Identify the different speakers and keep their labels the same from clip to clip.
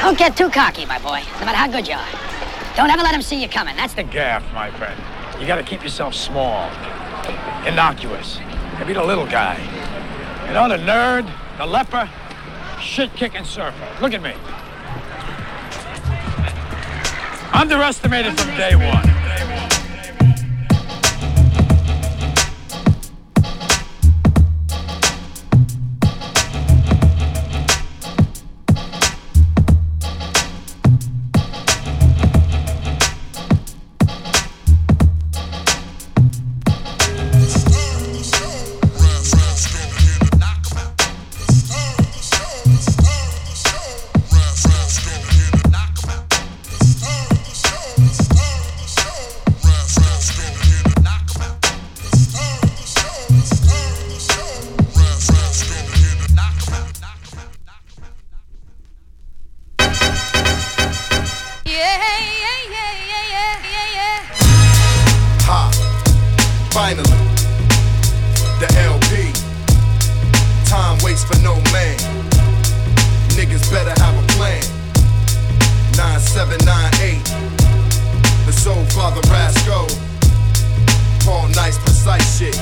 Speaker 1: Don't get too cocky, my boy. It's about how good you are. Don't ever let them see you coming. That's the.
Speaker 2: Gaff, my friend. You gotta keep yourself small, innocuous, and be the little guy. You know, the nerd, the leper, shit kicking surfer. Look at me. Underestimated from day one.
Speaker 3: Yeah, yeah, yeah, yeah, yeah, yeah, yeah.
Speaker 4: Ha! Finally, the LP. Time waits for no man. Niggas better have a plan. 9798. The soul father Rasco. Paul nice, precise shit.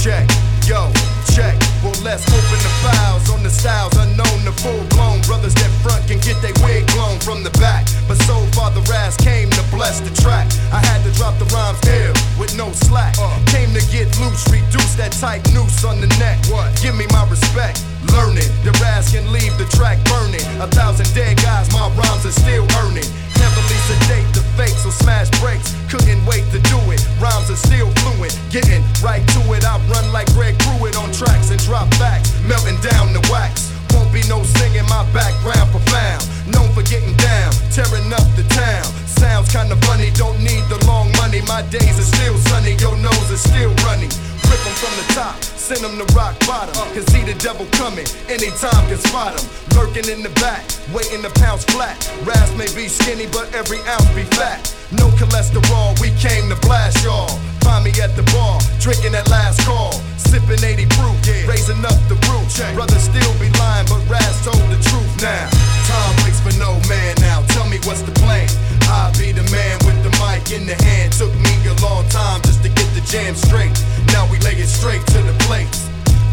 Speaker 4: Check, yo, check. Well, let's open the files on the styles unknown to full blown. Brothers that front can get their wig blown from the back. But Soul Father Raz came to bless the track. I had to drop the rhymes ill with no slack. Came to get loose, reduce that tight noose on the neck. What? Give me my respect. Learning, the Raz can leave the track burning. A thousand dead guys, my rhymes are still earning. Heavily sedate the fakes or smash breaks. Couldn't wait to do it. Rhymes are still fluent. Getting right to it. I run like Greg Pruitt on tracks and drop backs. Melting down the wax. Won't be no singing, my background profound. Known for getting down, tearing up the town. Sounds kinda funny, don't need the long money. My days are still sunny, your nose is still running. Rip 'em from the top, send 'em to rock bottom. Can see the devil coming, anytime can spot him. Lurking in the back, waiting to pounce flat. Raz may be skinny, but every ounce be fat. No cholesterol, we came to blast y'all. Find me at the bar, drinking that last call. Sipping 80 proof, raising up the roof. Brother still be lying, but Raz told the truth now. Time waits for no man now. Tell me what's the plan. I be the man with the mic in the hand. Took me a long time just to get the jam straight. Now we lay it straight to the plates.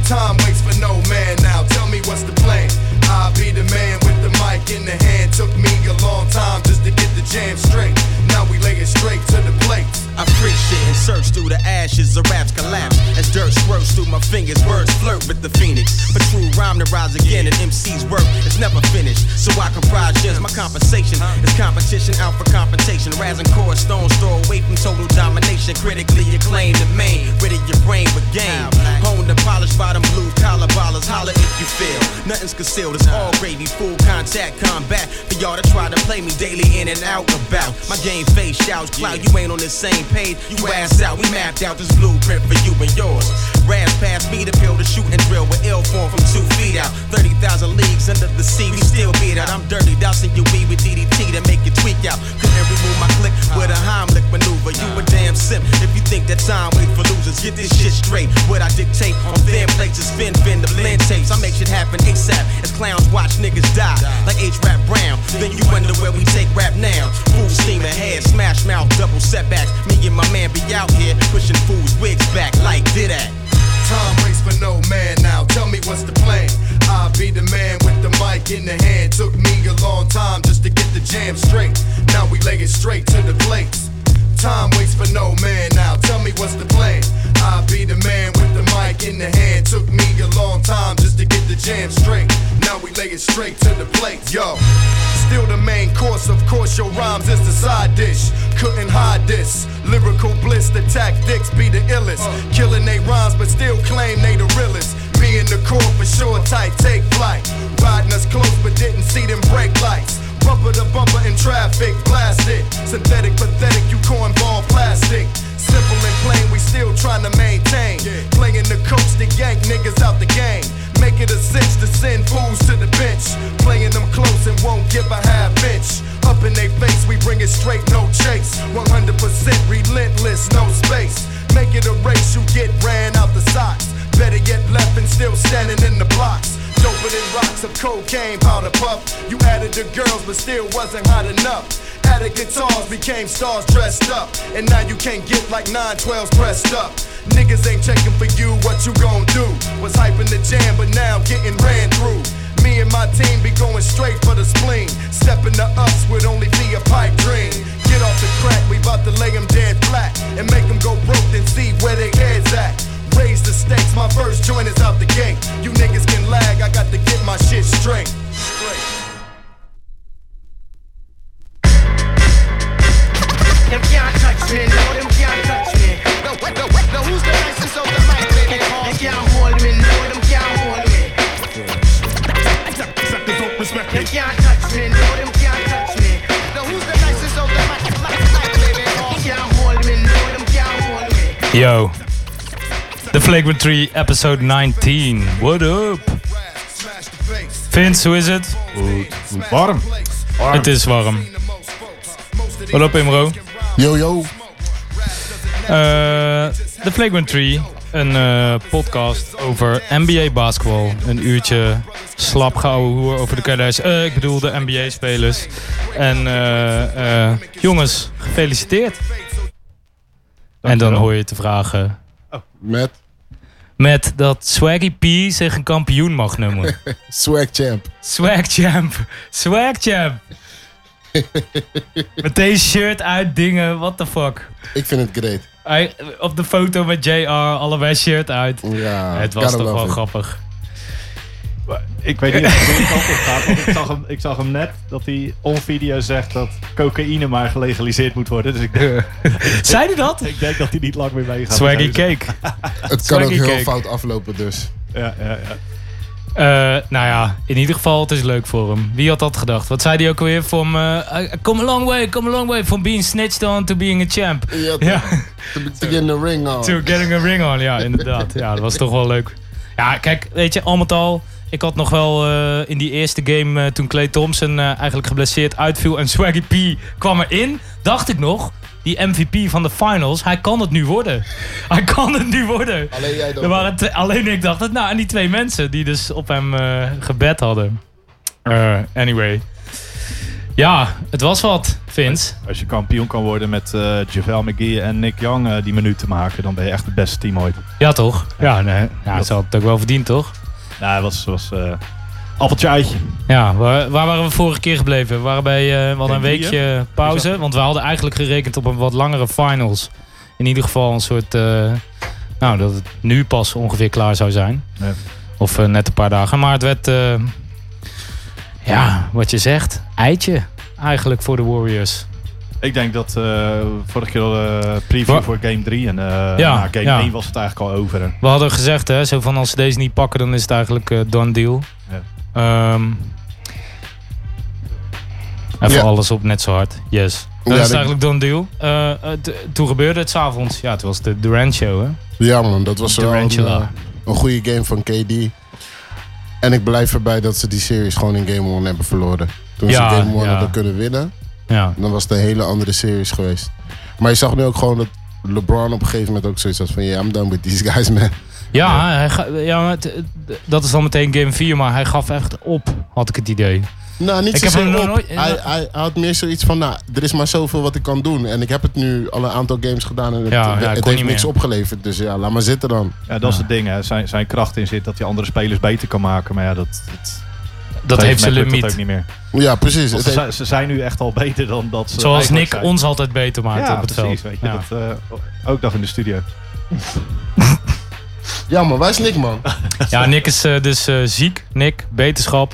Speaker 4: Time waits for no man now. Tell me what's the plan. I be the man with the mic in the hand. Took me a long time just to get the jam straight. Now we lay it straight to the plate.
Speaker 5: I freak shit and search through the ashes of raps collapse As dirt swirls through my fingers, words flirt with the phoenix But true rhyme to rise again and MC's work is never finished So I comprise just my compensation It's competition out for confrontation Razzing core stones throw away from total domination Critically acclaimed and main Rid of your brain with game Honed and polished by them blue collar ballers Holler if you feel Nothing's concealed, it's all gravy Full contact combat For y'all to try to play me daily in and out about My game face shouts cloud You ain't on the same page You ass out, we mapped out this blueprint for you and yours Raz past me the pill to shoot and drill With ill form from two feet out 30,000 leagues under the sea We still beat out I'm dirty, dousing you weed with DDT To make it tweak out Couldn't remove my click with a Heimlich maneuver You a damn simp if you think that time waits for losers Get this shit straight, what I dictate On thin plates to spin, bend the blend tapes I make shit happen ASAP as clowns watch niggas die Like H-Rap Brown, then you wonder where we take rap now Full steam ahead, smash mouth, double setbacks Me and my man be out here pushing fools' wigs back like did that
Speaker 4: Time waits for no man now. Tell me what's the plan. I be the man with the mic in the hand. Took me a long time just to get the jam straight. Now we lay it straight to the plates. Time waits for no man now. Tell me what's the plan. I be the man with the mic in the hand. Took me a long time just to get the jam straight. Now we lay it straight to the plates. Yo. Still the main course, of course, your rhymes is the side dish. Couldn't hide this. Lyrical bliss, the tactics be the illest. Killing they rhymes, but still claim they the realest. Me and the core for sure, tight, take flight. Riding us close, but didn't see them brake lights. Bumper to bumper in traffic, blast it. Synthetic, pathetic, you cornball plastic. Simple and plain, we still tryna maintain. Playing the coach to yank niggas out the game. Make it a cinch to send fools to the bench. Playing them close and won't give a half inch. Up in they face, we bring it straight, no chase. 100% relentless, no space. Make it a race, you get ran out the socks. Better yet, left and still standing in the blocks. Doper than rocks, a cocaine, powder puff. You added the girls, but still wasn't hot enough. Added guitars, became stars dressed up. And now you can't get like 912s pressed up. Niggas ain't checking for you, what you gon' do? Was hyping the jam, but now getting ran through. Me and my team be going straight for the spleen. Stepping to us would only be a pipe dream. Get off the crack, we bout to lay 'em dead flat. And make 'em go broke, then see where they heads at. Raise the stakes, my first joint is out the gate. You niggas can lag, I got to get my shit straight.
Speaker 6: Them can't touch me, no, them can't touch me. No, no, no, who's the nicest of the mic, baby? They can't hold me, no, them can't hold me. Them can't touch me, no, them can't touch me. No, who's the nicest of the mic, mic, mic, baby? They can't hold me, no, them can't hold me.
Speaker 7: Yo. The Flagrant 3, episode 19. What up? Vince, hoe is het?
Speaker 8: Goed, warm.
Speaker 7: Het is warm. Wat op, Imro?
Speaker 8: Yo, yo.
Speaker 7: Eh, The Flagrant 3, een eh, podcast over NBA basketbal. Een uurtje slap gehouden hoer over de Kardashians. Eh, ik bedoel de NBA-spelers. En eh, eh, jongens, gefeliciteerd. en dan hoor je te vragen
Speaker 8: Met
Speaker 7: met dat Swaggy P zich een kampioen mag noemen.
Speaker 8: Swag Champ.
Speaker 7: Swag champ. Swag champ. met deze shirt uit dingen, what the fuck.
Speaker 8: Ik vind het great.
Speaker 7: Hij- op de foto met JR, allebei shirt uit.
Speaker 8: Ja,
Speaker 7: het was
Speaker 8: gotta
Speaker 7: toch
Speaker 8: love
Speaker 7: wel
Speaker 8: it.
Speaker 7: grappig.
Speaker 9: Maar Ik weet niet of het goede kant op gaat, want ik zag, hem, ik zag hem net dat hij on video zegt dat cocaïne maar gelegaliseerd moet worden. Dus ik denk,
Speaker 7: Zei hij dat?
Speaker 9: ik denk dat hij niet lang meer mee gaat.
Speaker 7: Swaggy
Speaker 9: met deze.
Speaker 7: cake.
Speaker 8: Het kan ook
Speaker 7: Swaggy
Speaker 8: heel
Speaker 7: cake.
Speaker 8: fout aflopen, dus.
Speaker 9: Ja, ja, ja.
Speaker 7: Eh, nou ja, in ieder geval, het is leuk voor hem. Wie had dat gedacht? Wat zei hij ook alweer? From, eh, I- I come a long way, come a long way. From being snitched on to being a champ.
Speaker 8: Ja,
Speaker 7: Ja,
Speaker 8: To, to get in the ring on.
Speaker 7: to getting a ring on. Ja, inderdaad. Ja, dat was toch wel leuk. Ja, kijk, weet je, al met al... Ik had nog wel eh, in die eerste game, eh, toen Clay Thompson eh, eigenlijk geblesseerd uitviel en Swaggy P kwam erin, dacht ik nog, die MVP van de finals, hij kan het nu worden. Hij kan het nu worden.
Speaker 8: Alleen jij dan.
Speaker 7: Er waren twee- alleen ik dacht het. Nou, en die twee mensen die dus op hem eh, gebed hadden. Eh, anyway. Ja, het was wat, Vince.
Speaker 9: Als je kampioen kan worden met eh JaVale McGee en Nick Young eh, die minuten te maken, dan ben je echt het beste team ooit.
Speaker 7: Ja, toch? Ja, nee. Ja, ze had het ook wel verdiend, toch?
Speaker 9: Nou, het was, was eh, appeltje eitje.
Speaker 7: Ja, waar, waar waren we vorige keer gebleven? We, waren bij, eh, we hadden een
Speaker 9: Denk die,
Speaker 7: weekje pauze, want we hadden eigenlijk gerekend op een wat langere finals. In ieder geval een soort, eh, nou, dat het nu pas ongeveer klaar zou zijn.
Speaker 9: Ja.
Speaker 7: Of eh, net een paar dagen. Maar het werd, eh, ja, wat je zegt, eitje eigenlijk voor de Warriors.
Speaker 9: Ik denk dat eh vorige keer al eh, preview
Speaker 7: Wa-
Speaker 9: voor game 3 en eh,
Speaker 7: Ja,
Speaker 9: na game
Speaker 7: ja.
Speaker 9: 1 was het eigenlijk al over.
Speaker 7: We hadden gezegd, hè, zo van als ze deze niet pakken, dan is het eigenlijk eh done deal.
Speaker 9: Ja.
Speaker 7: Ehm, even
Speaker 8: Ja.
Speaker 7: alles op net zo hard. Yes. Dat
Speaker 8: Ja,
Speaker 7: is
Speaker 8: dat-
Speaker 7: het eigenlijk done deal. Eh, eh, t- toen gebeurde het s'avonds. Ja, het was de Durant show, hè?
Speaker 8: Ja, man, dat was wel een,
Speaker 7: Durantula.
Speaker 8: eh, een goede game van KD. En ik blijf erbij dat ze die series gewoon in Game 1 hebben verloren. Toen
Speaker 7: Ja,
Speaker 8: ze Game 1
Speaker 7: ja.
Speaker 8: hadden kunnen winnen,
Speaker 7: Ja.
Speaker 8: dan was het een hele andere series geweest. Maar je zag nu ook gewoon dat LeBron op een gegeven moment ook zoiets had van... Yeah, I'm done with these guys, man.
Speaker 7: Ja, hij ga- ja maar het- het- dat is dan meteen game 4, maar hij gaf echt op, had ik het idee.
Speaker 8: Nou, niet
Speaker 7: Ik heb
Speaker 8: zozeer
Speaker 7: hem nog
Speaker 8: op.
Speaker 7: nooit-
Speaker 8: Hij, hij, hij had meer zoiets van, nou, er is maar zoveel wat ik kan doen. En ik heb het nu al een aantal games gedaan en het,
Speaker 7: Ja, ja,
Speaker 8: het
Speaker 7: ik kon
Speaker 8: heeft
Speaker 7: niet
Speaker 8: niks
Speaker 7: meer.
Speaker 8: opgeleverd. Dus ja, laat maar zitten dan.
Speaker 9: Ja, dat is het ding. Hè. Zijn, zijn kracht in zit dat hij andere spelers beter kan maken. Maar ja, dat, dat,
Speaker 7: Dat heeft zijn
Speaker 9: Network dat ook
Speaker 7: limiet.
Speaker 9: niet meer.
Speaker 8: Ja, precies.
Speaker 9: Want
Speaker 8: Het
Speaker 9: ze,
Speaker 8: heeft-
Speaker 9: zijn- ze zijn nu echt al beter dan dat ze
Speaker 7: Zoals
Speaker 9: eigenlijk
Speaker 7: Nick
Speaker 9: zijn.
Speaker 7: ons altijd beter maakt
Speaker 9: ja,
Speaker 7: op het
Speaker 9: precies,
Speaker 7: veld.
Speaker 9: Weet je,
Speaker 7: Ja.
Speaker 9: dat, eh, ook nog in de studio.
Speaker 8: ja, man, waar is Nick, man?
Speaker 7: Ja, Nick is eh, dus eh, ziek. Nick, beterschap.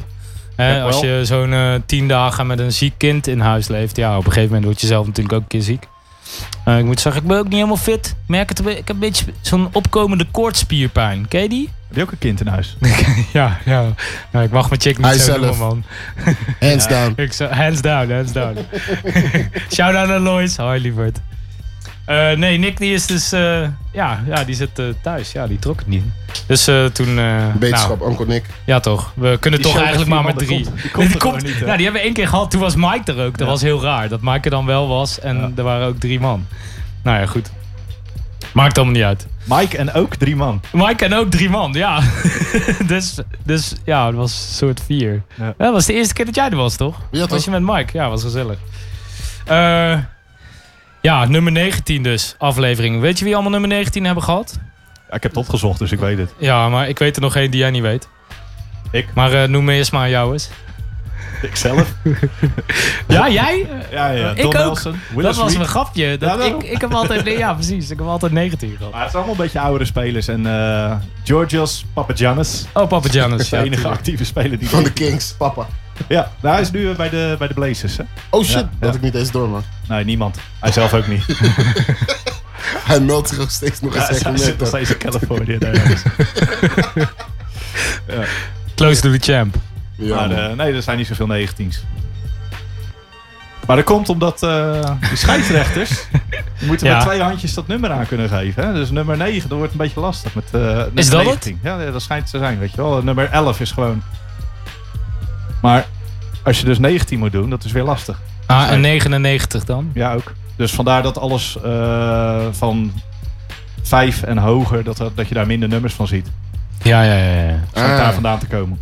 Speaker 7: Hè,
Speaker 9: Ja,
Speaker 7: als
Speaker 9: wel.
Speaker 7: je zo'n eh, tien dagen met een ziek kind in huis leeft, ja, op een gegeven moment word je zelf natuurlijk ook een keer ziek. Eh, ik moet zeggen, ik ben ook niet helemaal fit. Ik Merk het, een be- ik heb een beetje zo'n opkomende koortspierpijn. Ken je die?
Speaker 9: Heb je ook een kind in huis?
Speaker 7: Ja, ja. Nou, ik mag mijn chick niet
Speaker 8: Hij
Speaker 7: zo
Speaker 8: zelf.
Speaker 7: noemen, man.
Speaker 8: Hands down.
Speaker 7: Ik zou- hands down, hands down. Shout out aan Lois. Hoi, lieverd. Eh, nee, Nick die is dus... eh, ja, ja, die zit eh, thuis. Ja, die trok het niet. Dus eh, toen... eh nou,
Speaker 8: Beterschap, Uncle Nick.
Speaker 7: ja, toch. We kunnen
Speaker 9: Die
Speaker 7: toch
Speaker 9: show
Speaker 7: eigenlijk
Speaker 9: met
Speaker 7: maar met
Speaker 9: vier
Speaker 7: drie.
Speaker 9: man, die komt- die komt er
Speaker 7: komt-
Speaker 9: gewoon niet, hè?
Speaker 7: nou, die hebben we één keer gehad. Toen was Mike er ook. Dat was heel raar. Dat Mike er dan wel was. En
Speaker 9: Ja.
Speaker 7: er waren ook drie man. Nou ja, goed. Maakt allemaal niet uit.
Speaker 9: Mike en ook drie man.
Speaker 7: Mike en ook drie man, ja. dus, dus ja, het was soort vier.
Speaker 9: Ja.
Speaker 7: Ja, dat was de eerste keer dat jij er was, toch?
Speaker 8: Ja, toch?
Speaker 7: Was je met Mike? Ja, was gezellig. Eh, ja, nummer 19 dus, aflevering. Weet je wie allemaal nummer 19 hebben gehad?
Speaker 9: Ja, ik heb het opgezocht, dus ik weet het.
Speaker 7: Ja, maar ik weet er nog één die jij niet weet.
Speaker 9: Ik?
Speaker 7: Maar eh, noem me eerst maar jou eens.
Speaker 9: Ikzelf.
Speaker 7: Ja, jij?
Speaker 9: Ja, ja.
Speaker 7: Ik
Speaker 9: Don
Speaker 7: ook.
Speaker 9: Nelson.
Speaker 7: dat
Speaker 9: Willis
Speaker 7: was
Speaker 9: Reed.
Speaker 7: een grapje.
Speaker 9: Ja,
Speaker 7: Dat
Speaker 9: daarom.
Speaker 7: ik, ik heb altijd, nee, ja, precies. Ik heb altijd 19 gehad.
Speaker 9: Maar het zijn allemaal een beetje oudere spelers. En eh, Georgios Papagiannis.
Speaker 7: Oh, Papa Janus.
Speaker 9: De
Speaker 7: Ja,
Speaker 9: enige
Speaker 7: tuurlijk.
Speaker 9: actieve speler die...
Speaker 8: Van de Kings, papa.
Speaker 9: Ja, nou, hij is nu eh, bij de, bij de Blazers, hè?
Speaker 8: Oh shit,
Speaker 9: Ja,
Speaker 8: dat
Speaker 9: ja.
Speaker 8: ik niet eens door, man.
Speaker 9: Nee, niemand. Hij zelf ook niet.
Speaker 8: Hij meldt zich ook steeds nog
Speaker 9: Ja,
Speaker 8: eens
Speaker 9: hij zit nog
Speaker 8: echt
Speaker 9: steeds in Californië. daar ergens.
Speaker 7: Close to the champ.
Speaker 8: Ja,
Speaker 9: Maar
Speaker 8: man.
Speaker 9: eh, nee, er zijn niet zoveel 19's. Maar dat komt omdat eh die scheidsrechters moeten
Speaker 7: Ja.
Speaker 9: met twee handjes dat nummer aan kunnen geven. Hè? Dus nummer 9, dat wordt een beetje lastig met eh nummer
Speaker 7: Is dat het?
Speaker 9: 19. Ja, ja, dat schijnt te zijn, weet je wel. Nummer 11 is gewoon... Maar als je dus 19 moet doen, dat is weer lastig.
Speaker 7: Ah, en 99 dan?
Speaker 9: Ja, ook. Dus vandaar dat alles eh, van 5 en hoger, dat, dat je daar minder nummers van ziet.
Speaker 7: Ja, ja, ja. ja.
Speaker 9: Om
Speaker 8: Ah.
Speaker 9: daar vandaan te komen.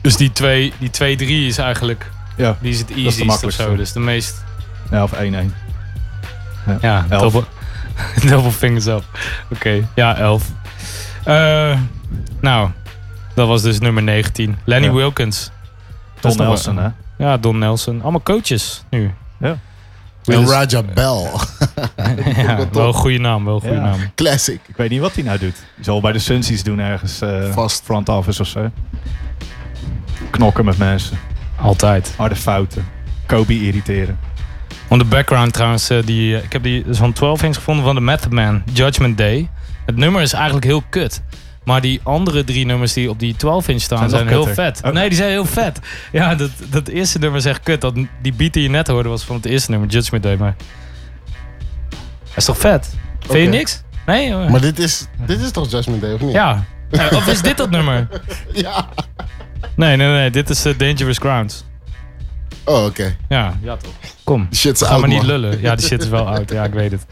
Speaker 7: Dus die 2-3 twee, die twee, drie is eigenlijk
Speaker 9: Ja,
Speaker 7: die is het
Speaker 9: is de
Speaker 7: easiest of
Speaker 9: makkelijkste.
Speaker 7: zo. Dus de meest...
Speaker 9: ja of 1-1.
Speaker 7: Ja,
Speaker 9: Elf.
Speaker 7: double, double fingers up. Oké, ja, 11. Eh, nou, dat was dus nummer 19. Lenny
Speaker 9: Ja.
Speaker 7: Wilkins. Dat
Speaker 9: Tom
Speaker 7: is nog
Speaker 9: Nelson,
Speaker 7: wel-
Speaker 9: hè?
Speaker 7: Ja, Don Nelson. Allemaal coaches nu.
Speaker 9: eh, dus-
Speaker 8: En Raja Bell.
Speaker 7: ja,
Speaker 8: top.
Speaker 7: wel een goede naam, wel een goede
Speaker 9: Ja.
Speaker 7: naam.
Speaker 8: Classic.
Speaker 9: Ik weet niet wat hij nou doet. Hij zal bij de Suns iets doen ergens. eh,
Speaker 8: Vast.
Speaker 9: Front office of zo. Knokken met mensen.
Speaker 7: Altijd.
Speaker 9: Harde fouten. Kobe irriteren.
Speaker 7: On the background trouwens, eh, die, eh, ik heb die zo'n 12 inch gevonden van de Method Man, Judgment Day. Het nummer is eigenlijk heel kut. Maar die andere drie nummers die op die 12 inch staan
Speaker 9: Zijn
Speaker 7: zijn,
Speaker 9: nog
Speaker 7: heel
Speaker 9: kutter.
Speaker 7: vet.
Speaker 9: Oh.
Speaker 7: Nee, die zijn heel vet. Ja, dat, dat eerste nummer is echt kut. Dat, die beat die je net hoorde was van het eerste nummer, Judgment Day. Maar dat is toch vet? Vind je
Speaker 8: Oké.
Speaker 7: niks? Nee? hoor.
Speaker 8: Maar dit is, dit is toch Judgment Day, of niet?
Speaker 7: Ja. Eh, Of is dit dat nummer?
Speaker 8: Ja.
Speaker 7: Nee, nee, nee. Dit is eh, Dangerous Grounds.
Speaker 8: Oh, oké.
Speaker 7: Ja. Ja toch. Kom.
Speaker 8: Die shit is
Speaker 7: Ga
Speaker 8: oud,
Speaker 7: maar niet
Speaker 8: man.
Speaker 7: lullen. Ja, die shit is wel oud. Ja, ik weet het.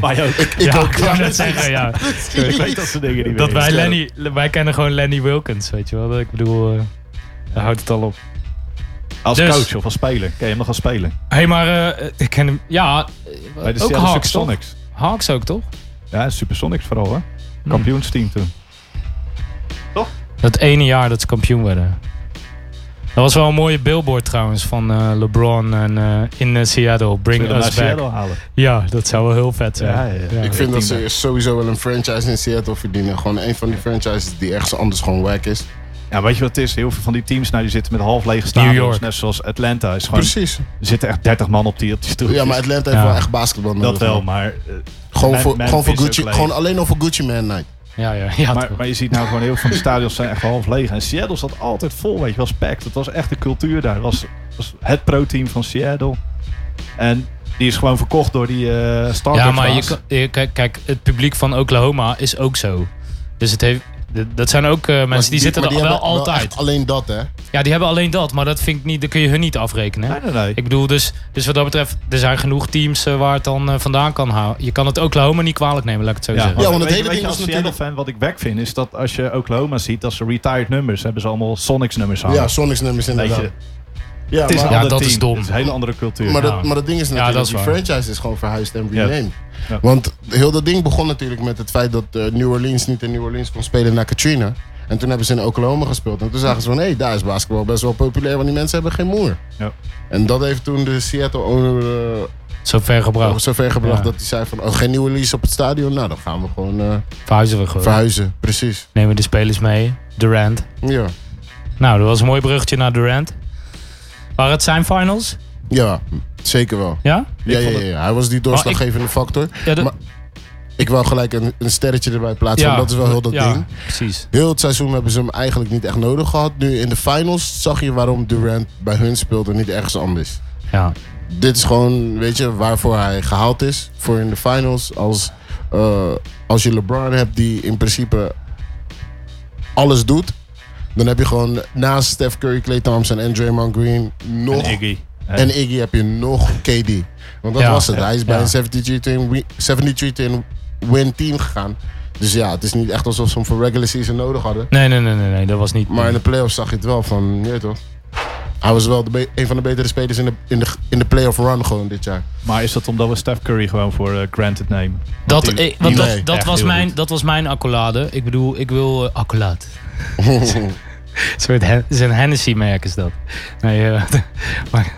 Speaker 9: Maar ook. ik
Speaker 8: Ik
Speaker 7: ja,
Speaker 8: ook.
Speaker 7: ik wou net zeggen, ja.
Speaker 9: weet dat ze dingen niet
Speaker 7: Dat
Speaker 9: meer.
Speaker 7: wij,
Speaker 8: scherp.
Speaker 7: Lenny, wij kennen gewoon Lenny Wilkins, weet je wel. Ik bedoel, eh, daar houdt het al op.
Speaker 9: Als
Speaker 7: Dus-
Speaker 9: coach of als speler. Ken je hem nog als speler?
Speaker 7: Hé, hey, maar eh, ik ken hem... Ja, eh,
Speaker 9: Bij de
Speaker 7: ook
Speaker 9: Seattle
Speaker 7: Hawks, toch? Hmm.
Speaker 9: Supersonics.
Speaker 7: Hawks ook, toch?
Speaker 9: Ja, Supersonics vooral hoor. Kampioensteam toen.
Speaker 7: Dat ene jaar dat ze kampioen werden. Dat was wel een mooie billboard trouwens van eh, LeBron en, eh, in eh, Seattle. Bring
Speaker 9: Zullen we
Speaker 7: us
Speaker 9: naar
Speaker 7: back.
Speaker 9: Seattle halen.
Speaker 7: Ja, dat zou wel heel vet zijn.
Speaker 9: Ja, ja, ja.
Speaker 8: Ik vind dat ze sowieso wel een franchise in Seattle verdienen. Gewoon een van die franchises die ergens anders gewoon wack is.
Speaker 9: Ja, weet je wat het is? Heel veel van die teams nou, die zitten met half lege stadions.
Speaker 7: York.
Speaker 9: Net zoals Atlanta. Is gewoon,
Speaker 8: Precies.
Speaker 9: Er zitten echt 30 man op die, op die stoel.
Speaker 8: Ja, maar Atlanta heeft
Speaker 7: Ja.
Speaker 8: wel echt basketbal nodig.
Speaker 9: Dat wel,
Speaker 8: man.
Speaker 9: maar... eh,
Speaker 8: Gewoon
Speaker 9: Man-
Speaker 8: voor,
Speaker 9: Man
Speaker 8: gewoon voor
Speaker 9: is ook
Speaker 8: Gucci.
Speaker 9: leeg.
Speaker 8: Gewoon alleen al voor Gucci Man Night.
Speaker 7: Ja, ja, ja.
Speaker 9: Maar,
Speaker 7: toch.
Speaker 9: maar je ziet nou gewoon heel veel van de stadions zijn echt half leeg. En Seattle zat altijd vol, weet je wel, packed. Dat was echt de cultuur daar. Dat was, was het pro-team van Seattle. En die is gewoon verkocht door die eh Starbucks.
Speaker 7: Ja, maar je,
Speaker 9: baas.
Speaker 7: kan- je- kijk, kijk, het publiek van Oklahoma is ook zo. Dus het heeft, d- dat zijn ook eh, mensen die, zitten
Speaker 8: maar
Speaker 7: er wel
Speaker 8: hebben
Speaker 7: altijd.
Speaker 8: echt alleen dat, hè?
Speaker 7: ja, die hebben alleen dat, maar dat vind ik niet, dat kun je hun niet afrekenen. hè?
Speaker 9: Nee, nee, nee.
Speaker 7: Ik bedoel, dus, dus wat dat betreft, er zijn genoeg teams eh, waar het dan eh, vandaan kan houden. Je kan het Oklahoma niet kwalijk nemen, laat ik het zo zeggen.
Speaker 8: want het
Speaker 9: weet je-
Speaker 8: hele
Speaker 9: weet je,
Speaker 8: ding
Speaker 9: als
Speaker 8: is natuurlijk-
Speaker 9: Seattle-fan wat ik weg vind, is dat als je Oklahoma ziet, dat ze retired nummers hebben, ze allemaal Sonics nummers aan.
Speaker 8: Ja, Sonics nummers
Speaker 9: weet
Speaker 8: inderdaad.
Speaker 9: je,
Speaker 8: ja,
Speaker 9: het is
Speaker 8: maar,
Speaker 9: een
Speaker 7: Ja,
Speaker 9: ander
Speaker 7: dat
Speaker 9: team.
Speaker 7: is dom.
Speaker 9: Het een hele andere cultuur.
Speaker 8: maar,
Speaker 7: ja.
Speaker 8: dat, maar dat ding is
Speaker 7: Ja,
Speaker 8: natuurlijk,
Speaker 7: dat is
Speaker 8: die
Speaker 7: waar.
Speaker 8: franchise is gewoon verhuisd en
Speaker 9: Ja.
Speaker 8: renamed.
Speaker 9: Ja.
Speaker 8: Want heel dat ding begon natuurlijk met het feit dat eh, New Orleans niet in New Orleans kon spelen naar Katrina. En toen hebben ze in Oklahoma gespeeld. En toen zagen ze van, hé, daar is basketbal best wel populair, want die mensen hebben geen moer.
Speaker 9: Ja.
Speaker 8: En dat heeft toen de Seattle-owner
Speaker 7: Zo ver
Speaker 8: Zo
Speaker 7: gebracht.
Speaker 8: zover gebracht
Speaker 7: Oh. Ja.
Speaker 8: dat hij zei van oh, geen nieuwe lease op het stadion. Nou, dan gaan we gewoon eh,
Speaker 7: Verhuizen we gewoon.
Speaker 8: verhuizen. Precies.
Speaker 7: Nemen we de spelers mee. Durant.
Speaker 8: Ja.
Speaker 7: Nou, dat was een mooi bruggetje naar Durant. Waren het zijn finals?
Speaker 8: Ja, zeker wel.
Speaker 7: Ja?
Speaker 8: Ja, ja, ja, ja. Hij was die doorslaggevende factor.
Speaker 7: Ja, dat-
Speaker 8: Maar ik wou gelijk een, een sterretje erbij plaatsen.
Speaker 7: ja.
Speaker 8: want Dat is wel heel dat
Speaker 7: ja,
Speaker 8: ding.
Speaker 7: precies.
Speaker 8: Heel het seizoen hebben ze hem eigenlijk niet echt nodig gehad. Nu in de finals zag je waarom Durant bij hun speelt en niet ergens anders.
Speaker 7: Ja.
Speaker 8: Dit is gewoon, weet je, waarvoor hij gehaald is. Voor in de finals. Als, eh, als je LeBron hebt die in principe alles doet. Dan heb je gewoon naast Steph Curry, Clay Thompson en Draymond Green nog...
Speaker 9: En Iggy.
Speaker 8: en Iggy heb je nog KD. Want dat
Speaker 7: Ja.
Speaker 8: was het. Hij is bij
Speaker 7: Ja.
Speaker 8: een 73 to win- 73 to win team gegaan. Dus ja, het is niet echt alsof ze hem voor regular season nodig hadden.
Speaker 7: Nee, nee, nee, nee, nee, dat was niet.
Speaker 8: Maar in de playoffs zag je het wel van, je weet toch? Hij was wel de be- een van de betere spelers in de, in, de, in de playoff run gewoon dit jaar.
Speaker 9: Maar is dat omdat we Steph Curry gewoon voor eh, granted nemen?
Speaker 7: dat,
Speaker 9: die-
Speaker 7: eh, want
Speaker 8: nee,
Speaker 7: dat, dat,
Speaker 9: echt
Speaker 7: was
Speaker 9: heel
Speaker 7: mijn,
Speaker 9: goed.
Speaker 7: dat was mijn accolade. Ik bedoel, ik wil eh, accolade. Een soort Hen- is een Hennessy-merk is dat. Nee, eh, maar,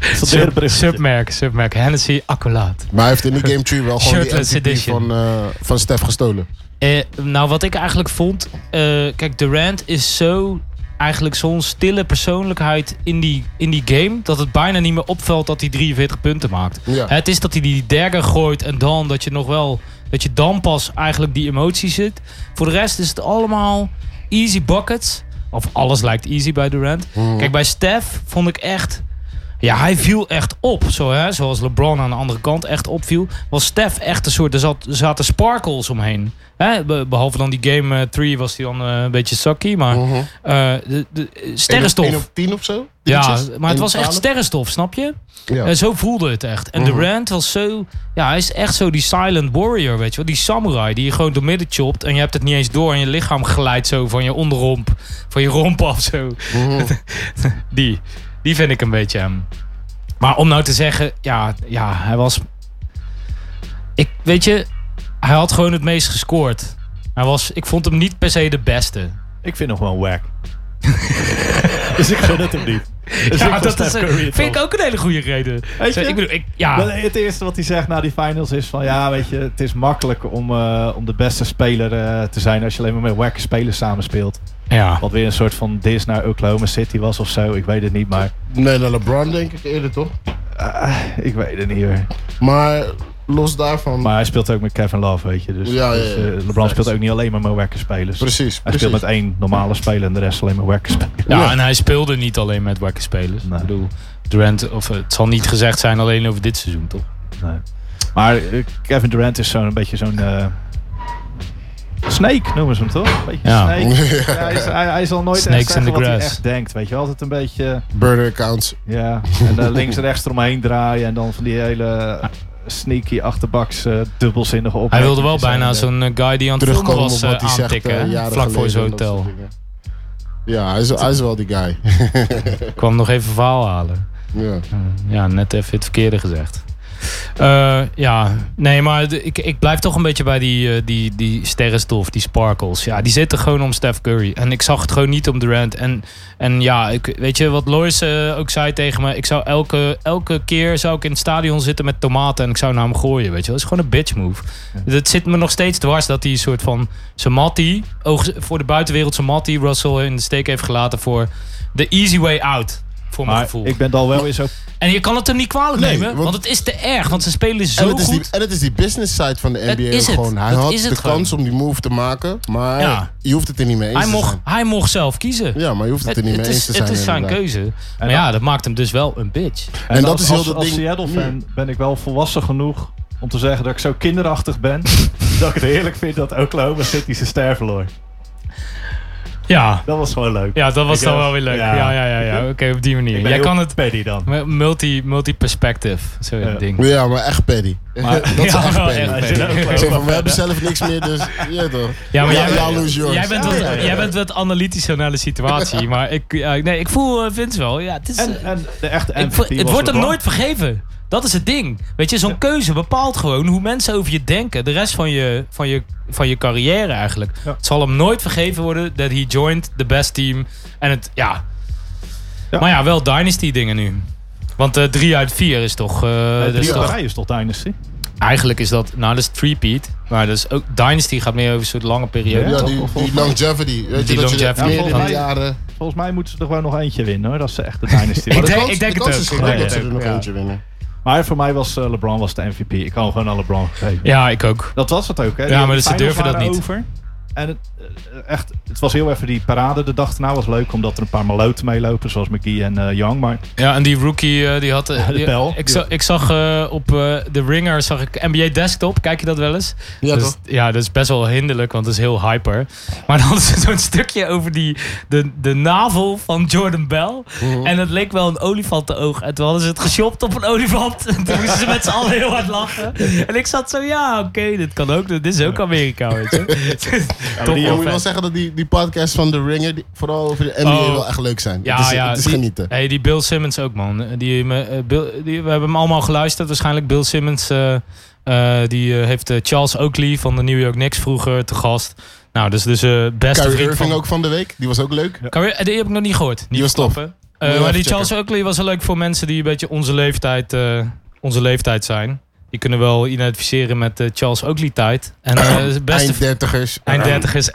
Speaker 9: dat weer een
Speaker 7: sub,
Speaker 9: bruggetje?
Speaker 7: submerk, submerk. Hennessy, accolade.
Speaker 8: Maar hij heeft in die game 3 wel gewoon die
Speaker 7: Shirtless
Speaker 8: MVP
Speaker 7: edition.
Speaker 8: van, eh, van Stef gestolen.
Speaker 7: Eh, nou, wat ik eigenlijk vond. eh, kijk, Durant is zo. Eigenlijk zo'n stille persoonlijkheid in die, in die game. Dat het bijna niet meer opvalt dat hij 43 punten maakt.
Speaker 8: Ja.
Speaker 7: Het is dat hij die dagger gooit en dan dat je nog wel. Dat je dan pas eigenlijk die emotie zit. Voor de rest is het allemaal easy buckets. Of alles lijkt easy bij Durant. Kijk, bij Steph vond ik echt. Ja, hij viel echt op. Zo, hè? Zoals LeBron aan de andere kant echt opviel. Was Stef echt een soort... Er zat, er zaten sparkles omheen. Hè? be- Behalve dan die game 3 was hij dan eh, een beetje sucky. Maar eh, de, de, eh, sterrenstof.
Speaker 8: 1 Mhm. op 10 of zo?
Speaker 7: ja,
Speaker 8: Dingetjes?
Speaker 7: maar het
Speaker 8: Eén
Speaker 7: was
Speaker 8: op
Speaker 7: echt
Speaker 8: 12?
Speaker 7: sterrenstof, snap je?
Speaker 8: Ja.
Speaker 7: Eh, zo voelde het echt. En
Speaker 9: Mhm.
Speaker 7: Durant was zo... Ja, hij is echt zo die silent warrior, weet je wel. Die samurai die je gewoon door midden chopt. En je hebt het niet eens door. En je lichaam glijdt zo van je onderromp. Van je romp af zo.
Speaker 9: Mhm.
Speaker 7: die, die vind ik een beetje hem. Maar om nou te zeggen... Ja, ja hij was... Ik, weet je... Hij had gewoon het meest gescoord. Hij was, ik vond hem niet per se de beste.
Speaker 9: Ik vind hem gewoon whack. dus ik gun het hem niet. Dus
Speaker 7: Ja,
Speaker 9: ik
Speaker 7: dat is, vind ik ook een hele goede reden.
Speaker 9: Weet je?
Speaker 7: Ik bedoel, ik, ja.
Speaker 9: Maar Het eerste wat hij zegt na die finals is van ja, weet je, het is makkelijk om, eh, om de beste speler eh, te zijn als je alleen maar met wacke spelers samenspeelt.
Speaker 7: ja.
Speaker 9: Wat weer een soort van dis naar Oklahoma City was of zo, ik weet het niet, maar eh,
Speaker 8: Nee, naar LeBron denk ik eerder toch?
Speaker 9: ik weet het niet hoor.
Speaker 8: Maar los daarvan.
Speaker 9: Maar hij speelt ook met Kevin Love, weet je. Dus,
Speaker 8: Ja, ja, ja.
Speaker 9: dus, eh, LeBron speelt ook niet alleen maar met wacke spelers.
Speaker 8: Precies,
Speaker 9: Hij
Speaker 8: precies.
Speaker 9: speelt met één normale speler en de rest alleen maar wacke spelers.
Speaker 7: Ja,
Speaker 8: Ja.
Speaker 7: en hij speelde niet alleen met wakke spelers.
Speaker 9: Nee.
Speaker 7: Ik bedoel, Durant, of eh, het zal niet gezegd zijn alleen over dit seizoen, toch?
Speaker 9: Nee. Maar eh, Kevin Durant is zo'n een beetje zo'n. eh, snake noemen ze hem toch? Beetje
Speaker 7: Ja.
Speaker 9: snake. Ja, hij, is, hij, hij zal nooit
Speaker 7: Snakes
Speaker 9: echt zeggen
Speaker 7: in the
Speaker 9: wat hij
Speaker 7: grass.
Speaker 9: echt denkt. Weet je, wel. altijd een beetje.
Speaker 8: Burner accounts.
Speaker 9: Ja, en dan links en rechts eromheen draaien. En dan van die hele sneaky achterbaks eh, dubbelzinnige op.
Speaker 7: Hij wilde wel bijna zo'n eh, guy die aan het filmen
Speaker 8: Terugkomen op
Speaker 7: was eh,
Speaker 8: wat hij zegt.
Speaker 7: aantikken.
Speaker 8: eh,
Speaker 7: hè?
Speaker 8: jaren
Speaker 7: vlak voor
Speaker 8: geleden
Speaker 7: zijn
Speaker 8: en dat soort
Speaker 7: hotel.
Speaker 8: dingen. Ja, hij is, hij is wel die guy.
Speaker 7: Ik kwam nog even verhaal halen.
Speaker 8: ja.
Speaker 7: Ja, net even het verkeerde gezegd. Eh, ja, nee, maar de- ik, ik blijf toch een beetje bij die, eh, die, die sterrenstof, die sparkles. Ja, die zitten gewoon om Steph Curry. En ik zag het gewoon niet om Durant. En, en ja, ik, weet je wat Lois eh, ook zei tegen me? Ik zou elke, elke keer zou ik in het stadion zitten met tomaten en ik zou naar hem gooien, weet je wel. Dat is gewoon een bitch move. Het zit me nog steeds dwars dat hij een soort van zijn mattie, oog- voor de buitenwereld zijn mattie, Russell in de steek heeft gelaten voor de easy way out. Voor mijn
Speaker 9: Maar
Speaker 7: gevoel.
Speaker 9: ik ben dan wel weer zo.
Speaker 7: En je kan het hem niet kwalijk
Speaker 8: Nee,
Speaker 7: nemen, want,
Speaker 8: want-
Speaker 7: het is te erg. Want ze spelen
Speaker 8: En
Speaker 7: zo
Speaker 8: het, is
Speaker 7: goed.
Speaker 8: die, en het is die business side van de NBA
Speaker 7: is
Speaker 8: ook
Speaker 7: het.
Speaker 8: gewoon. Hij
Speaker 7: Dat
Speaker 8: had
Speaker 7: is
Speaker 8: de
Speaker 7: het gewoon.
Speaker 8: kans om die move te maken, maar
Speaker 7: Ja.
Speaker 8: je hoeft het er niet mee eens
Speaker 7: hij,
Speaker 8: te
Speaker 7: mocht,
Speaker 8: zijn.
Speaker 7: hij mocht zelf kiezen.
Speaker 8: Ja, maar je hoeft het er
Speaker 7: het,
Speaker 8: niet
Speaker 7: het
Speaker 8: mee eens
Speaker 7: is,
Speaker 8: te zijn.
Speaker 7: het is zijn
Speaker 8: inderdaad.
Speaker 7: keuze. Maar ja, dat maakt hem dus wel een bitch.
Speaker 8: En, dat
Speaker 9: als-
Speaker 8: is heel
Speaker 9: als,
Speaker 8: dat
Speaker 9: als
Speaker 8: ding.
Speaker 9: Seattle-fan ben ik wel volwassen genoeg om te zeggen dat ik zo kinderachtig ben. dat ik het heerlijk vind dat Oklahoma City zijn ster verloor.
Speaker 7: Ja,
Speaker 9: Dat was gewoon leuk.
Speaker 7: ja dat was
Speaker 9: Ik,
Speaker 7: dan
Speaker 9: eh,
Speaker 7: wel weer leuk. Ja, ja, ja. ja, Oké, op die manier.
Speaker 9: Ik ben
Speaker 7: Jij
Speaker 9: heel
Speaker 7: kan het
Speaker 9: petty dan.
Speaker 7: multi- multi-perspective. Zo
Speaker 9: Ja.
Speaker 7: zo'n ding.
Speaker 8: Ja, maar echt petty. dat is
Speaker 7: Ja,
Speaker 8: echt
Speaker 7: wel
Speaker 8: petty.
Speaker 7: echt
Speaker 9: Hij zit
Speaker 7: petty.
Speaker 9: ook wel-
Speaker 8: Zo van, we hebben zelf niks meer, dus ja toch.
Speaker 7: Ja, maar jij,
Speaker 8: Y'all lose yours.
Speaker 7: jij bent wat,
Speaker 8: Ja, ja, ja.
Speaker 7: jij bent wat analytischer naar de situatie. Maar ik, ja, nee, ik voel eh, Vince wel. Ja, het is,
Speaker 9: En, en de echte
Speaker 7: Ik
Speaker 9: MVP
Speaker 7: vo- het
Speaker 9: was
Speaker 7: wordt hem
Speaker 9: LeBron.
Speaker 7: nooit vergeven. Dat is het ding. Weet je, zo'n keuze bepaalt gewoon hoe mensen over je denken. De rest van je, van je, van je carrière eigenlijk.
Speaker 9: Ja.
Speaker 7: Het zal hem nooit vergeven worden dat hij joined the best team. En het, ja.
Speaker 9: Ja.
Speaker 7: Maar ja, wel Dynasty dingen nu. Want eh drie uit vier is toch... eh, dat
Speaker 9: Drie
Speaker 7: is
Speaker 9: op
Speaker 7: toch
Speaker 9: rij is toch Dynasty?
Speaker 7: eigenlijk is dat... Nou, dat is three-peat. Maar dat is ook, Dynasty gaat meer over een soort lange periode.
Speaker 8: Ja,
Speaker 7: toch?
Speaker 8: die,
Speaker 9: Of- of-
Speaker 8: die longevity. Weet
Speaker 7: Die
Speaker 8: je, dat
Speaker 7: longevity.
Speaker 8: je er
Speaker 9: Ja,
Speaker 8: meerdere jaren...
Speaker 9: Volgens mij moeten ze er gewoon nog eentje winnen hoor. Dat is de echte Dynasty. Maar,
Speaker 7: Ik
Speaker 8: De
Speaker 7: denk-
Speaker 8: kans-
Speaker 7: ik denk
Speaker 8: de
Speaker 7: het
Speaker 8: kans is
Speaker 7: ook.
Speaker 8: groot
Speaker 7: Ja,
Speaker 8: dat ze
Speaker 7: ja.
Speaker 8: er nog
Speaker 9: Ja.
Speaker 8: eentje winnen.
Speaker 9: maar voor mij was eh, LeBron was de MVP. Ik kan gewoon aan LeBron geven.
Speaker 7: Ja, ik ook.
Speaker 9: Dat was het ook hè. Die
Speaker 7: maar
Speaker 9: die
Speaker 7: dus ze
Speaker 9: finals
Speaker 7: durven dat
Speaker 9: waren
Speaker 7: niet.
Speaker 9: Over. En het, eh, eh, echt, het was heel even die parade de dag erna. was leuk omdat er een paar maloten meelopen, zoals McGee en eh, Young. Maar
Speaker 7: Ja, en die rookie eh, die had... eh,
Speaker 9: de
Speaker 7: die-
Speaker 9: bel.
Speaker 7: Ik, za- ik zag eh, op eh The Ringer zag ik NBA Desktop. Kijk je dat wel eens?
Speaker 8: Ja,
Speaker 7: Dus-
Speaker 8: toch?
Speaker 7: Ja, dat is best wel hinderlijk, want dat is heel hyper. Maar dan hadden ze zo'n stukje over die, de, de navel van Jordan Bell.
Speaker 8: Mhm.
Speaker 7: En het leek wel een olifantenoog. En toen hadden ze het geshopt op een olifant. En toen moesten ze met z'n allen heel hard lachen. En ik zat zo, ja, oké, dit kan ook. Dit is ook Amerika, weet je. Toch
Speaker 9: die-
Speaker 8: Ik
Speaker 7: wel
Speaker 8: moet wel
Speaker 7: vet.
Speaker 8: zeggen dat die, die podcasts van The Ringer, die- vooral over de NBA,
Speaker 7: Oh.
Speaker 8: wel echt leuk zijn.
Speaker 7: Ja,
Speaker 8: het is,
Speaker 7: ja,
Speaker 8: het is
Speaker 7: die-
Speaker 8: genieten.
Speaker 7: Hey, die Bill Simmons ook, man. Die, eh, eh, Bill- die, we hebben hem allemaal geluisterd. Waarschijnlijk Bill Simmons. eh, eh, die eh, heeft eh, Charles Oakley van de New York Knicks vroeger te gast. Nou, dus dus eh beste
Speaker 8: Kyrie
Speaker 7: vriend
Speaker 8: Irving
Speaker 7: van...
Speaker 8: ook van de week, die was ook leuk.
Speaker 7: Kyrie- eh, die heb ik nog niet gehoord. Niet
Speaker 8: Die was tof.
Speaker 7: verklappen. Eh,
Speaker 8: Moet je wel
Speaker 7: maar
Speaker 8: even
Speaker 7: die Charles Oakley was wel leuk voor mensen die een beetje onze leeftijd, eh, onze leeftijd zijn. Die kunnen wel identificeren met de Charles Oakley tijd. En eh, beste
Speaker 8: Eind dertigers.
Speaker 7: eind dertigers.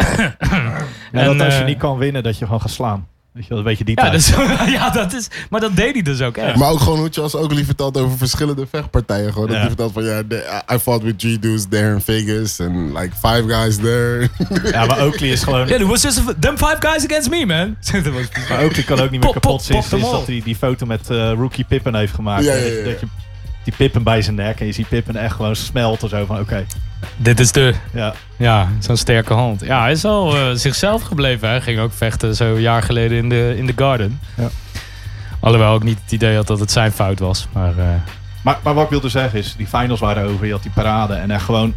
Speaker 9: en, dat als je
Speaker 7: eh,
Speaker 9: niet kan winnen, dat je gewoon gaat slaan. Weet je, wel, een beetje die
Speaker 7: ja,
Speaker 9: tijd.
Speaker 7: dat is, ja, dat is. Maar dat deed hij dus ook. echt.
Speaker 8: Maar ook gewoon hoe Charles Oakley vertelt over verschillende vechtpartijen. Gewoon. Dat
Speaker 9: Ja.
Speaker 8: hij vertelt van, ja, de- I fought with three dudes there in Vegas. And like five guys there.
Speaker 9: Ja, maar Oakley is gewoon...
Speaker 7: Ja, yeah, was just them five guys against me, man. dat was bizar.
Speaker 9: Maar Oakley kan ook niet meer
Speaker 7: Pop, pop,
Speaker 9: kapot sinds
Speaker 7: pop hem
Speaker 9: sinds
Speaker 7: op.
Speaker 9: dat hij die foto met eh, rookie Pippen heeft gemaakt.
Speaker 8: Ja, ja,
Speaker 9: Dat
Speaker 8: ja,
Speaker 9: je-
Speaker 8: ja.
Speaker 9: Dat je die Pippen bij zijn nek en je ziet Pippen echt gewoon smelten zo van oké.
Speaker 7: Dit is de...
Speaker 9: Ja.
Speaker 7: Ja, zo'n sterke hand. Ja, hij is al eh, zichzelf gebleven. Hij ging ook vechten zo een jaar geleden in de, in de Garden.
Speaker 9: Ja.
Speaker 7: Alhoewel ik niet het idee had dat het zijn fout was. Maar eh,
Speaker 9: Maar, maar wat ik wilde zeggen is, die finals waren over, je had die parade en echt gewoon...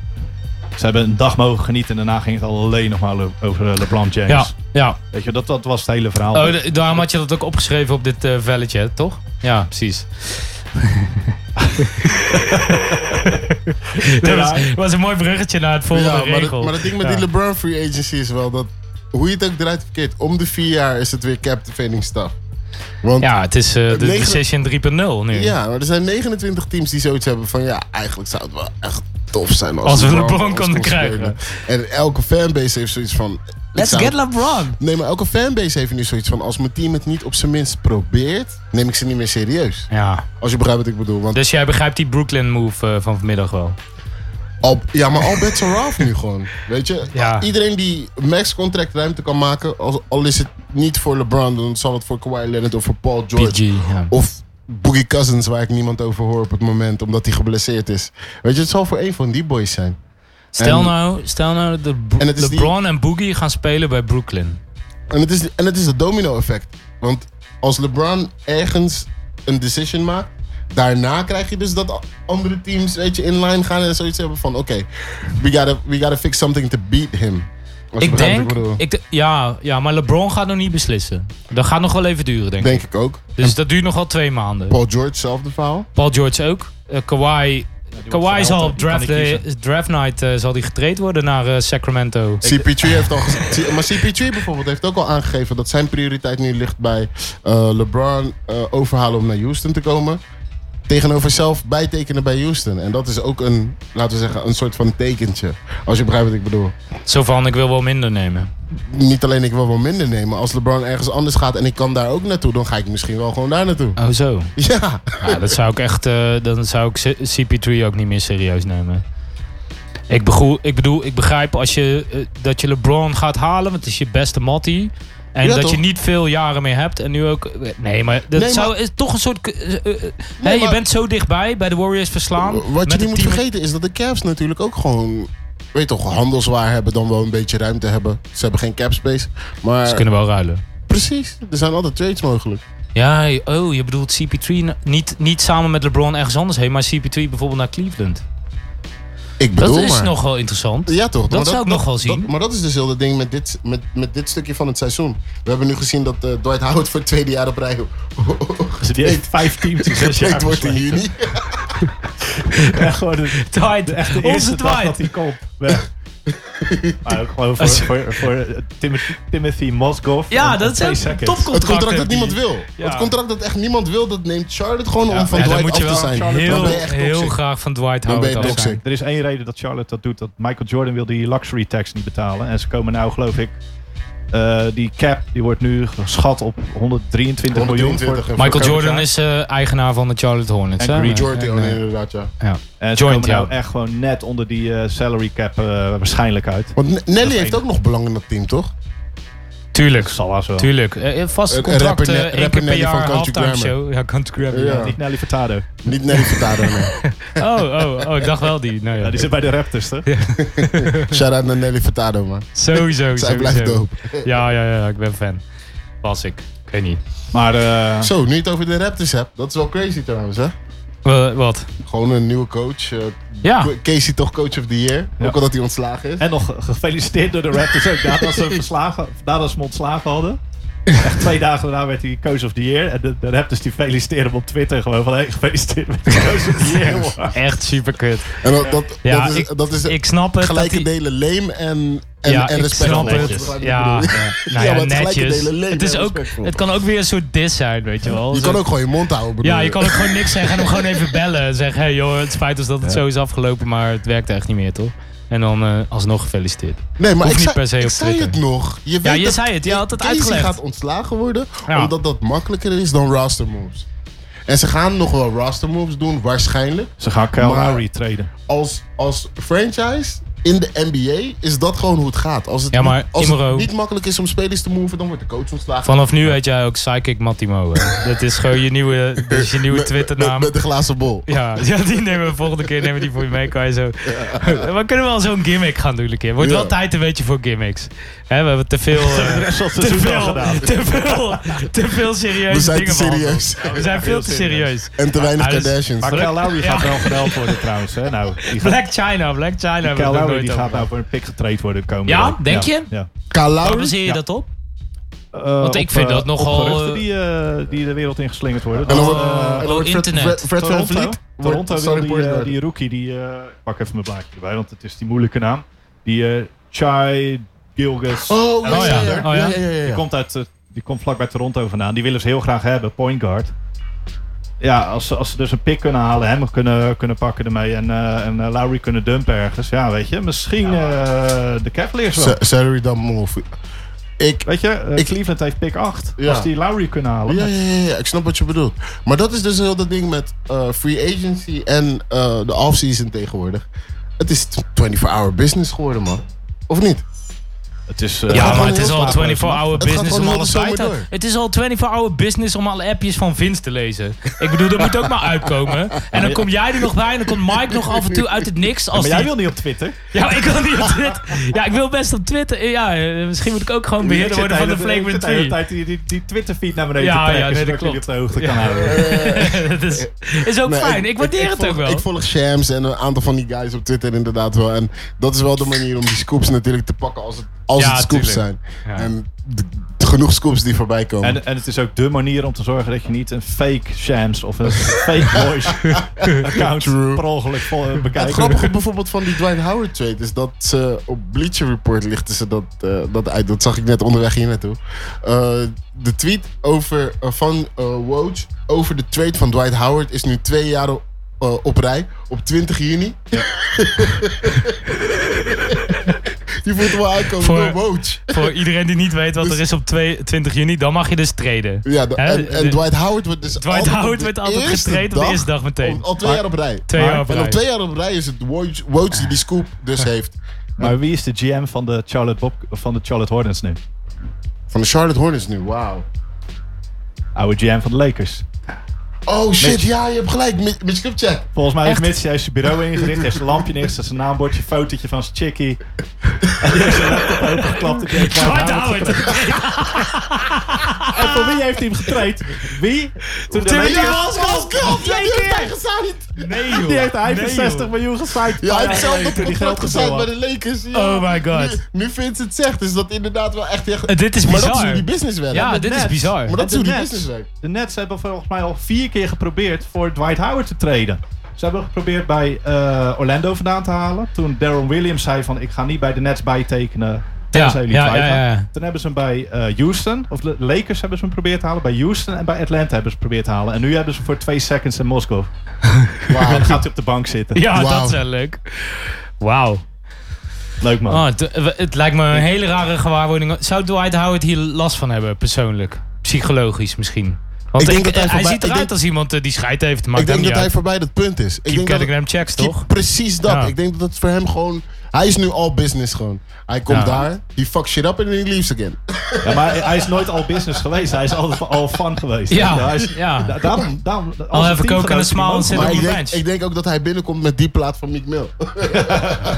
Speaker 9: Ze hebben een dag mogen genieten en daarna ging het alleen nog maar le- over eh, LeBron James.
Speaker 7: ja, ja.
Speaker 9: Weet je, dat, dat was het hele verhaal.
Speaker 7: Oh, d- daarom had je dat ook opgeschreven op dit eh, velletje, hè, toch? Ja, precies. dat was, was een mooi bruggetje naar het volgende
Speaker 8: ja, maar, dat,
Speaker 7: regel.
Speaker 8: maar dat ding met
Speaker 7: Ja.
Speaker 8: die LeBron free agency is wel dat... Hoe je het ook draait of keert, om de vier jaar is het weer captivating stuff. Want ja.
Speaker 7: Ja, het is eh, de
Speaker 8: negen-
Speaker 7: Decision 3.0 nu.
Speaker 8: maar er zijn 29 teams die zoiets hebben van... Ja, eigenlijk zou het wel echt tof zijn als,
Speaker 7: Als we
Speaker 8: LeBron
Speaker 7: LeBron
Speaker 8: ons
Speaker 7: konden
Speaker 8: kon
Speaker 7: krijgen.
Speaker 8: spelen. En elke fanbase heeft zoiets van... ik zou het
Speaker 7: LeBron.
Speaker 8: Nee, maar elke fanbase heeft nu zoiets van... als mijn team het niet op zijn minst probeert... neem ik ze niet meer serieus.
Speaker 7: Ja.
Speaker 8: Als je begrijpt wat ik bedoel. Want
Speaker 7: Dus jij begrijpt die Brooklyn move eh, van vanmiddag wel.
Speaker 8: al, ja, maar al bets are off nu gewoon. Weet je?
Speaker 7: Ja.
Speaker 8: Iedereen die max-contract ruimte kan maken... Als, al is het niet voor LeBron... dan zal het voor Kawhi Leonard of voor Paul George...
Speaker 7: PG. Ja.
Speaker 8: of Boogie Cousins... waar ik niemand over hoor op het moment... omdat hij geblesseerd is. Weet je, het zal voor één van die boys zijn.
Speaker 7: Stel,
Speaker 8: En-
Speaker 7: nou, stel nou dat Bro-
Speaker 8: En het is die-
Speaker 7: LeBron en Boogie gaan spelen bij Brooklyn.
Speaker 8: En het is, en het is het domino-effect. Want als LeBron ergens een decision maakt, daarna krijg je dus dat a- andere teams weet je, in line gaan en zoiets hebben van: oké, we, gotta, we gotta fix something to beat him. Als je
Speaker 7: Ik
Speaker 8: begrijpt wat
Speaker 7: denk,
Speaker 8: bedoel.
Speaker 7: ik, d- ja, ja, maar LeBron gaat nog niet beslissen. Dat gaat nog wel even duren, denk ik.
Speaker 8: denk ik ook.
Speaker 7: Dus dat duurt nog wel twee maanden.
Speaker 8: Paul George, hetzelfde verhaal.
Speaker 7: Paul George ook. Eh, Kawhi, Kawhi
Speaker 9: wordt
Speaker 7: zal op
Speaker 9: verhelder, die kan
Speaker 7: draft,
Speaker 9: niet
Speaker 7: day- draft night eh, zal die getraind worden naar eh, Sacramento.
Speaker 8: CP3 heeft al gez- Maar CP3 bijvoorbeeld heeft ook al aangegeven dat zijn prioriteit nu ligt bij eh, LeBron eh, overhalen om naar Houston te komen. Tegenover zelf bijtekenen bij Houston. En dat is ook een, laten we zeggen, een soort van tekentje. Als je begrijpt wat ik bedoel.
Speaker 7: Zo van, ik wil wel minder nemen.
Speaker 8: Niet alleen ik wil wel minder nemen. Als LeBron ergens anders gaat en ik kan daar ook naartoe, dan ga ik misschien wel gewoon daar naartoe.
Speaker 7: Oh, zo.
Speaker 8: Ja.
Speaker 7: Ja, dat zou ik echt, eh, dan zou ik C- CP3 ook niet meer serieus nemen. Ik, begoe- ik bedoel, ik begrijp als je, eh, dat je LeBron gaat halen, want het is je beste mattie. En
Speaker 8: Ja,
Speaker 7: dat
Speaker 8: toch?
Speaker 7: je niet veel jaren meer hebt. En nu ook. eh, Nee, maar dat
Speaker 8: Nee,
Speaker 7: zou,
Speaker 8: maar-
Speaker 7: is toch een soort. eh, eh, eh, hè, je
Speaker 8: maar-
Speaker 7: bent zo dichtbij bij de Warriors verslaan.
Speaker 8: Wat je
Speaker 7: met
Speaker 8: niet
Speaker 7: het
Speaker 8: moet
Speaker 7: team-
Speaker 8: vergeten is dat de Cavs natuurlijk ook gewoon, weet toch, handelswaar hebben, dan wel een beetje ruimte hebben. Ze hebben geen cap space. Maar
Speaker 7: Ze kunnen wel ruilen.
Speaker 8: precies, er zijn altijd trades mogelijk.
Speaker 7: Ja, oh, je bedoelt CP3 na- niet, niet samen met LeBron ergens anders heen, maar CP3 bijvoorbeeld naar Cleveland.
Speaker 8: Ik
Speaker 7: Dat
Speaker 8: bedoel
Speaker 7: is
Speaker 8: maar.
Speaker 7: nog wel interessant.
Speaker 8: Ja, toch? Maar
Speaker 7: Dat zou ik nog wel zien.
Speaker 8: dat- maar dat is dus heel het ding met dit, met, met dit stukje van het seizoen. We hebben nu gezien dat eh, Dwight Howard voor het tweede jaar op rij
Speaker 9: Dus die heeft vijf teams in zes jaar
Speaker 8: gekleed wordt in
Speaker 9: gespeeld.
Speaker 8: juni.
Speaker 9: Echt gewoon de,
Speaker 7: Dwight,
Speaker 9: echt de
Speaker 7: onze
Speaker 9: eerste dag
Speaker 7: Dwight.
Speaker 9: dat hij komt. Weg. Maar ook gewoon voor, voor, voor Timothy, Timothy Mozgov.
Speaker 7: Ja,
Speaker 9: en-
Speaker 7: dat
Speaker 9: en
Speaker 7: is
Speaker 9: twee
Speaker 7: een
Speaker 9: seconds.
Speaker 7: topcontract.
Speaker 8: Het contract dat
Speaker 7: heb je.
Speaker 8: niemand wil.
Speaker 7: Ja.
Speaker 8: Het contract dat echt niemand wil, dat neemt Charlotte gewoon om van
Speaker 7: Ja, dan
Speaker 8: Dwight
Speaker 7: moet
Speaker 8: af
Speaker 7: je
Speaker 8: te
Speaker 7: wel
Speaker 8: zijn. dan
Speaker 7: heel,
Speaker 8: ben je echt
Speaker 7: heel
Speaker 8: toxic.
Speaker 7: graag van Dwight
Speaker 8: Dan ben
Speaker 7: Howard
Speaker 8: je
Speaker 7: af
Speaker 8: toxic.
Speaker 7: zijn.
Speaker 9: Er is één reden dat Charlotte dat doet. Dat Michael Jordan wil die luxury tax niet betalen. En ze komen nou, geloof ik, eh, die cap die wordt nu geschat op 123, miljoen. Voor,
Speaker 8: 123 en voor
Speaker 7: Michael
Speaker 8: elkaar.
Speaker 7: Jordan is eh, eigenaar van de Charlotte Hornets.
Speaker 9: En
Speaker 7: hè?
Speaker 9: Green
Speaker 8: Jordan,
Speaker 7: En, eh,
Speaker 8: inderdaad, ja.
Speaker 7: ja.
Speaker 9: en ze
Speaker 7: Joint,
Speaker 9: komen nou
Speaker 7: ja.
Speaker 9: echt gewoon net onder die eh, salary cap eh, waarschijnlijk uit.
Speaker 8: Want N- Nelly heeft
Speaker 9: enig.
Speaker 8: ook nog belang in dat team, toch?
Speaker 7: Tuurlijk.
Speaker 9: Zal wel zo.
Speaker 7: Tuurlijk. Eh, vast
Speaker 8: Eh,
Speaker 7: contract
Speaker 8: rapper
Speaker 7: eh,
Speaker 8: Net-
Speaker 7: één
Speaker 8: rapper
Speaker 7: keer per
Speaker 8: Nelly van
Speaker 7: jaar
Speaker 8: Country
Speaker 7: halftime
Speaker 8: Grammar.
Speaker 7: show. Ja, Country Grammar.
Speaker 8: Ja.
Speaker 9: Niet Nelly Furtado.
Speaker 8: Niet Nelly Furtado. nee.
Speaker 7: Oh, oh, oh, ik dacht wel die. Nou ja,
Speaker 9: Ja, die zit bij de Raptors, hè?
Speaker 8: Shout-out naar Nelly Furtado, man.
Speaker 7: Sowieso,
Speaker 8: Zij blijft
Speaker 7: sowieso.
Speaker 8: dope.
Speaker 7: Ja, ja, ja, ik ben fan. Was ik. Ik weet niet.
Speaker 9: Maar eh,
Speaker 8: Zo, nu je het over de Raptors hebt, dat is wel crazy trouwens, hè?
Speaker 7: Wa- wat?
Speaker 8: Gewoon een nieuwe coach. eh,
Speaker 7: Ja.
Speaker 8: Casey toch coach of the year,
Speaker 9: Ja.
Speaker 8: ook al dat hij ontslagen is.
Speaker 9: En nog gefeliciteerd door de Raptors ook. Nadat ze, verslagen, nadat ze hem ontslagen hadden. Echt twee dagen daarna werd hij Coach of the Year. En de, de Raptors die feliciteerden hem op Twitter gewoon van... Hey, gefeliciteerd met de Coach of the Year. jongen.
Speaker 7: Echt super kut.
Speaker 8: En dat, dat,
Speaker 7: Ja,
Speaker 8: dat is,
Speaker 7: ik-
Speaker 8: dat is
Speaker 7: ik snap het.
Speaker 8: gelijke
Speaker 7: dat die-
Speaker 8: delen lame en, en,
Speaker 7: ja,
Speaker 8: en
Speaker 7: ik
Speaker 8: respect.
Speaker 7: snap
Speaker 8: Dat is
Speaker 7: het.
Speaker 8: wat ik
Speaker 7: Ja,
Speaker 8: bedoel.
Speaker 7: ja.
Speaker 8: maar
Speaker 7: nou ja,
Speaker 8: het is gelijk
Speaker 7: netjes.
Speaker 8: een hele
Speaker 7: Het, is
Speaker 8: lelijk
Speaker 7: ook,
Speaker 8: respectvol.
Speaker 7: het kan ook weer een soort diss zijn, weet je wel.
Speaker 8: Je
Speaker 7: Zo-
Speaker 8: kan ook gewoon je mond houden. bedoel
Speaker 7: ja, je kan ook gewoon niks zeggen en hem gewoon even bellen. En zeggen, hey joh, het spijt ons dat het zo is afgelopen, maar het werkt echt niet meer, toch? En dan eh, alsnog gefeliciteerd.
Speaker 8: Nee, maar
Speaker 7: Hoeft
Speaker 8: ik,
Speaker 7: niet
Speaker 8: zei,
Speaker 7: per se
Speaker 8: ik
Speaker 7: op
Speaker 8: zei
Speaker 7: Twitter.
Speaker 8: het nog. Je weet
Speaker 7: Ja, je
Speaker 8: dat
Speaker 7: zei het. Je had het
Speaker 8: Casey
Speaker 7: uitgelegd.
Speaker 8: gaat ontslagen worden,
Speaker 7: Ja.
Speaker 8: omdat dat makkelijker is dan roster moves. En ze gaan nog wel roster moves doen, waarschijnlijk.
Speaker 9: Ze gaan Kyle
Speaker 8: Maar-
Speaker 9: Lowry traden.
Speaker 8: Als, als franchise in de NBA is dat gewoon hoe het gaat. Als het,
Speaker 7: Ja, maar
Speaker 8: niet, als het
Speaker 7: Imro-
Speaker 8: niet makkelijk is om spelers te moven, dan wordt de coach ontslagen.
Speaker 7: Vanaf nu heet jij ook Psychic Mattimo. hè. Dat is gewoon je nieuwe, dat is je nieuwe
Speaker 8: Met-
Speaker 7: Twitternaam.
Speaker 8: Met, met de glazen bol.
Speaker 7: Ja, ja, die nemen we volgende keer nemen we die voor je mee. Kan je zo. We kunnen wel zo'n gimmick gaan doen een keer. Wordt
Speaker 8: Ja.
Speaker 7: wel tijd een beetje voor gimmicks. Hè, we hebben te veel... eh,
Speaker 9: rest van het
Speaker 7: te,
Speaker 9: seizoen
Speaker 7: veel
Speaker 9: al gedaan.
Speaker 7: te veel... Te veel serieuze
Speaker 8: We zijn te
Speaker 7: dingen behandeld.
Speaker 8: serieus.
Speaker 7: Ja, we zijn veel te serieus.
Speaker 8: En te weinig
Speaker 7: Ah, dus-
Speaker 8: Kardashians.
Speaker 9: Maar
Speaker 7: Druk-
Speaker 9: Kyle Lowry
Speaker 7: Ja.
Speaker 9: gaat wel gedeld worden trouwens. Hè? Nou, die gaat,
Speaker 7: Black China, Black China. hebben we
Speaker 9: Kyle
Speaker 7: het nog
Speaker 9: Lowry
Speaker 7: nooit
Speaker 9: die
Speaker 7: over
Speaker 9: gaat nou
Speaker 7: gehad.
Speaker 9: voor een pick getraind worden komende
Speaker 7: Ja?
Speaker 9: week.
Speaker 7: denk je?
Speaker 9: Ja.
Speaker 8: Kyle
Speaker 7: Waar
Speaker 8: Lowry.
Speaker 7: baseer je
Speaker 9: Ja.
Speaker 7: dat op?
Speaker 9: Eh,
Speaker 7: Want ik
Speaker 9: op,
Speaker 7: vind
Speaker 9: eh,
Speaker 7: dat
Speaker 9: op
Speaker 7: nogal,
Speaker 9: geruchten
Speaker 7: eh,
Speaker 9: die, eh, die de wereld in geslingerd worden.
Speaker 8: En dan
Speaker 9: Dat,
Speaker 8: wordt-
Speaker 9: eh,
Speaker 8: en dan wordt Fred-
Speaker 7: internet.
Speaker 8: Fred, Fred Van
Speaker 9: Toronto,
Speaker 8: Vliet.
Speaker 9: Toronto wil
Speaker 8: Sorry,
Speaker 9: die,
Speaker 8: point
Speaker 9: eh,
Speaker 8: guard.
Speaker 9: die rookie, die, eh, ik pak even mijn blaadje erbij, want het is die moeilijke naam. Die eh Chai Gilgis.
Speaker 8: Oh, ja,
Speaker 7: Oh
Speaker 8: ja,
Speaker 7: ja.
Speaker 8: ja.
Speaker 7: Oh ja.
Speaker 8: ja, ja, ja, ja.
Speaker 9: Die komt, uit, eh, die komt vlakbij Toronto vandaan. Die willen ze heel graag hebben, point guard. Ja, als, ze- als ze dus een pick kunnen halen, hem kunnen, kunnen pakken ermee en, eh en eh, Lowry kunnen dumpen ergens. Ja, weet je, misschien eh, de Cavaliers wel.
Speaker 8: Sa- Salary dump move. Ik,
Speaker 9: Weet je, eh,
Speaker 8: Ik-
Speaker 9: Cleveland heeft pick 8.
Speaker 8: Ja.
Speaker 9: Als die Lowry kunnen halen.
Speaker 8: ja, ja, ja, ja, ik snap wat je bedoelt. Maar dat is dus heel dat ding met eh, free agency en eh, de offseason tegenwoordig. Het is 24-hour business geworden, man. Of niet?
Speaker 9: Het is, eh,
Speaker 7: Ja,
Speaker 8: gaat
Speaker 7: maar
Speaker 8: gewoon
Speaker 7: het is
Speaker 8: heel
Speaker 7: al
Speaker 8: vaak
Speaker 7: 24-hour
Speaker 8: Het gaat
Speaker 7: business
Speaker 8: gewoon
Speaker 7: om
Speaker 8: heel
Speaker 7: alles
Speaker 8: de
Speaker 7: bij
Speaker 8: zomer
Speaker 7: te
Speaker 8: door.
Speaker 7: Het is al 24-hour business om alle appjes van Vince te lezen. Ik bedoel, dat moet ook maar uitkomen. En dan kom jij er nog bij en dan komt Mike nog af en toe uit het niks. Als
Speaker 9: maar jij
Speaker 7: die-
Speaker 9: wil niet op Twitter.
Speaker 7: Ja, maar ik wil niet op Twitter. Ja, ik wil best op Twitter. Ja, eh, misschien moet ik ook gewoon beheerder worden van de Flagrant
Speaker 9: Ik zit hele
Speaker 7: 3.
Speaker 9: tijd die, die, die Twitter-feed naar beneden
Speaker 7: Ja,
Speaker 9: te trekken,
Speaker 7: ja, nee,
Speaker 9: zodat
Speaker 7: dat
Speaker 9: jullie op
Speaker 7: klopt.
Speaker 9: de hoogte kan houden.
Speaker 7: Dat is, is ook
Speaker 8: Nee,
Speaker 7: fijn. Ik waardeer het
Speaker 8: volg-
Speaker 7: ook wel.
Speaker 8: Ik volg Shams en een aantal van die guys op Twitter inderdaad wel. En dat is wel de manier om die scoops natuurlijk te pakken als het, als
Speaker 7: Ja,
Speaker 8: het scoops
Speaker 7: tuurlijk.
Speaker 8: zijn.
Speaker 7: Ja.
Speaker 8: En d- genoeg scoops die voorbij komen.
Speaker 9: En, en het is ook dé manier om te zorgen dat je niet een fake Shams of een fake voice account
Speaker 8: True.
Speaker 9: per ongeluk vol- eh,
Speaker 8: Ja, het
Speaker 9: bekijkt.
Speaker 8: grappige bijvoorbeeld van die Dwight Howard trade is dat ze op Bleacher Report lichten ze dat, eh, dat uit. Dat zag ik net onderweg hier naartoe. Eh, de tweet over, eh, van eh Woj over de trade van Dwight Howard is nu twee jaar o- eh, op rij. Op 20 juni. je voelt hem wel aankomen
Speaker 7: Voor-
Speaker 8: door Woj.
Speaker 7: Voor iedereen die niet weet wat
Speaker 8: Dus-
Speaker 7: er is op 2 20 juni, dan mag je dus treden.
Speaker 8: Ja, de-
Speaker 7: Hè,
Speaker 8: en, en
Speaker 7: de-
Speaker 8: Dwight Howard wordt dus
Speaker 7: Dwight
Speaker 8: altijd op
Speaker 7: Howard
Speaker 8: de
Speaker 7: werd altijd
Speaker 8: eerste
Speaker 7: gestreden op de eerste dag meteen.
Speaker 8: Al, al twee jaar op rij.
Speaker 7: Twee
Speaker 9: Maar-
Speaker 7: jaar op
Speaker 8: En
Speaker 7: rij.
Speaker 8: op twee jaar op rij is het Woj Woj die die scoop dus heeft.
Speaker 9: Maar wie is de GM van de Charlotte, Bob, van de Charlotte Hornets nu?
Speaker 8: Van de Charlotte Hornets nu, wauw.
Speaker 9: Oude GM van de Lakers.
Speaker 8: Oh shit, ja, je hebt gelijk. Mi- Mitch Kupchak.
Speaker 9: Volgens mij heeft
Speaker 7: Echt?
Speaker 9: Mitch juist zijn bureau ingericht. Heeft zijn lampje neergezet, zijn naambordje, fotootje van zijn chickie. En die heeft zijn laptop opengeklapt. en die heeft Dwight
Speaker 7: Dwight
Speaker 9: Howard
Speaker 7: Howard.
Speaker 9: En voor wie heeft hij hem getraind? Wie? Toen de
Speaker 7: Timmy
Speaker 9: Lakers-
Speaker 7: Charles
Speaker 8: God,
Speaker 9: Twee keer!
Speaker 7: Nee joh.
Speaker 9: Die heeft hij voor
Speaker 7: Nee,
Speaker 9: 60
Speaker 7: joh.
Speaker 9: miljoen gesigned.
Speaker 8: Ja, hij heeft
Speaker 9: zelf
Speaker 8: zelf dat contract gezet bij de Lakers. ja.
Speaker 7: Oh my god.
Speaker 8: Nu, nu Vince het zegt, is dat inderdaad wel echt... echt
Speaker 7: Eh, Dit is
Speaker 8: maar dat is
Speaker 7: bizar.
Speaker 8: hoe die business werkt. hè,
Speaker 7: Ja,
Speaker 8: met
Speaker 7: Ah, dit is
Speaker 8: Nets.
Speaker 7: bizar.
Speaker 8: Maar dat is hoe die
Speaker 9: Nets.
Speaker 8: business werkt.
Speaker 9: De Nets hebben volgens mij al vier keer geprobeerd voor Dwight Howard te treden. Ze hebben geprobeerd bij eh, Orlando vandaan te halen. Toen Darren Williams zei van ik ga niet bij de Nets
Speaker 7: Ja,
Speaker 9: bijtekenen. tenzij jullie
Speaker 7: ja,
Speaker 9: Dwight
Speaker 7: ja, ja.
Speaker 9: halen." Toen hebben ze hem bij eh, Houston, of de Lakers hebben ze hem geprobeerd te halen. Bij Houston en bij Atlanta hebben ze hem geprobeerd te halen. En nu hebben ze hem voor twee seconds in Moskou.
Speaker 7: Ah.
Speaker 9: En
Speaker 8: Wauw.
Speaker 9: dan gaat hij op de bank zitten.
Speaker 7: Ja,
Speaker 8: Wauw.
Speaker 7: dat is wel leuk. Wauw.
Speaker 9: Leuk man.
Speaker 7: Oh, het, het lijkt me een hele rare gewaarwording. Zou Dwight Howard hier last van hebben, persoonlijk? Psychologisch misschien. Want
Speaker 8: Ik denk dat hij
Speaker 7: hij,
Speaker 8: voorbij-
Speaker 7: ziet
Speaker 8: ik
Speaker 7: eruit
Speaker 8: denk-
Speaker 7: als iemand eh, die scheid heeft. Maakt
Speaker 8: ik denk
Speaker 7: hem
Speaker 8: dat
Speaker 7: niet
Speaker 8: hij
Speaker 7: uit.
Speaker 8: voorbij dat punt is. Ik
Speaker 7: Keep
Speaker 8: denk dat het-
Speaker 7: Telegram checks,
Speaker 8: Keep-
Speaker 7: toch?
Speaker 8: Precies dat.
Speaker 7: Ja.
Speaker 8: Ik denk dat het voor hem gewoon... Hij is nu all business gewoon. Hij komt
Speaker 7: Ja.
Speaker 8: daar, he fucks shit up en he leaves again.
Speaker 9: Ja, maar hij is nooit al business geweest. Hij is altijd al fan geweest.
Speaker 7: Ja,
Speaker 9: hij is-
Speaker 7: ja.
Speaker 9: da- Daarom, daarom, als
Speaker 7: Al
Speaker 9: een
Speaker 7: even
Speaker 9: teamgenoot
Speaker 7: coke en een smile
Speaker 9: die
Speaker 7: en zit
Speaker 9: man-
Speaker 7: op
Speaker 8: Maar
Speaker 7: de
Speaker 8: ik denk,
Speaker 7: bench.
Speaker 8: ik denk ook dat hij binnenkomt met die plaat van Meek Mill.
Speaker 9: Ja, maar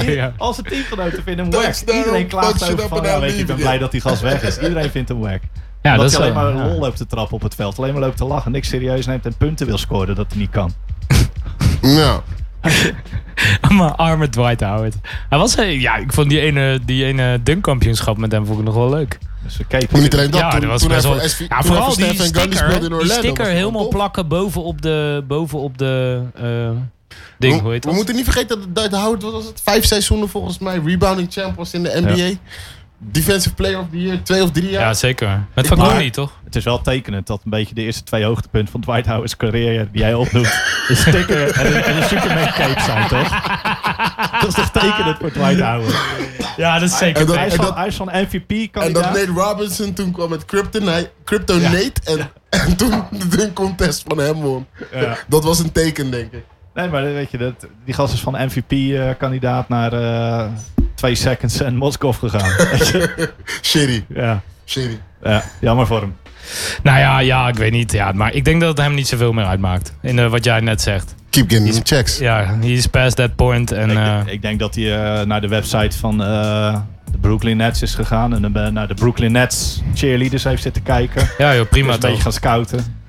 Speaker 9: ieder-
Speaker 7: Ja.
Speaker 9: Als een teamgenoten vinden hem
Speaker 8: Touchdown,
Speaker 9: wack. Iedereen klaagt
Speaker 8: touchdown,
Speaker 9: over van,
Speaker 8: en
Speaker 9: ja,
Speaker 8: dan
Speaker 9: weet je, ik ben
Speaker 8: leave
Speaker 9: blij
Speaker 8: je.
Speaker 9: dat die gast weg is. Iedereen vindt hem wack.
Speaker 7: Ja, dat
Speaker 9: dat
Speaker 7: is
Speaker 9: hij alleen
Speaker 7: wel-
Speaker 9: maar een
Speaker 7: ja.
Speaker 9: lol loopt te trappen op het veld. Alleen maar loopt te lachen, niks serieus neemt en punten wil scoren dat hij niet kan.
Speaker 8: nou,
Speaker 7: Maar arme Dwight Howard. Hij was, eh, ja, ik vond die ene, die ene dunkkampioenschap met hem vond ik nog wel leuk.
Speaker 9: Dus we kijken.
Speaker 8: maar niet alleen dat.
Speaker 7: ja,
Speaker 8: toen,
Speaker 7: dat was
Speaker 8: toen hij
Speaker 7: best wel.
Speaker 8: voor SV,
Speaker 7: ja,
Speaker 8: toen hij
Speaker 7: vooral
Speaker 8: voor
Speaker 7: die
Speaker 8: Stephen Gundy
Speaker 7: sticker,
Speaker 8: speelde in
Speaker 7: die
Speaker 8: Orlando,
Speaker 7: sticker
Speaker 8: was het
Speaker 7: helemaal
Speaker 8: tof.
Speaker 7: plakken bovenop de, bovenop de eh, ding. Hoe heet dat?
Speaker 8: We, we moeten niet vergeten dat Dwight Howard wat was het, vijf seizoenen volgens mij rebounding champ was in de NBA. Defensive player of the year, twee of drie jaar.
Speaker 7: Ja, zeker. Met
Speaker 9: Maar-
Speaker 7: Van niet, toch?
Speaker 9: Het is wel tekenend dat een beetje de eerste twee hoogtepunten van Dwight Howard's carrière die jij opnoemt, een sticker en een, en een Superman cape zijn, toch? Dat is toch tekenend voor Dwight Howard?
Speaker 7: Ja, dat is zeker.
Speaker 8: En dat-
Speaker 9: Hij is
Speaker 8: en
Speaker 9: van,
Speaker 8: dat-
Speaker 9: hij is van MVP
Speaker 8: En dat
Speaker 9: kandidaat.
Speaker 8: Nate Robinson toen kwam met Kryptonite, Kryptonate en, en toen de dunk contest van hem won.
Speaker 9: Ja.
Speaker 8: Dat was een teken, denk ik.
Speaker 9: Nee, maar weet je, dat, die gast is van MVP-kandidaat naar eh, twee seconds en Moskov gegaan. Weet je?
Speaker 8: Shitty,
Speaker 9: ja.
Speaker 8: shitty.
Speaker 9: ja, jammer voor hem.
Speaker 7: Nou ja, ja, ik weet niet. Ja, maar ik denk dat het hem niet zoveel meer uitmaakt. In eh, wat jij net zegt.
Speaker 8: Keep getting his checks.
Speaker 7: Ja, he is past that point. En,
Speaker 9: Ik,
Speaker 7: eh,
Speaker 9: ik denk dat hij eh, naar de website van eh, de Brooklyn Nets is gegaan en eh, naar de Brooklyn Nets cheerleaders heeft zitten kijken.
Speaker 7: ja, joh,
Speaker 9: Maar
Speaker 7: prima
Speaker 9: een beetje
Speaker 7: toch.
Speaker 9: gaan scouten.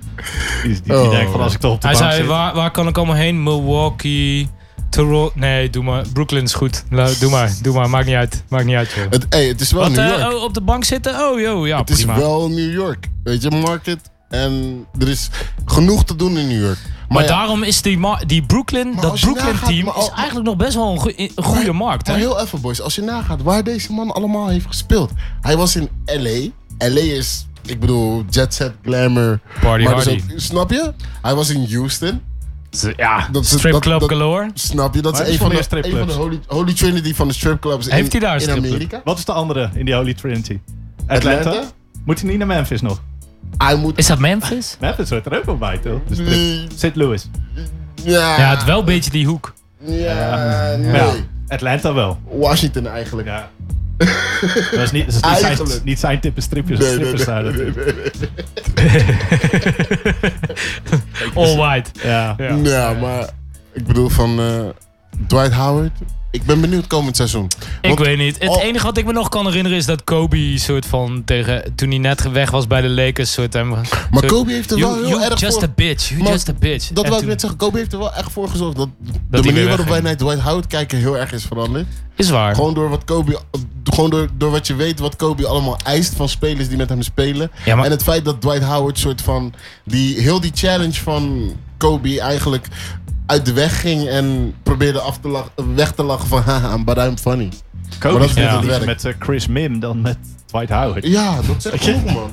Speaker 9: Die, die, die
Speaker 8: Oh.
Speaker 9: denkt van als ik toch op de
Speaker 7: Hij
Speaker 9: bank
Speaker 7: zei,
Speaker 9: zit.
Speaker 7: waar, waar kan ik allemaal heen? Milwaukee, Toronto... Nee, doe maar. Brooklyn is goed. La- Doe maar, doe maar. Maakt niet uit. Maakt niet uit, joh.
Speaker 8: Het, hey, het is wel
Speaker 7: Wat,
Speaker 8: New
Speaker 7: eh,
Speaker 8: York.
Speaker 7: oh, op de bank zitten? Oh, joh, ja,
Speaker 8: het is
Speaker 7: prima.
Speaker 8: wel New York. Weet je, market. En er is genoeg te doen in New York.
Speaker 7: Maar
Speaker 8: ja,
Speaker 7: daarom is die, ma- die Brooklyn,
Speaker 8: Maar
Speaker 7: dat
Speaker 8: als je nagaat,
Speaker 7: Brooklyn-team
Speaker 8: maar al-
Speaker 7: is eigenlijk nog best wel een, goe- een goede
Speaker 8: Maar-
Speaker 7: markt. hè?
Speaker 8: Maar heel even, boys. Als je nagaat waar deze man allemaal heeft gespeeld. Hij was in L.A. L.A. is, ik bedoel, jet set, glamour.
Speaker 7: Party
Speaker 8: maar dus
Speaker 7: hardy.
Speaker 8: ook- snap je? Hij was in Houston.
Speaker 7: Ja,
Speaker 8: dat is-
Speaker 7: stripclub
Speaker 8: dat- dat-
Speaker 7: galore.
Speaker 8: Snap je? Dat
Speaker 9: Maar
Speaker 8: is
Speaker 9: het
Speaker 8: een
Speaker 9: is
Speaker 8: van
Speaker 9: wel
Speaker 8: de,
Speaker 9: meer
Speaker 8: een van de
Speaker 9: stripclubs.
Speaker 8: holy, holy trinity van de stripclubs in,
Speaker 7: Heeft hij daar een
Speaker 8: in
Speaker 7: stripclub?
Speaker 8: Amerika.
Speaker 9: Wat is de andere in die Holy Trinity? Atlanta?
Speaker 8: Atlanta?
Speaker 9: Moet hij niet naar Memphis nog?
Speaker 8: Hij moet...
Speaker 7: Is dat Memphis?
Speaker 9: Memphis hoort er ook wel bij, toch? Dus
Speaker 8: Nee.
Speaker 9: St. Louis.
Speaker 8: Ja,
Speaker 7: Ja, het wel een beetje die hoek.
Speaker 8: ja, nee.
Speaker 9: Ja, Atlanta wel.
Speaker 8: Washington eigenlijk.
Speaker 9: Ja. dat is niet, dat is niet, zijn,
Speaker 8: Eigenlijk.
Speaker 9: niet zijn tippen stripjes.
Speaker 8: Nee, nee,
Speaker 9: strippers
Speaker 8: nee,
Speaker 9: daar
Speaker 8: nee,
Speaker 9: natuurlijk.
Speaker 7: All white.
Speaker 9: Ja.
Speaker 7: Ja.
Speaker 8: Ja, maar ik bedoel van eh, Dwight Howard. Ik ben benieuwd komend seizoen.
Speaker 7: Ik
Speaker 8: Want-
Speaker 7: weet niet. Het
Speaker 8: al-
Speaker 7: enige wat ik me nog kan herinneren is dat Kobe soort van tegen toen hij net weg was bij de Lakers soort hem.
Speaker 8: Maar
Speaker 7: soort-
Speaker 8: Kobe heeft er
Speaker 7: you,
Speaker 8: wel heel
Speaker 7: you
Speaker 8: erg
Speaker 7: just
Speaker 8: voor...
Speaker 7: a bitch. You
Speaker 8: Maar
Speaker 7: just a bitch.
Speaker 8: Dat
Speaker 7: En
Speaker 8: wou ik
Speaker 7: toen-
Speaker 8: net zeggen. Kobe heeft er wel echt voor gezorgd dat,
Speaker 7: weer
Speaker 8: de manier
Speaker 7: wegging.
Speaker 8: waarop wij naar Dwight Howard kijken heel erg is veranderd.
Speaker 7: Is waar.
Speaker 8: Gewoon door wat Kobe... Gewoon door, door wat je weet wat Kobe allemaal eist van spelers die met hem spelen.
Speaker 7: Ja, maar-
Speaker 8: En het feit dat Dwight Howard soort van... Die, heel die challenge van Kobe eigenlijk uit de weg ging en probeerde af te lachen, weg te lachen van haha, but I'm funny.
Speaker 9: Kobe
Speaker 8: Maar dat is
Speaker 9: is
Speaker 8: niet het
Speaker 9: liever
Speaker 8: werk.
Speaker 9: met eh, Chris Mim dan met Dwight Howard.
Speaker 8: Ja, dat zegt genoeg, man.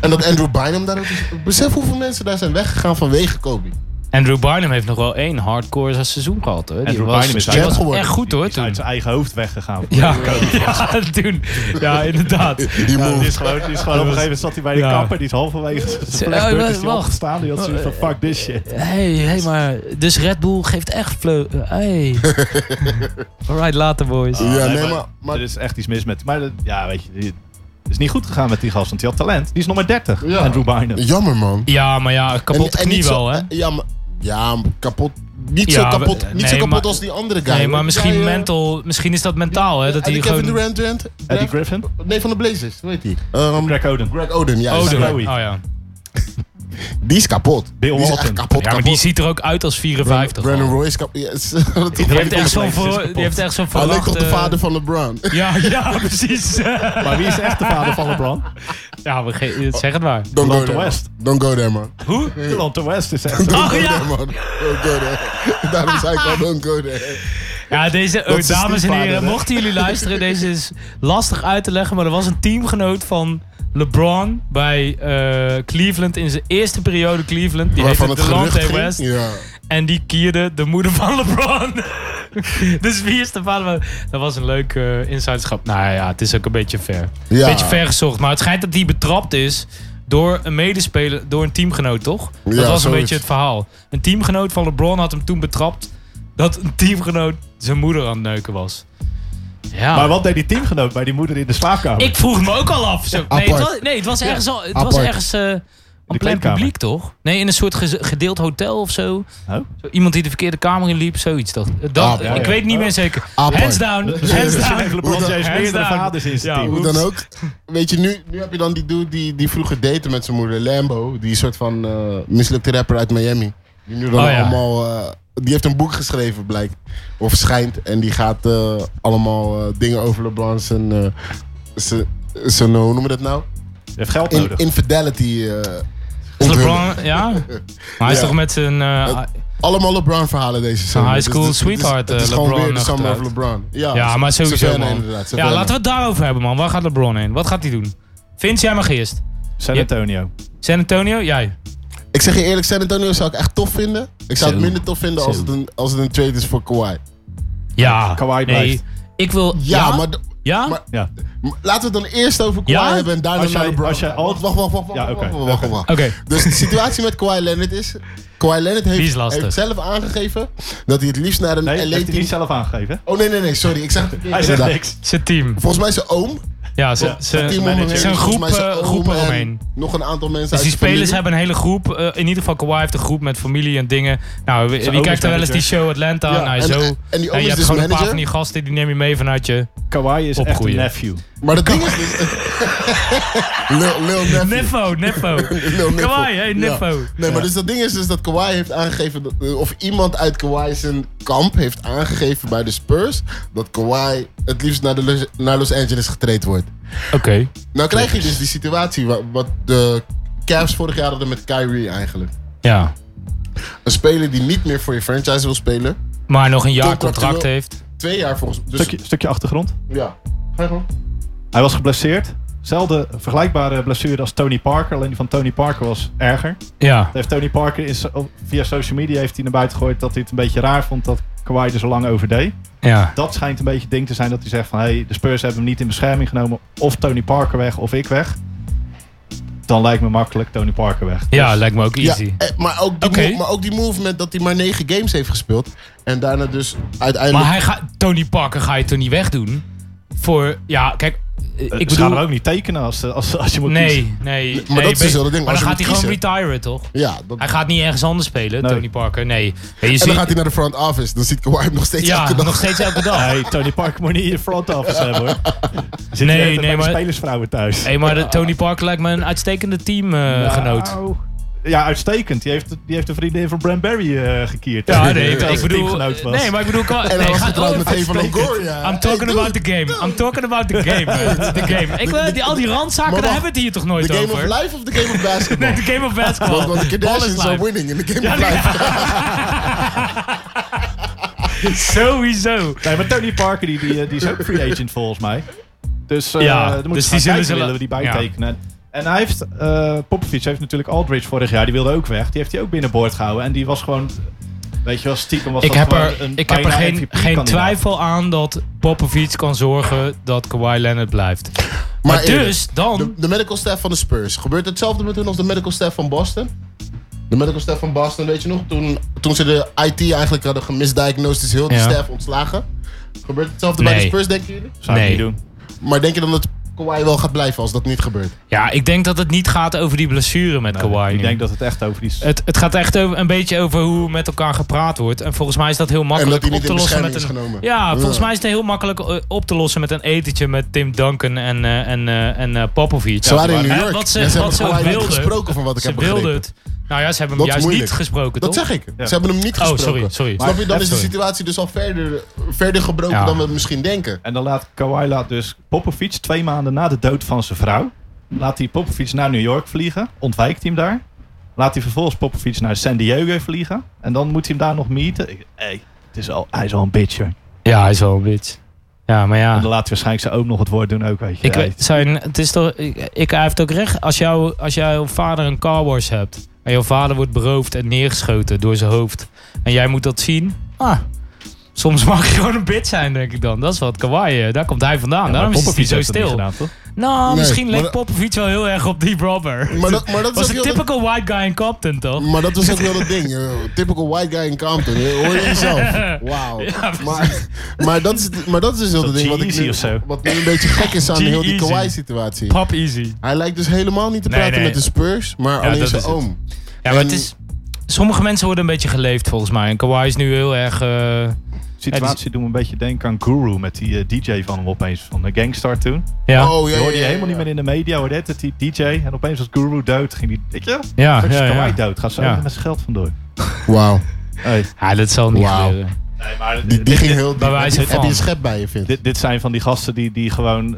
Speaker 8: en dat Andrew Bynum daar ook is. Besef hoeveel mensen daar zijn weggegaan vanwege Kobe.
Speaker 7: Andrew Barnum heeft nog wel één hardcore seizoen gehad hoor. Die
Speaker 9: Andrew
Speaker 7: was,
Speaker 9: Bynum is
Speaker 7: die
Speaker 9: uit-
Speaker 7: was
Speaker 8: geworden.
Speaker 7: echt goed
Speaker 9: Die
Speaker 7: hoor
Speaker 9: is uit
Speaker 7: toen.
Speaker 9: zijn eigen hoofd weggegaan.
Speaker 7: Ja, ja, toen. Ja, inderdaad.
Speaker 8: Die
Speaker 9: Ja, die
Speaker 8: move.
Speaker 9: is gewoon, die is gewoon op een gegeven moment zat hij bij de
Speaker 7: Ja.
Speaker 9: kapper, die is halverwege zijn
Speaker 7: Oh,
Speaker 9: vluchtbeurt, is die
Speaker 7: wacht.
Speaker 9: opgestaan, die had zoiets
Speaker 8: Oh,
Speaker 9: van fuck this shit.
Speaker 7: Hey, hey, maar dus Red Bull geeft echt fleu. Hey. Alright, later boys.
Speaker 8: ja, nee, maar, maar
Speaker 9: er is echt iets mis met. Maar dat- ja, weet je, die- het is niet goed gegaan met die gast, want die had talent. Die is nog maar 30.
Speaker 8: Ja.
Speaker 9: Andrew Bynum.
Speaker 8: jammer, man.
Speaker 7: Ja, maar ja, kapotte
Speaker 8: En- en
Speaker 7: knie
Speaker 8: niet zo-
Speaker 7: wel hè.
Speaker 8: eh, Ja, maar, ja, maar kapot. Niet
Speaker 7: Ja,
Speaker 8: zo kapot,
Speaker 7: we-
Speaker 8: niet
Speaker 7: nee,
Speaker 8: zo kapot
Speaker 7: maar-
Speaker 8: als die andere guy.
Speaker 7: Nee,
Speaker 8: hoor.
Speaker 7: maar misschien
Speaker 8: Die guy, eh,
Speaker 7: mental, misschien is dat mentaal hè. Dat
Speaker 8: en
Speaker 7: hij
Speaker 8: die Kevin
Speaker 7: gewoon.
Speaker 8: Durant, Durant?
Speaker 9: Eddie
Speaker 8: Durant?
Speaker 9: Griffin.
Speaker 8: Nee, van de Blazers, weet je. Ehm
Speaker 9: Greg Oden.
Speaker 8: Greg Oden, ja.
Speaker 7: Oh,
Speaker 9: Oden.
Speaker 7: de-
Speaker 8: Greg-
Speaker 7: oh
Speaker 9: Zoe.
Speaker 7: ja.
Speaker 8: Die is kapot.
Speaker 9: Bill
Speaker 8: die is echt
Speaker 9: Walton.
Speaker 8: kapot,
Speaker 7: Ja, maar
Speaker 8: kapot.
Speaker 7: die ziet er ook uit als 54.
Speaker 8: Brandon
Speaker 7: al.
Speaker 8: Roy is kapot. Yes. Dat-
Speaker 7: die heeft echt eh, zo'n
Speaker 9: complex, is
Speaker 7: voor,
Speaker 9: kapot.
Speaker 7: die heeft echt zo'n
Speaker 8: Hij lijkt op de
Speaker 7: verlachte-
Speaker 8: vader van LeBron.
Speaker 7: Ja, ja, precies.
Speaker 9: Maar wie is echt de vader van LeBron?
Speaker 7: ja, we ge- zeg het maar.
Speaker 8: Don't go
Speaker 9: Delonte
Speaker 8: there, man.
Speaker 9: West.
Speaker 8: Don't go there, man.
Speaker 7: Hoe?
Speaker 9: Delonte West is echt.
Speaker 8: Don't go
Speaker 7: Oh, ja.
Speaker 8: there, man. Don't go there. Daarom zei ik al, don't go there.
Speaker 7: Ja, deze, oh,
Speaker 9: is de
Speaker 7: dames en
Speaker 9: stiefvader,
Speaker 7: heren,
Speaker 9: hè?
Speaker 7: mochten jullie luisteren, deze is lastig uit te leggen, maar er was een teamgenoot van LeBron bij eh, Cleveland in zijn eerste periode Cleveland. Die
Speaker 8: Waarvan
Speaker 7: heette
Speaker 8: het gerucht
Speaker 7: Delonte
Speaker 8: ging.
Speaker 7: West
Speaker 8: Ja.
Speaker 7: en die kierde de moeder van LeBron. dus wie is de vader? van- Dat was een leuk eh insiderschap. Nou ja, het is ook een beetje ver.
Speaker 8: Ja.
Speaker 7: Beetje ver gezocht. Maar het schijnt dat hij betrapt is door een medespeler, door een teamgenoot, toch? Dat
Speaker 8: Ja,
Speaker 7: was een
Speaker 8: zoiets.
Speaker 7: beetje het verhaal. Een teamgenoot van LeBron had hem toen betrapt dat een teamgenoot zijn moeder aan het neuken was. Ja.
Speaker 9: Maar wat deed die teamgenoot bij die moeder in de slaapkamer?
Speaker 7: Ah. Ik vroeg me ook al af. Zo, nee, het
Speaker 8: apart.
Speaker 7: was, nee, het was ergens, al, het was
Speaker 8: apart.
Speaker 7: ergens eh een plein
Speaker 9: kleedkamer.
Speaker 7: publiek, toch? Nee, in een soort geze- gedeeld hotel of zo.
Speaker 9: Oh.
Speaker 7: Zo Iemand die de verkeerde kamer in liep, zoiets. Dat, dat,
Speaker 8: Apart.
Speaker 7: Ik weet niet meer zeker.
Speaker 8: Apart.
Speaker 7: Hands down. Hands
Speaker 9: Hands
Speaker 7: down.
Speaker 9: LeBron
Speaker 8: Hoe
Speaker 9: James
Speaker 7: dan-
Speaker 9: meerdere
Speaker 7: hands down.
Speaker 9: vaders in zijn
Speaker 7: Ja,
Speaker 9: team.
Speaker 7: hoe-
Speaker 8: Hoe dan ook. Weet je, nu, nu heb je dan die dude die, die vroeger date met zijn moeder, Lambo. Die soort van eh, mislukte rapper uit Miami. Die nu dan
Speaker 7: Oh ja.
Speaker 8: allemaal... eh, die heeft een boek geschreven, blijkt. Of schijnt. En die gaat eh, allemaal eh, dingen over LeBron zijn... eh, zijn- zijn, eh, hoe noemen we dat nou?
Speaker 9: Je hebt geld
Speaker 8: In,
Speaker 9: nodig.
Speaker 8: infidelity. eh
Speaker 7: Is
Speaker 8: onthullen.
Speaker 7: LeBron, ja. Maar hij is
Speaker 8: Ja. Oh.
Speaker 7: toch met zijn... eh,
Speaker 8: Het- Allemaal LeBron-verhalen deze zomer.
Speaker 7: high school
Speaker 8: Dus het is-
Speaker 7: sweetheart,
Speaker 8: Het is,
Speaker 7: eh,
Speaker 8: gewoon
Speaker 7: LeBron
Speaker 8: weer de summer of
Speaker 7: achteruit.
Speaker 8: LeBron. Ja,
Speaker 7: ja, maar sowieso,
Speaker 8: Ah, Savannah
Speaker 7: man.
Speaker 8: inderdaad,
Speaker 7: Ja,
Speaker 8: Savannah.
Speaker 7: laten we het daarover hebben, man. Waar gaat LeBron heen? Wat gaat hij doen? Vince, jij mag eerst.
Speaker 9: San
Speaker 7: Ja.
Speaker 9: Antonio.
Speaker 7: San Antonio, jij.
Speaker 8: Ik zeg je eerlijk, San Antonio zou ik echt tof vinden. Ik zou het
Speaker 9: Zo.
Speaker 8: minder tof vinden als
Speaker 9: Zo.
Speaker 8: het, een, als het een trade is voor Kawhi.
Speaker 7: Ja.
Speaker 9: Kawhi
Speaker 7: nee.
Speaker 9: blijft.
Speaker 7: Ik wil...
Speaker 8: Ja, maar, d-
Speaker 7: Ja?
Speaker 8: maar-
Speaker 9: Ja.
Speaker 8: m- laten we het dan eerst over Kawhi
Speaker 7: Ja?
Speaker 8: hebben en daarna
Speaker 9: Als jij-
Speaker 8: naar LeBron.
Speaker 9: als jij al-
Speaker 8: wacht, wacht, wacht, wacht, wacht,
Speaker 9: Ja,
Speaker 8: wacht,
Speaker 9: oké,
Speaker 8: wacht, wacht, wacht.
Speaker 7: Oké.
Speaker 8: Dus de situatie met Kawhi Leonard is... Kawhi Leonard
Speaker 7: Die is
Speaker 8: heeft,
Speaker 7: lastig.
Speaker 8: heeft zelf aangegeven dat hij het liefst naar een
Speaker 9: Nee, heeft hij niet
Speaker 8: LA-team...
Speaker 9: zelf aangegeven?
Speaker 8: Oh nee, nee, nee, sorry. Ik zeg het verkeerd,
Speaker 9: Hij zegt
Speaker 8: inderdaad.
Speaker 9: niks.
Speaker 7: Zijn team.
Speaker 8: Volgens mij zijn oom.
Speaker 7: Ja, ze,
Speaker 8: zijn team om hem
Speaker 7: ze,
Speaker 8: heen,
Speaker 7: zijn
Speaker 8: volgens
Speaker 7: groep,
Speaker 8: mij zijn
Speaker 7: eh,
Speaker 8: oom
Speaker 7: groepen
Speaker 8: en
Speaker 7: omheen.
Speaker 8: Nog een aantal mensen
Speaker 7: Dus
Speaker 8: uit
Speaker 7: die
Speaker 8: zijn familie.
Speaker 7: spelers hebben een hele groep. eh, in ieder geval Kawhi heeft een groep met familie en dingen. Nou, wie, wie
Speaker 9: oom
Speaker 7: kijkt
Speaker 9: is
Speaker 7: er wel eens die show Atlanta?
Speaker 8: Ja,
Speaker 7: nou,
Speaker 8: en-
Speaker 7: zo.
Speaker 8: en die oom
Speaker 7: je
Speaker 8: is
Speaker 7: hebt
Speaker 8: dus
Speaker 7: gewoon een paar
Speaker 8: manager?
Speaker 7: van die gasten die neem je mee vanuit je.
Speaker 9: Kawhi is echt een
Speaker 7: Opgroeien.
Speaker 9: nephew.
Speaker 8: Maar dat ding is dus... Lil, Lil Nephew.
Speaker 7: Neffo, Neffo.
Speaker 8: Lil Nephew.
Speaker 7: Kawhi, hey, Neffo.
Speaker 8: Ja. Nee, maar dus dat ding is dus dat Kawhi heeft aangegeven... dat- eh, of iemand uit Kawhi zijn kamp heeft aangegeven bij de Spurs... dat Kawhi het liefst naar, de Los, naar Los Angeles getraind wordt.
Speaker 7: Oké.
Speaker 8: Nou krijg je dus die situatie wa- wat de Cavs vorig jaar hadden met Kyrie eigenlijk.
Speaker 7: Ja.
Speaker 8: Een speler die niet meer voor je franchise wil spelen.
Speaker 7: Maar nog een jaar
Speaker 8: Contractueel.
Speaker 7: contract heeft.
Speaker 8: Twee jaar volgens mij. Dus,
Speaker 9: Stukje, stukje achtergrond.
Speaker 8: Ja. Ga je gang.
Speaker 9: Hij was geblesseerd. Zelfde vergelijkbare blessure als Tony Parker. Alleen die van Tony Parker was erger.
Speaker 7: Ja.
Speaker 9: Dat heeft Tony Parker in so- via social media heeft hij naar buiten gegooid dat hij het een beetje raar vond dat Kawhi er zo lang over deed.
Speaker 7: Ja.
Speaker 9: Dat schijnt een beetje het ding te zijn dat hij zegt van hey, de Spurs hebben hem niet in bescherming genomen. Of Tony Parker weg of ik weg. Dan lijkt me makkelijk Tony Parker weg.
Speaker 7: Ja, lijkt me ook
Speaker 8: Dus- Ja,
Speaker 7: easy.
Speaker 8: eh, maar, ook die
Speaker 7: Oké.
Speaker 8: move, maar ook die movement dat hij maar negen games heeft gespeeld. En daarna dus uiteindelijk...
Speaker 7: Maar hij gaat Tony Parker ga je toch niet wegdoen? Voor, ja, kijk. eh,
Speaker 9: ik
Speaker 7: ik
Speaker 9: ze gaan hem
Speaker 7: bedoel...
Speaker 9: ook niet tekenen als, eh, als, als je moet kiezen.
Speaker 7: Nee, nee.
Speaker 8: Maar dat is dus
Speaker 7: be-
Speaker 8: wel het ding,
Speaker 7: Maar
Speaker 8: als
Speaker 7: dan
Speaker 8: je
Speaker 7: gaat hij
Speaker 8: moet
Speaker 7: gewoon retiren, toch?
Speaker 8: ja, dat,
Speaker 7: Hij gaat niet ergens anders spelen,
Speaker 9: Nee.
Speaker 7: Tony Parker. Nee. Ja, je
Speaker 8: en dan
Speaker 7: ziet-
Speaker 8: gaat hij naar de front office. Dan ziet Kawhi hem nog steeds
Speaker 7: ja,
Speaker 8: elke dag.
Speaker 7: nog steeds elke dag.
Speaker 9: Nee, Tony Parker moet niet in de front office hebben hoor. Zit
Speaker 7: Nee, nee,
Speaker 9: nee, nee, bij
Speaker 7: maar-
Speaker 9: de spelersvrouwen thuis.
Speaker 7: Hé, maar de Tony Parker lijkt me een uitstekende teamgenoot.
Speaker 9: Nou, Ja, uitstekend. Die heeft, die heeft de vriendin van Bran Barry eh, gekierd.
Speaker 7: ja, nee, ik,
Speaker 9: Terwijl
Speaker 7: ik
Speaker 9: ze
Speaker 7: bedoel...
Speaker 9: teamgenoot was.
Speaker 7: Nee, maar ik bedoel... kan-
Speaker 8: En
Speaker 7: nee,
Speaker 8: dan was
Speaker 7: ga-
Speaker 8: hij trouwens
Speaker 7: oh,
Speaker 8: met Evan Longoria.
Speaker 7: I'm talking
Speaker 8: Hey,
Speaker 7: about
Speaker 8: dude,
Speaker 7: the game. I'm talking about the game. man. The game. Ik, wil- die, al die randzaken,
Speaker 8: Maar
Speaker 7: daar hebben
Speaker 8: wacht,
Speaker 7: we het hier toch nooit
Speaker 8: The game
Speaker 7: over?
Speaker 8: of life of the game of basketball?
Speaker 7: Nee, the game of basketball.
Speaker 8: Want, want de
Speaker 7: Ball is
Speaker 8: Kardashians are
Speaker 7: life.
Speaker 8: winning in the game of life.
Speaker 7: Sowieso.
Speaker 9: Nee, maar Tony Parker die, die, eh, die is ook free agent volgens mij. Dus, eh
Speaker 7: Ja,
Speaker 9: dan moet
Speaker 7: dus die
Speaker 9: je
Speaker 7: zullen
Speaker 9: gaan kijken,
Speaker 7: ze
Speaker 9: willen
Speaker 7: la-
Speaker 9: we die
Speaker 7: ja.
Speaker 9: bijtekenen. En hij heeft, eh Popovic heeft natuurlijk Aldridge vorig jaar, die wilde ook weg. Die heeft hij ook binnenboord gehouden. En die was gewoon, weet je wel, stiekem was
Speaker 7: Ik
Speaker 9: dat
Speaker 7: heb
Speaker 9: gewoon
Speaker 7: er,
Speaker 9: een
Speaker 7: ik heb er
Speaker 9: bijna
Speaker 7: geen,
Speaker 9: MVP
Speaker 7: geen
Speaker 9: kandidaat.
Speaker 7: twijfel aan dat Popovic kan zorgen dat Kawhi Leonard blijft. Maar,
Speaker 8: eerlijk,
Speaker 7: dus, dan...
Speaker 8: De, de medical staff van de Spurs. Gebeurt hetzelfde met hun als de medical staff van Boston? De medical staff van Boston, weet je nog? Toen, toen ze de IT eigenlijk hadden gemisdiagnosed, is heel die
Speaker 7: Ja.
Speaker 8: staff ontslagen. Gebeurt hetzelfde bij de
Speaker 7: Nee.
Speaker 8: Spurs, denken jullie?
Speaker 9: Zou ik
Speaker 7: Nee.
Speaker 9: niet doen.
Speaker 8: Maar denk je dan dat Kawhi wel gaat blijven als dat niet gebeurt?
Speaker 7: Ja, ik denk dat het niet gaat over die blessure met Kawhi.
Speaker 9: Ik
Speaker 7: nu.
Speaker 9: denk dat het echt over die...
Speaker 7: het, het gaat echt over, een beetje over hoe met elkaar gepraat wordt. En volgens mij is dat heel
Speaker 8: En dat
Speaker 7: makkelijk
Speaker 8: hij
Speaker 7: op
Speaker 8: niet
Speaker 7: te
Speaker 8: in
Speaker 7: lossen
Speaker 8: bescherming
Speaker 7: met
Speaker 8: is
Speaker 7: een.
Speaker 8: genomen?
Speaker 7: Ja, volgens mij is het heel makkelijk eh, op te lossen met een etentje met Tim Duncan en, eh, en, eh, en eh, Popovic.
Speaker 8: Ze waren in
Speaker 7: Hè,
Speaker 8: New York.
Speaker 7: Wat ze,
Speaker 8: Ja, ze
Speaker 7: wat ze
Speaker 8: hebben
Speaker 7: ook
Speaker 8: Kawhi niet
Speaker 7: wilden.
Speaker 8: gesproken van wat ik
Speaker 7: ze
Speaker 8: heb
Speaker 7: wilden
Speaker 8: begrepen.
Speaker 7: het. Nou ja, ze hebben hem
Speaker 8: Dat is
Speaker 7: juist
Speaker 8: moeilijk.
Speaker 7: niet gesproken,
Speaker 8: Dat
Speaker 7: toch?
Speaker 8: zeg ik. Ze hebben hem niet
Speaker 7: Oh,
Speaker 8: gesproken.
Speaker 7: sorry, sorry.
Speaker 8: Snap je, dan is de
Speaker 7: Sorry.
Speaker 8: situatie dus al verder, verder gebroken
Speaker 7: Ja.
Speaker 8: dan we misschien denken.
Speaker 9: En dan laat Kawhi laat dus Popovic twee maanden na de dood van zijn vrouw. Laat hij Popovic naar New York vliegen. Ontwijkt hij hem daar. Laat hij vervolgens Popovic naar San Diego vliegen. En dan moet hij hem daar nog meeten. Ik- Hey, het is al, hij is al een bitch hoor.
Speaker 7: Ja, hij is wel een bitch. Ja, maar ja.
Speaker 9: En dan laat hij waarschijnlijk zijn oom nog het woord doen ook, weet je.
Speaker 7: Ik
Speaker 9: Hey,
Speaker 7: weet, zijn, het is toch, ik, ik- hij heeft ook recht. Als, jou, als jouw vader een car wash hebt. en jouw vader wordt beroofd en neergeschoten door zijn hoofd. en jij moet dat zien. Ah, Soms mag je gewoon een bitch zijn, denk ik dan. Dat is wat Kawhi, eh, daar komt hij vandaan.
Speaker 9: Maar
Speaker 7: Daarom is hij
Speaker 9: Popovic
Speaker 7: niet zo
Speaker 9: heeft dat niet
Speaker 7: stil.
Speaker 9: gedaan, toch?
Speaker 7: nou,
Speaker 8: Nee,
Speaker 7: misschien
Speaker 8: maar
Speaker 7: leek
Speaker 8: dat-
Speaker 7: Popovic wel heel erg op die Robber.
Speaker 8: Maar dat, maar dat
Speaker 7: was
Speaker 8: is
Speaker 7: een
Speaker 8: ook heel dat-
Speaker 7: typical white guy in Compton, toch?
Speaker 8: maar dat was ook wel het ding. joh. Typical white guy in Compton. Hoor je jezelf. Wauw. maar, maar, dat is, maar dat is dus heel het
Speaker 9: Dat
Speaker 8: ding
Speaker 7: E
Speaker 8: wat, ik
Speaker 9: G-Eazy
Speaker 8: nu,
Speaker 9: of zo.
Speaker 8: wat nu een beetje gek is aan heel die
Speaker 7: G-Eazy.
Speaker 8: Kawhi-situatie.
Speaker 7: Pop easy.
Speaker 8: Hij lijkt dus helemaal niet te
Speaker 7: E Nee,
Speaker 8: praten
Speaker 7: nee.
Speaker 8: met de Spurs, maar
Speaker 7: Ja,
Speaker 8: alleen
Speaker 7: dat
Speaker 8: zijn
Speaker 7: is het.
Speaker 8: oom.
Speaker 7: Ja, maar
Speaker 8: En-
Speaker 7: het is... Sommige mensen worden een beetje geleefd, volgens mij. En Kawhi is nu heel erg... eh,
Speaker 9: De situatie doet me een beetje denken aan Guru met die eh, DJ van hem opeens, van de Gangstar toen.
Speaker 7: ja.
Speaker 8: Oh, ja,
Speaker 9: Die hoorde
Speaker 8: ja,
Speaker 9: je
Speaker 8: ja,
Speaker 9: helemaal niet
Speaker 8: ja.
Speaker 9: meer in de media, hoorde het, dat die DJ. En opeens was Guru dood, ging die, weet je wel?
Speaker 7: Ja,
Speaker 9: Straks is
Speaker 7: Ah, ja, ja.
Speaker 9: Kawhi dood, gaat ze
Speaker 7: Ja.
Speaker 9: even met zijn geld vandoor.
Speaker 8: Wauw.
Speaker 9: Hey.
Speaker 7: Ja, dat Ah, zal niet
Speaker 8: Wauw.
Speaker 7: gebeuren.
Speaker 9: Nee, maar
Speaker 8: Die, die ging heel diep.
Speaker 7: bij wijze
Speaker 8: Heb je- Heb
Speaker 7: van.
Speaker 8: je een schep bij je, vindt?
Speaker 9: Dit, dit zijn van die gasten die, die gewoon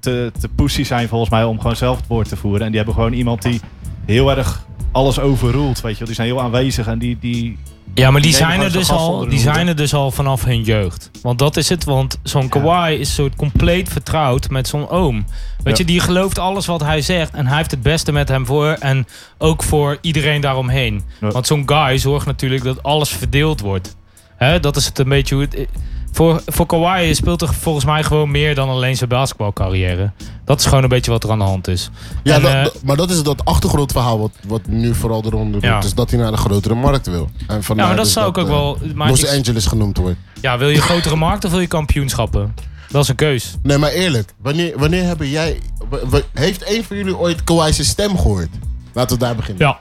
Speaker 9: te, te pussy zijn volgens mij om gewoon zelf het woord te voeren. En die hebben gewoon iemand die heel erg alles overroelt, weet je wel. Die zijn heel aanwezig en die... die
Speaker 7: Ja, maar die
Speaker 9: Die nemen
Speaker 7: zijn, er
Speaker 9: gewoon zo'n
Speaker 7: dus
Speaker 9: gast
Speaker 7: al,
Speaker 9: onder
Speaker 7: die
Speaker 9: de hoede.
Speaker 7: zijn er dus al vanaf hun jeugd. Want dat is het, want zo'n Kawhi is soort compleet vertrouwd met zo'n oom. Weet je,
Speaker 9: Ja.
Speaker 7: die gelooft alles wat hij zegt en hij heeft het beste met hem voor en ook voor iedereen daaromheen.
Speaker 9: Ja.
Speaker 7: Want zo'n guy zorgt natuurlijk dat alles verdeeld wordt. Hè, dat is het een beetje hoe het... Voor, voor Kawhi speelt er volgens mij gewoon meer dan alleen zijn basketbalcarrière. Dat is gewoon een beetje wat er aan de hand is.
Speaker 8: Ja,
Speaker 7: En,
Speaker 8: dat-
Speaker 7: eh,
Speaker 8: dat- maar dat is dat achtergrondverhaal wat, wat nu vooral eronder doet.
Speaker 7: Ja.
Speaker 8: Dus dat hij naar de grotere markt wil. En dus
Speaker 7: Ja, maar dat zou ik ook wel- maar
Speaker 8: eh, Los
Speaker 7: ik-
Speaker 8: Angeles genoemd wordt.
Speaker 7: ja, wil je grotere markt of wil je kampioenschappen? Dat is een keus.
Speaker 8: Nee, maar eerlijk. Wanneer, wanneer hebben jij... wa- wa- Heeft één van jullie ooit Kawhi's stem gehoord? Laten we daar beginnen.
Speaker 7: Ja.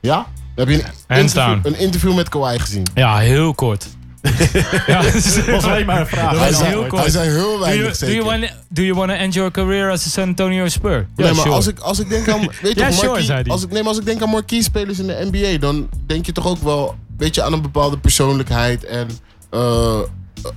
Speaker 8: Ja? Heb je een interview,
Speaker 7: down.
Speaker 8: een interview met Kawhi gezien?
Speaker 7: Ja, heel kort. ja, dat was alleen maar een vraag.
Speaker 8: hij,
Speaker 7: was
Speaker 8: zei,
Speaker 7: heel kort.
Speaker 8: hij zei heel
Speaker 7: Do
Speaker 8: weinig
Speaker 7: you, do,
Speaker 8: zeker.
Speaker 7: you wanna, do you wanna end your career as a San Antonio Spur? Ja,
Speaker 8: nee, maar
Speaker 7: sure.
Speaker 8: als, ik, als ik denk aan. Weet je,
Speaker 7: Ja,
Speaker 8: toch,
Speaker 7: sure,
Speaker 8: marquee-
Speaker 7: zei hij.
Speaker 8: als ik, nee, maar als ik denk aan marquee-spelers in de NBA, dan denk je toch ook wel weet je, aan een bepaalde persoonlijkheid en eh,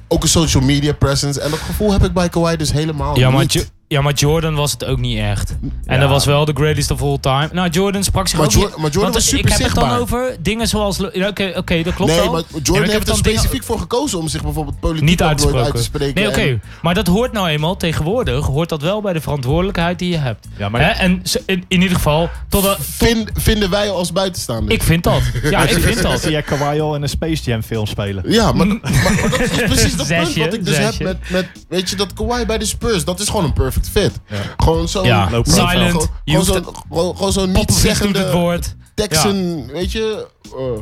Speaker 8: ook een social media presence. En dat gevoel heb ik bij Kawhi dus helemaal
Speaker 7: ja, maar
Speaker 8: niet.
Speaker 7: Jo- ja, maar Jordan was het ook niet echt. En
Speaker 9: Ja.
Speaker 7: dat was wel de greatest of all time. Nou, Jordan sprak zich
Speaker 8: Maar
Speaker 7: ook
Speaker 8: Jo-
Speaker 7: niet-
Speaker 8: maar Jordan
Speaker 7: want eh,
Speaker 8: was
Speaker 7: ik-
Speaker 8: super
Speaker 7: Ik heb het dan
Speaker 8: zichtbaar.
Speaker 7: over dingen zoals... Lo- ja, Oké, oké, dat klopt
Speaker 8: nee,
Speaker 7: wel.
Speaker 8: maar
Speaker 7: Ja,
Speaker 8: Jordan
Speaker 7: ik heb
Speaker 8: heeft er
Speaker 7: dan dingen-
Speaker 8: specifiek voor gekozen om zich bijvoorbeeld politiek
Speaker 7: niet
Speaker 8: ook nooit
Speaker 7: uitgesproken.
Speaker 8: uit te spreken.
Speaker 7: Nee, oké.
Speaker 8: En-
Speaker 7: Maar dat hoort nou eenmaal tegenwoordig. Hoort dat wel bij de verantwoordelijkheid die je hebt.
Speaker 9: Ja, maar-
Speaker 7: Hè? En ze- in, in ieder geval, totdat...
Speaker 8: Vind, vinden wij als buitenstaanders.
Speaker 7: Ik vind dat. Ja, ik vind dat.
Speaker 9: zie jij Kawhi al in een Space Jam film spelen.
Speaker 8: Ja, maar, maar, maar dat is dus precies dat punt
Speaker 7: Zesje,
Speaker 8: wat ik dus
Speaker 7: zesje.
Speaker 8: heb met, met, weet je, dat Kawhi bij de Spurs, dat is gewoon een perfect fit. Gewoon zo'n...
Speaker 7: Ja,
Speaker 8: gewoon-
Speaker 7: silent.
Speaker 8: Gewoon,
Speaker 7: Je hoeft
Speaker 8: zo'n, gewoon, gewoon zo'n niet
Speaker 7: Popovic doet het
Speaker 8: zeggende
Speaker 7: woord.
Speaker 8: Texan, weet je, eh,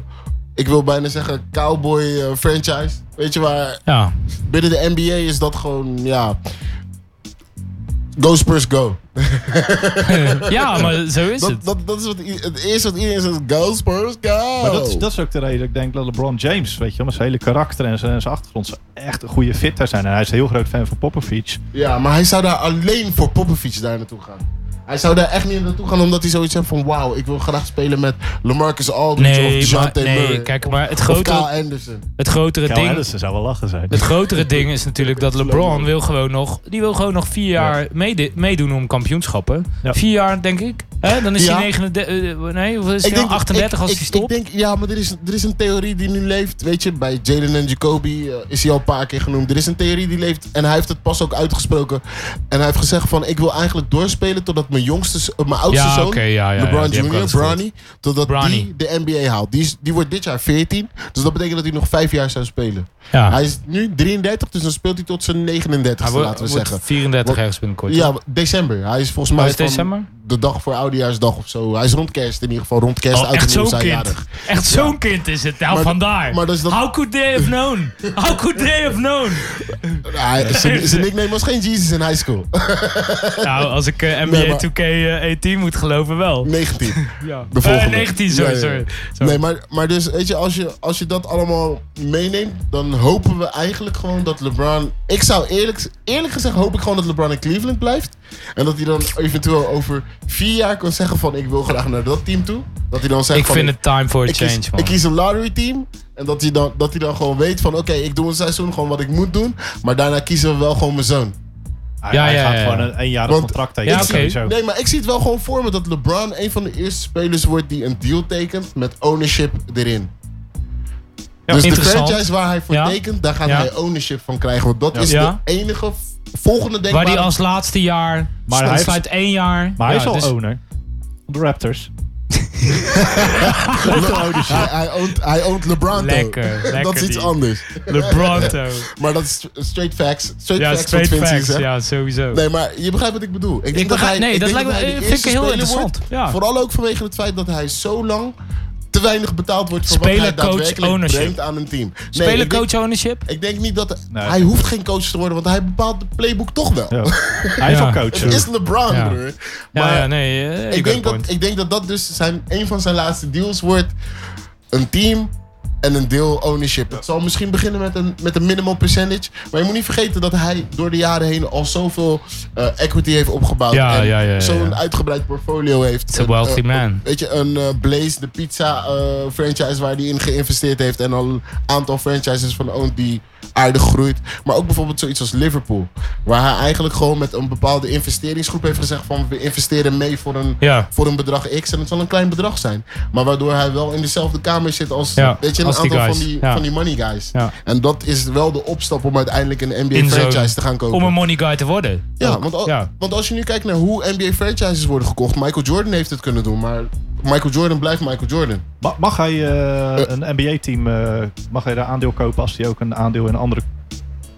Speaker 8: ik wil bijna zeggen cowboy eh, franchise, weet je, maar
Speaker 7: Ja.
Speaker 8: binnen de NBA is dat gewoon, ja, go Spurs go.
Speaker 7: Ja, maar zo is
Speaker 8: Dat,
Speaker 7: het.
Speaker 8: dat, dat is wat, i- het eerste wat iedereen zegt, go Spurs go.
Speaker 9: Maar dat is, dat is ook de reden dat ik denk dat LeBron James, weet je wel, met zijn hele karakter en zijn, en zijn achtergrond, ze echt een goede fit daar zijn. En hij is een heel groot fan van Popovic.
Speaker 8: Ja, maar hij zou daar alleen voor Popovic daar naartoe gaan. Hij zou daar echt niet naartoe gaan omdat hij zoiets heeft van... wauw, ik wil graag spelen met LaMarcus Aldridge of
Speaker 7: Nee, maar,
Speaker 8: DeJounte
Speaker 7: nee
Speaker 8: Murray.
Speaker 7: kijk, maar het
Speaker 8: of Kyle
Speaker 7: grotere,
Speaker 8: Anderson.
Speaker 7: het, grotere
Speaker 9: Kyle
Speaker 7: ding,
Speaker 9: Anderson zou wel lachen zijn.
Speaker 7: het grotere ding is natuurlijk dat LeBron wil gewoon nog, die wil gewoon nog vier jaar meede- meedoen om kampioenschappen.
Speaker 9: Ja.
Speaker 7: Vier jaar, denk ik. Hè? Dan is
Speaker 8: Ja.
Speaker 7: hij 39, eh, nee, hoeveel is hij nou?
Speaker 8: denk-
Speaker 7: 38 als
Speaker 8: ik-
Speaker 7: hij
Speaker 8: ik-
Speaker 7: stopt.
Speaker 8: Ik denk, ja, maar er is, er is een theorie die nu leeft. Weet je, bij Jalen en Jacoby eh, is hij al een paar keer genoemd. Er is een theorie die leeft en hij heeft het pas ook uitgesproken. En hij heeft gezegd van, ik wil eigenlijk doorspelen totdat mijn jongste, z- eh, mijn oudste
Speaker 7: Ja,
Speaker 8: zoon,
Speaker 7: oké, ja, ja, ja,
Speaker 8: LeBron
Speaker 7: die heb ik wel
Speaker 8: Jr.,
Speaker 7: eens gehoord.
Speaker 8: Bronny, totdat
Speaker 7: Bronny.
Speaker 8: die de NBA haalt. Die, is, die wordt dit jaar 14, dus dat betekent dat hij nog vijf jaar zou spelen.
Speaker 7: ja.
Speaker 8: Hij
Speaker 7: Hij,
Speaker 8: is nu 33, dus dan speelt hij tot zijn 39,
Speaker 7: wordt,
Speaker 8: laten we
Speaker 7: wordt
Speaker 8: zeggen.
Speaker 7: 34
Speaker 8: Wat-
Speaker 7: ergens binnenkort.
Speaker 8: Ja, december. Hij is volgens
Speaker 7: Oh,
Speaker 8: mij
Speaker 7: is
Speaker 8: van
Speaker 7: december?
Speaker 8: de dag voor oudejaarsdag of zo. Hij is rond kerst in ieder geval. Rond kerst,
Speaker 7: Oh,
Speaker 8: oud en
Speaker 7: echt
Speaker 8: nieuw is
Speaker 7: zo'n
Speaker 8: hij
Speaker 7: kind.
Speaker 8: jarig.
Speaker 7: Echt zo'n kind is het. Nou,
Speaker 8: Maar-
Speaker 7: vandaar.
Speaker 8: maar dat is dat-
Speaker 7: How could they have known? How could they have known?
Speaker 8: Hij- zijn, zijn nickname was geen Jesus in high school.
Speaker 7: Nou, als ik eh, NBA
Speaker 8: Nee, maar-
Speaker 7: 2K18 moet geloven wel.
Speaker 8: 19.
Speaker 7: Ja.
Speaker 8: De volgende.
Speaker 7: Eh, 19, sorry,
Speaker 8: Ja, ja, ja.
Speaker 7: sorry. sorry.
Speaker 8: Nee, maar, maar dus weet je als, je, als je dat allemaal meeneemt, dan hopen we eigenlijk gewoon dat LeBron... Ik zou eerlijk, eerlijk gezegd hoop ik gewoon dat LeBron in Cleveland blijft. En dat hij dan eventueel over vier jaar kan zeggen van ik wil graag naar dat team toe. Dat hij dan zegt
Speaker 7: ik
Speaker 8: van,
Speaker 7: vind het time for a
Speaker 8: ik
Speaker 7: change,
Speaker 8: kies,
Speaker 7: man.
Speaker 8: ik kies een lottery team. En dat hij dan, dat hij dan gewoon weet van oké, ik doe een seizoen gewoon wat ik moet doen. Maar daarna kiezen we wel gewoon mijn zoon.
Speaker 9: Hij,
Speaker 7: Ja,
Speaker 9: hij
Speaker 7: ja,
Speaker 9: gaat
Speaker 7: ja, ja.
Speaker 9: gewoon een eenjarig
Speaker 8: Want-
Speaker 9: contract tekenen.
Speaker 7: Ja, oké.
Speaker 9: sowieso.
Speaker 8: Nee, maar ik zie het wel gewoon voor me dat LeBron een van de eerste spelers wordt die een deal tekent met ownership erin. dus de
Speaker 7: interessant.
Speaker 8: franchise waar hij voor
Speaker 7: Ja.
Speaker 8: tekent, daar gaat
Speaker 7: Ja.
Speaker 8: hij ownership van krijgen. Want dat is
Speaker 7: Ja.
Speaker 8: de enige v- volgende
Speaker 7: Waar
Speaker 8: denkbare...
Speaker 7: die als laatste jaar.
Speaker 9: Maar
Speaker 7: Maar hij
Speaker 9: hij
Speaker 7: sluit één jaar.
Speaker 9: Maar hij
Speaker 7: Ja,
Speaker 9: is al
Speaker 7: dus-
Speaker 9: owner. Van de Raptors.
Speaker 8: hij, hij, owned, hij owned LeBron.
Speaker 7: Lekker,
Speaker 8: dat
Speaker 7: lekker
Speaker 8: is iets
Speaker 7: die.
Speaker 8: anders.
Speaker 7: LeBronto.
Speaker 8: Maar dat is straight facts. Straight
Speaker 7: Ja,
Speaker 8: facts
Speaker 7: straight
Speaker 8: van Vincent,
Speaker 7: facts.
Speaker 8: hè?
Speaker 7: Ja, sowieso.
Speaker 8: Nee, maar je begrijpt wat ik bedoel. Ik, denk dat
Speaker 7: begrijp-
Speaker 8: hij,
Speaker 7: nee,
Speaker 8: ik
Speaker 7: dat
Speaker 8: denk
Speaker 7: lijkt me-
Speaker 8: hij de
Speaker 7: eh, vind ik
Speaker 8: eerste
Speaker 7: heel
Speaker 8: speler
Speaker 7: interessant,
Speaker 8: wordt.
Speaker 7: ja.
Speaker 8: Vooral ook vanwege het feit dat hij zo lang te weinig betaald wordt voor wat hij
Speaker 7: Speler, coach,
Speaker 8: daadwerkelijk
Speaker 7: ownership.
Speaker 8: brengt aan een team. Nee,
Speaker 7: Spelen
Speaker 8: ik denk-
Speaker 7: coach ownership?
Speaker 8: Ik denk niet dat...
Speaker 9: Nee.
Speaker 8: Hij hoeft geen coach te worden, want hij bepaalt de playbook toch wel.
Speaker 9: Ja. Hij is
Speaker 7: Ja.
Speaker 9: al
Speaker 8: Het is
Speaker 9: coach.
Speaker 8: LeBron,
Speaker 7: Ja.
Speaker 8: broer.
Speaker 7: Ja,
Speaker 8: Maar
Speaker 7: ja, nee. eh, you
Speaker 8: ik,
Speaker 7: got a
Speaker 8: denk dat,
Speaker 7: point.
Speaker 8: ik denk dat dat dus zijn, een van zijn laatste deals wordt. Een team en een deel ownership. Het zal misschien beginnen met een, met een minimal percentage. Maar je moet niet vergeten dat hij door de jaren heen al zoveel eh, equity heeft opgebouwd.
Speaker 7: Ja,
Speaker 8: en
Speaker 7: ja, ja, ja,
Speaker 8: zo'n
Speaker 7: ja.
Speaker 8: uitgebreid portfolio heeft.
Speaker 7: a
Speaker 8: Een,
Speaker 7: wealthy
Speaker 8: eh,
Speaker 7: man.
Speaker 8: een- weet je, een eh, Blaze, de pizza eh, franchise waar hij in geïnvesteerd heeft. En al een aantal franchises van oont die aardig groeit. Maar ook bijvoorbeeld zoiets als Liverpool. Waar hij eigenlijk gewoon met een bepaalde investeringsgroep heeft gezegd van we investeren mee voor een,
Speaker 7: Ja.
Speaker 8: voor een bedrag X. En het zal een klein bedrag zijn. Maar waardoor hij wel in dezelfde kamer zit als,
Speaker 7: Ja,
Speaker 8: weet je, een
Speaker 7: als die
Speaker 8: aantal van,
Speaker 7: guys.
Speaker 8: die,
Speaker 7: Ja.
Speaker 8: van die money guys.
Speaker 7: Ja.
Speaker 8: En dat is wel de opstap om uiteindelijk een NBA
Speaker 7: In zo'n-
Speaker 8: franchise te gaan kopen.
Speaker 7: Om een money guy te worden.
Speaker 8: Ja, want, al-
Speaker 7: ja.
Speaker 8: want als je nu kijkt naar hoe NBA franchises worden gekocht, Michael Jordan heeft het kunnen doen, maar Michael Jordan blijft Michael Jordan.
Speaker 9: Ma- Mag hij eh, een NBA-team, eh, mag hij daar aandeel kopen als hij ook een aandeel in een andere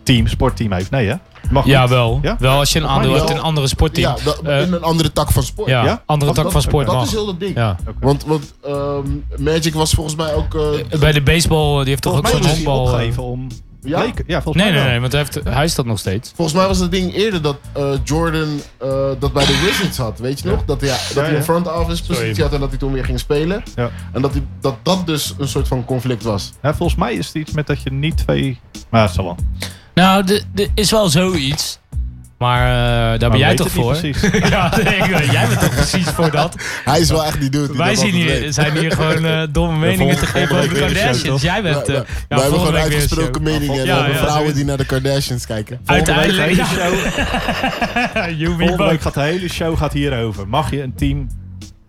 Speaker 9: team, sportteam heeft? Nee, hè? Mag
Speaker 7: Ja,
Speaker 9: niet.
Speaker 7: wel.
Speaker 9: Ja?
Speaker 7: Wel als je een aandeel
Speaker 9: wel.
Speaker 7: hebt in een andere sportteam. Ja,
Speaker 8: Ja, dat- in een andere tak van sport.
Speaker 7: Eh, ja,
Speaker 9: Ja?
Speaker 7: andere
Speaker 9: Mag
Speaker 7: tak
Speaker 9: dat?
Speaker 7: van sport
Speaker 8: dat
Speaker 7: mag.
Speaker 8: is heel dat ding.
Speaker 7: Ja.
Speaker 8: Want, want ehm, Magic was volgens mij ook. eh,
Speaker 7: Bij de baseball, die heeft toch ook
Speaker 9: Volgens mij
Speaker 7: zo'n
Speaker 9: is hij
Speaker 7: handbal... eh,
Speaker 9: opgegeven om...
Speaker 8: Ja?
Speaker 9: Leek- ja volgens
Speaker 7: Nee,
Speaker 9: mij
Speaker 7: nee,
Speaker 9: wel.
Speaker 7: nee, want hij, heeft, hij is dat nog steeds.
Speaker 8: volgens mij was het ding eerder dat eh, Jordan eh, dat bij de Wizards had. Weet je nog? Dat, hij- dat hij
Speaker 9: ja.
Speaker 8: een front office positie
Speaker 7: Sorry.
Speaker 8: had en dat hij toen weer ging spelen.
Speaker 9: Ja.
Speaker 8: En dat, hij, dat dat dus een soort van conflict was.
Speaker 9: Ja, volgens mij is het iets met dat je niet twee... Maar het zal wel.
Speaker 7: Nou, er- er is wel zoiets. Maar eh, daar
Speaker 9: Maar
Speaker 7: ben jij
Speaker 9: weet
Speaker 7: toch
Speaker 9: het niet
Speaker 7: voor?
Speaker 9: precies.
Speaker 7: ja, nee, ik weet- jij bent toch precies voor dat?
Speaker 8: Hij is wel echt die dude. Die
Speaker 7: Wij
Speaker 8: dat
Speaker 7: zien
Speaker 8: altijd
Speaker 7: hier,
Speaker 8: weet.
Speaker 7: zijn hier gewoon eh, domme meningen te
Speaker 9: volgende-
Speaker 7: geven
Speaker 9: volgende
Speaker 7: over de
Speaker 9: week weer een show,
Speaker 7: Kardashians.
Speaker 9: toch?
Speaker 7: Jij bent... eh,
Speaker 8: Wij-
Speaker 7: ja,
Speaker 8: wij- wij hebben
Speaker 7: volgende
Speaker 8: gewoon
Speaker 7: week weer een show.
Speaker 8: uitgesproken meningen
Speaker 7: Ja,
Speaker 8: over
Speaker 7: ja,
Speaker 8: vrouwen
Speaker 7: sorry.
Speaker 8: die naar de Kardashians kijken.
Speaker 7: Uiteindelijk,
Speaker 9: Volgende
Speaker 7: ja.
Speaker 9: week de hele
Speaker 7: You
Speaker 9: show- volgende
Speaker 7: be
Speaker 9: week gaat de hele show gaat hierover. Mag je een team...